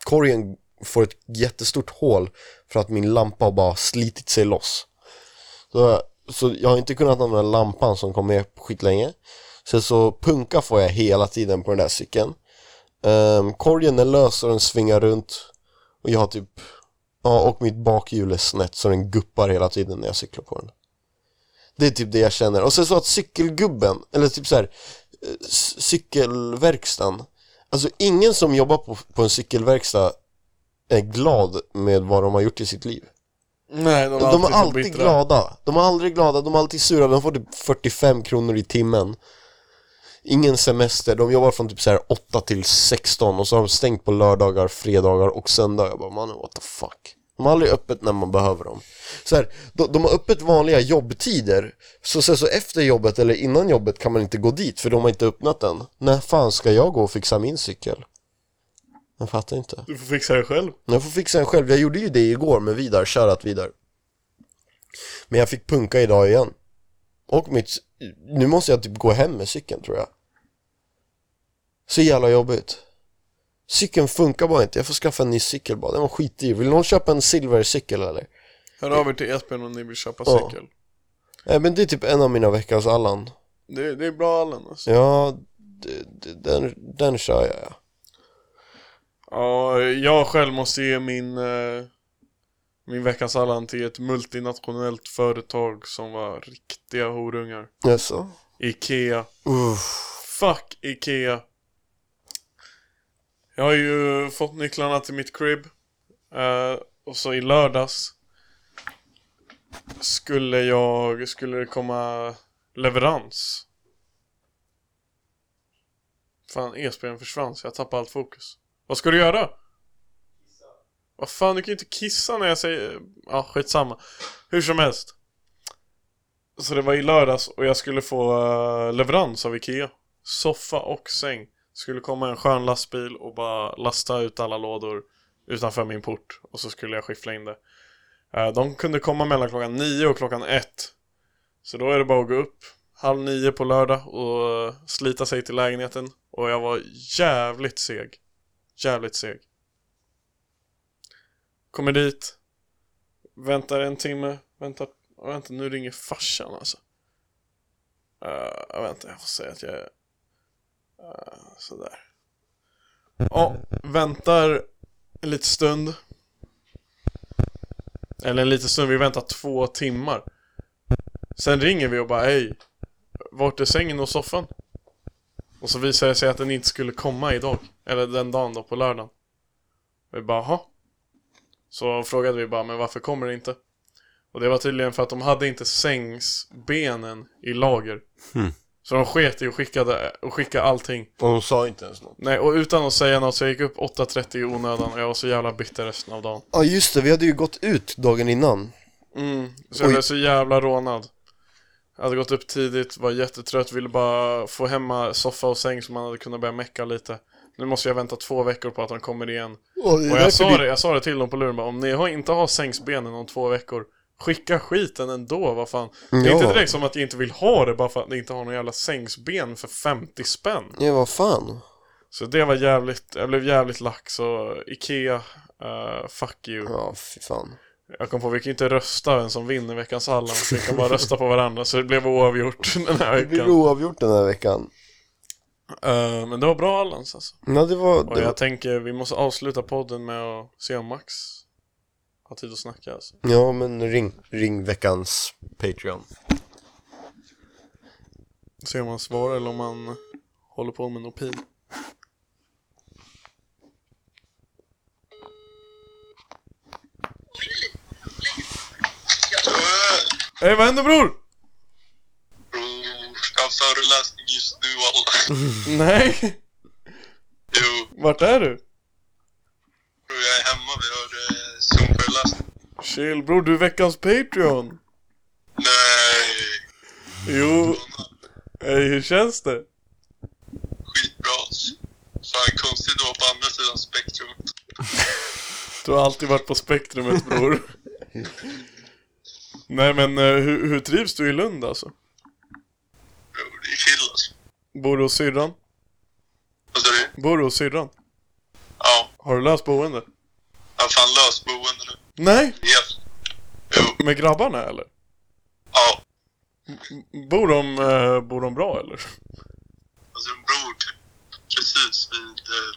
Speaker 2: Korgen får ett jättestort hål för att min lampa har bara slitit sig loss. Så, så jag har inte kunnat använda lampan som kom med på skitlänge. Sen så punka får jag hela tiden på den där cykeln. Um, korgen är lös och den svingar runt. Och jag har typ, ja och mitt bakhjul är snett så den guppar hela tiden när jag cyklar på den. Det är typ det jag känner. Och sen så att cykelgubben, eller typ så här, eh, c- cykelverkstan. Alltså ingen som jobbar på, på en cykelverkstad är glad med vad de har gjort i sitt liv.
Speaker 3: Nej, de
Speaker 2: De är alltid
Speaker 3: bittra.
Speaker 2: glada. De är aldrig glada, de är alltid sura. De får typ 45 kronor i timmen. Ingen semester. De jobbar från typ så här 8 till 16 och så har de stängt på lördagar, fredagar och söndagar. Jag bara, mannen what the fuck. De har aldrig öppet när man behöver dem. Så här, de, de har öppet vanliga jobbtider. Så sen så efter jobbet eller innan jobbet kan man inte gå dit för de har inte öppnat den. När fan ska jag gå och fixa min cykel? Jag fattar inte.
Speaker 3: Du får fixa det själv.
Speaker 2: Jag får fixa den själv. Jag gjorde ju det igår med Vidar, kärat Vidar. Men jag fick punka idag igen. Och mitt... Nu måste jag typ gå hem med cykeln tror jag. Så jävla jobbigt. Cykeln funkar bara inte. Jag får skaffa en ny cykel bara. Den var skitdyr. Vill någon köpa en silvercykel eller?
Speaker 3: Hör av er till Esbjörn om ni vill köpa
Speaker 2: Ja.
Speaker 3: cykel.
Speaker 2: Nej men det är typ en av mina veckans Allan.
Speaker 3: Det, det är bra Allan alltså.
Speaker 2: Ja, d- d- den, den kör jag ja.
Speaker 3: Ja, jag själv måste ge min, eh, min veckans Allan till ett multinationellt företag som var riktiga horungar.
Speaker 2: Jaså?
Speaker 3: Ikea.
Speaker 2: Uff.
Speaker 3: Fuck Ikea. Jag har ju fått nycklarna till mitt crib. Eh, och så i lördags skulle jag, skulle det komma leverans. Fan, ESPN försvann så jag tappade allt fokus. Vad ska du göra? Vad fan, du kan ju inte kissa när jag säger... Ja, ah, skitsamma. Hur som helst. Så det var i lördags och jag skulle få eh, leverans av Ikea. Soffa och säng. Skulle komma en skön lastbil och bara lasta ut alla lådor utanför min port. Och så skulle jag skiffla in det. Eh, de kunde komma mellan klockan 9 och klockan 1. Så då är det bara att gå upp halv nio på lördag och eh, slita sig till lägenheten. Och jag var jävligt seg. Jävligt seg. Kommer dit. Väntar en timme. Väntar Ja, vänta, nu ringer farsan alltså. Uh, vänta, jag får säga att jag är... Uh, sådär. Ja, väntar en liten stund. Eller en liten stund, vi väntar två timmar. Sen ringer vi och bara hej, vart är sängen och soffan? Och så visar det sig att den inte skulle komma idag. Eller den dagen då på lördagen. Vi bara, jaha. Så frågade vi bara, men varför kommer det inte? Och det var tydligen för att de hade inte sängsbenen i lager. Så de sket i och skickade, och skickade allting.
Speaker 2: Och de sa inte ens något.
Speaker 3: Nej, och utan att säga något så jag gick upp 8.30 i onödan och jag var så jävla bitter resten av dagen.
Speaker 2: Ja just det, vi hade ju gått ut dagen innan.
Speaker 3: Mm, så jag
Speaker 2: Oj.
Speaker 3: blev så jävla rånad. Jag hade gått upp tidigt, var jättetrött, ville bara få hemma soffa och säng så man hade kunnat börja mecka lite. Nu måste jag vänta två veckor på att de kommer igen.
Speaker 2: Och,
Speaker 3: Och jag sa det, jag sa det till dem på luren bara, om ni har- inte har sängsbenen om två veckor, skicka skiten ändå, vad fan. Det är
Speaker 2: Ja.
Speaker 3: inte direkt som att jag inte vill ha det bara för att ni inte har någon jävla sängsben för 50 spänn.
Speaker 2: Ja vad fan.
Speaker 3: Så det var jävligt, jag blev jävligt lack så Ikea, eh, fuck you.
Speaker 2: Ja, fy fan.
Speaker 3: Jag kom på, vi kan ju inte rösta vem som vinner veckans Allan. Vi kan bara rösta på varandra, så det blev oavgjort den här
Speaker 2: Det blir
Speaker 3: veckan.
Speaker 2: oavgjort den här veckan.
Speaker 3: Eh, men det var bra Allans alltså.
Speaker 2: Ja, det var...
Speaker 3: Och
Speaker 2: Det var
Speaker 3: jag tänker, vi måste avsluta podden med att se om Max har tid att snacka alltså.
Speaker 2: ja, men ring, ring veckans Patreon.
Speaker 3: Se om han svarar eller om han håller på med något pil. Hej, vad händer bror?
Speaker 8: Jag har föreläsning just nu alla.
Speaker 3: Nej,
Speaker 8: Jo,
Speaker 3: vart är du?
Speaker 8: bror, jag är hemma. Vi har eh, Zoom-föreläsning.
Speaker 3: Chill bror, du är veckans Patreon.
Speaker 8: Nej,
Speaker 3: Jo, eh, hur känns det?
Speaker 8: skitbra. Fan, konstigt att vara på andra sidan spektrumet.
Speaker 3: Du har alltid varit på spektrumet bror. Nej men eh, hur, hur trivs du i Lund alltså?
Speaker 8: Bror, det är chill alltså.
Speaker 3: Bor du hos syrran?
Speaker 8: Vad sa du?
Speaker 3: Bor du hos syrran?
Speaker 8: Ja,
Speaker 3: Har du löst boende?
Speaker 8: jag har fan löst boende nu.
Speaker 3: Nej,
Speaker 8: Helt. Jo,
Speaker 3: med grabbarna eller?
Speaker 8: ja.
Speaker 3: Bor de, eh, bor de bra eller?
Speaker 8: Alltså bror, typ precis vid eh,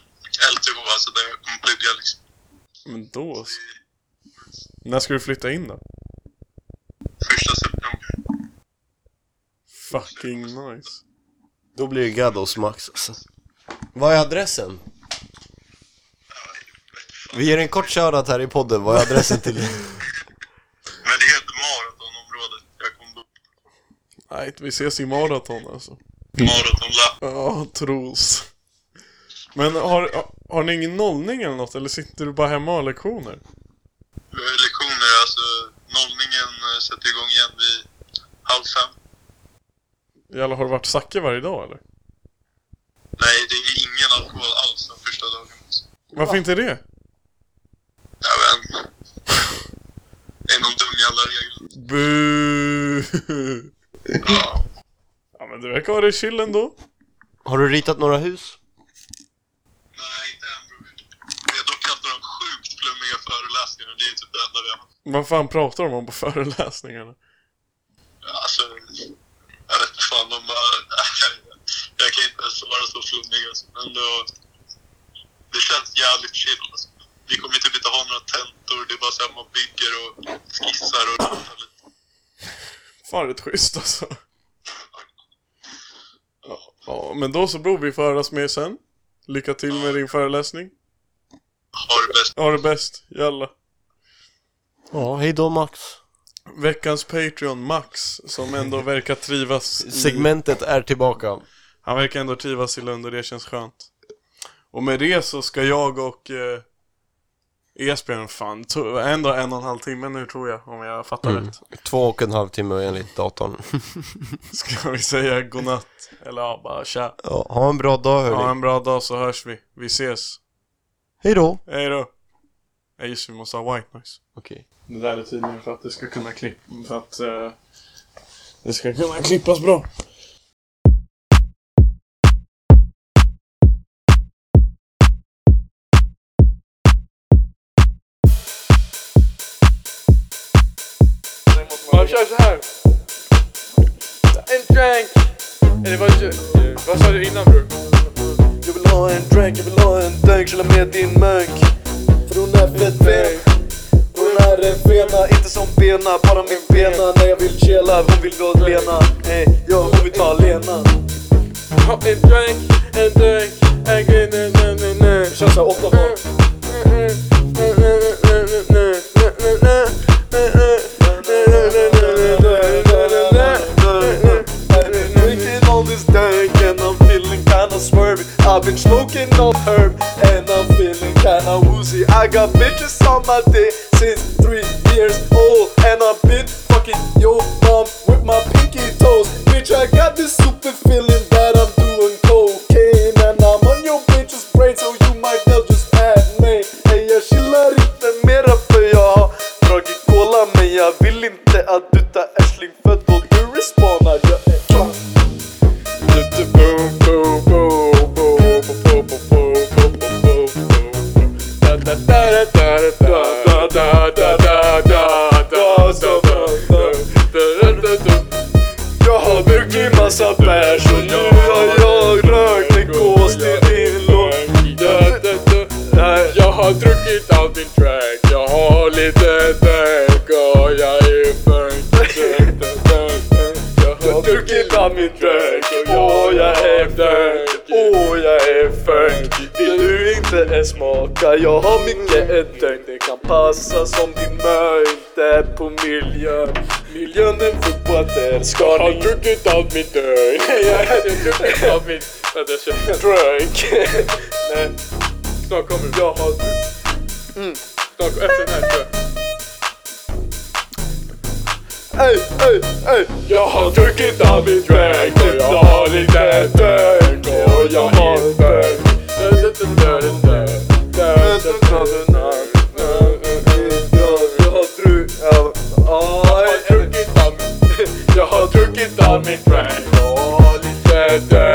Speaker 8: LTH, alltså där jag kommer plugga liksom.
Speaker 3: Men då så. När ska du flytta in då?
Speaker 8: Första september.
Speaker 3: Fucking nice.
Speaker 6: Då blir det gadd hos Max alltså. Vad är adressen? Vi ger en kort shoutout här i podden, vad är adressen till?
Speaker 8: Men det heter maratonområdet. Jag kommer bo
Speaker 3: Nej, vi ses i maraton alltså.
Speaker 8: maratonlapp.
Speaker 3: Ja, tros. Men har, har ni ingen nollning eller något? Eller sitter du bara hemma och har lektioner?
Speaker 8: Vi har ju lektioner, alltså nollningen eh, sätter igång igen vid halv fem.
Speaker 3: Jävlar, har du varit Zacke varje dag eller?
Speaker 8: Nej, det är ingen alkohol alls den första dagen.
Speaker 3: Varför inte det?
Speaker 8: Jag vet inte. Det är någon dum jävla regel.
Speaker 3: Bu.
Speaker 8: Ja.
Speaker 3: Ja men du verkar ha det chill ändå.
Speaker 6: Har du ritat några hus?
Speaker 8: Nej, inte än bror. Vi har dock haft några sjukt flummiga föreläsningar. Det är typ det enda vi har haft.
Speaker 3: Vad fan pratar de om på föreläsningarna?
Speaker 8: Alltså, jag vet inte fan. De bara... Jag kan inte ens vara så flummig alltså. Men det, var, det känns jävligt chill alltså. Vi kommer typ inte ha några tentor. Det är bara så här man bygger och skissar och ritar lite.
Speaker 3: Fan rätt schysst alltså. Ja, Ja, men då så bror, vi får höras mer sen. Lycka till med din föreläsning.
Speaker 8: Ha det bäst.
Speaker 3: Ha det bäst, jalla.
Speaker 6: Ja, hej då Max.
Speaker 3: Veckans Patreon, Max, som ändå verkar trivas i...
Speaker 6: Segmentet är tillbaka.
Speaker 3: Han verkar ändå trivas i Lund och det känns skönt. Och med det så ska jag och eh, Esbjörn, fan, to- ändå en och en halv timme nu tror jag, om jag fattar rätt.
Speaker 6: Två och en halv timme enligt datorn.
Speaker 3: Ska vi säga godnatt? Eller ja, bara tja.
Speaker 6: Ja, ha en bra dag hörni.
Speaker 3: Ha en bra dag så hörs vi. Vi ses.
Speaker 6: Hej då.
Speaker 3: Hej då. Nej just det, vi måste ha white noise.
Speaker 6: Okej.
Speaker 3: Det där är tydligen för att det ska kunna klippa, för att eh, det ska kunna klippas bra.
Speaker 9: Man kör så här. En drank! Eller vad, vad sa du innan bror? Jag vill ha en drank, jag vill ha en drank, chilla med din munk. För hon är fett fet. Hon är en fena, inte som bena, bara min bena. När jag vill chilla, hon vill gå och lena. Hey, jag hon vill ta Lena. En drank, en drank, en grej, nej, nej, nej, nej. Kör såhär åtta var. Drinking all this dank and I'm feeling kinda swervy. I've been smoking no herb and I'm feeling kinda woozy. I got bitches on my dick since three years old and I've been fucking your mom with my pinky toes. Bitch, I got this super feeling that I'm doing cocaine and I'm on your bitch's brain so you might now just add me. Hey, jag chillar inte mera för jag har dragit cola men jag vill inte att du tar Ashling för då du respawnar. Jag är drunk. Da da da da da da da da da da da
Speaker 3: druckit all din crack Jag har lite däck och jag är burnt burnt, burnt, burnt. Jag har druckit all min crack och jag är burnt Åh, jag är burnt Vill du inte ens smaka? Jag har mycket ett däck Det kan passa som din möjde på miljön Miljön den förbotar Ska ni... Har druckit all min däck Jag har druckit all min... Vänta, jag känner... Drunk! Nej. Snart kommer det. Jag har... Mm. Snart kommer efter den här tror jag. Ey, ey, ey. Jag har druckit all min dräng och jag har lite däng och jag har däng. Jag har dru- ja, ja, Jag har druckit all min dräng och lite däng.
Speaker 9: Eh, Oh.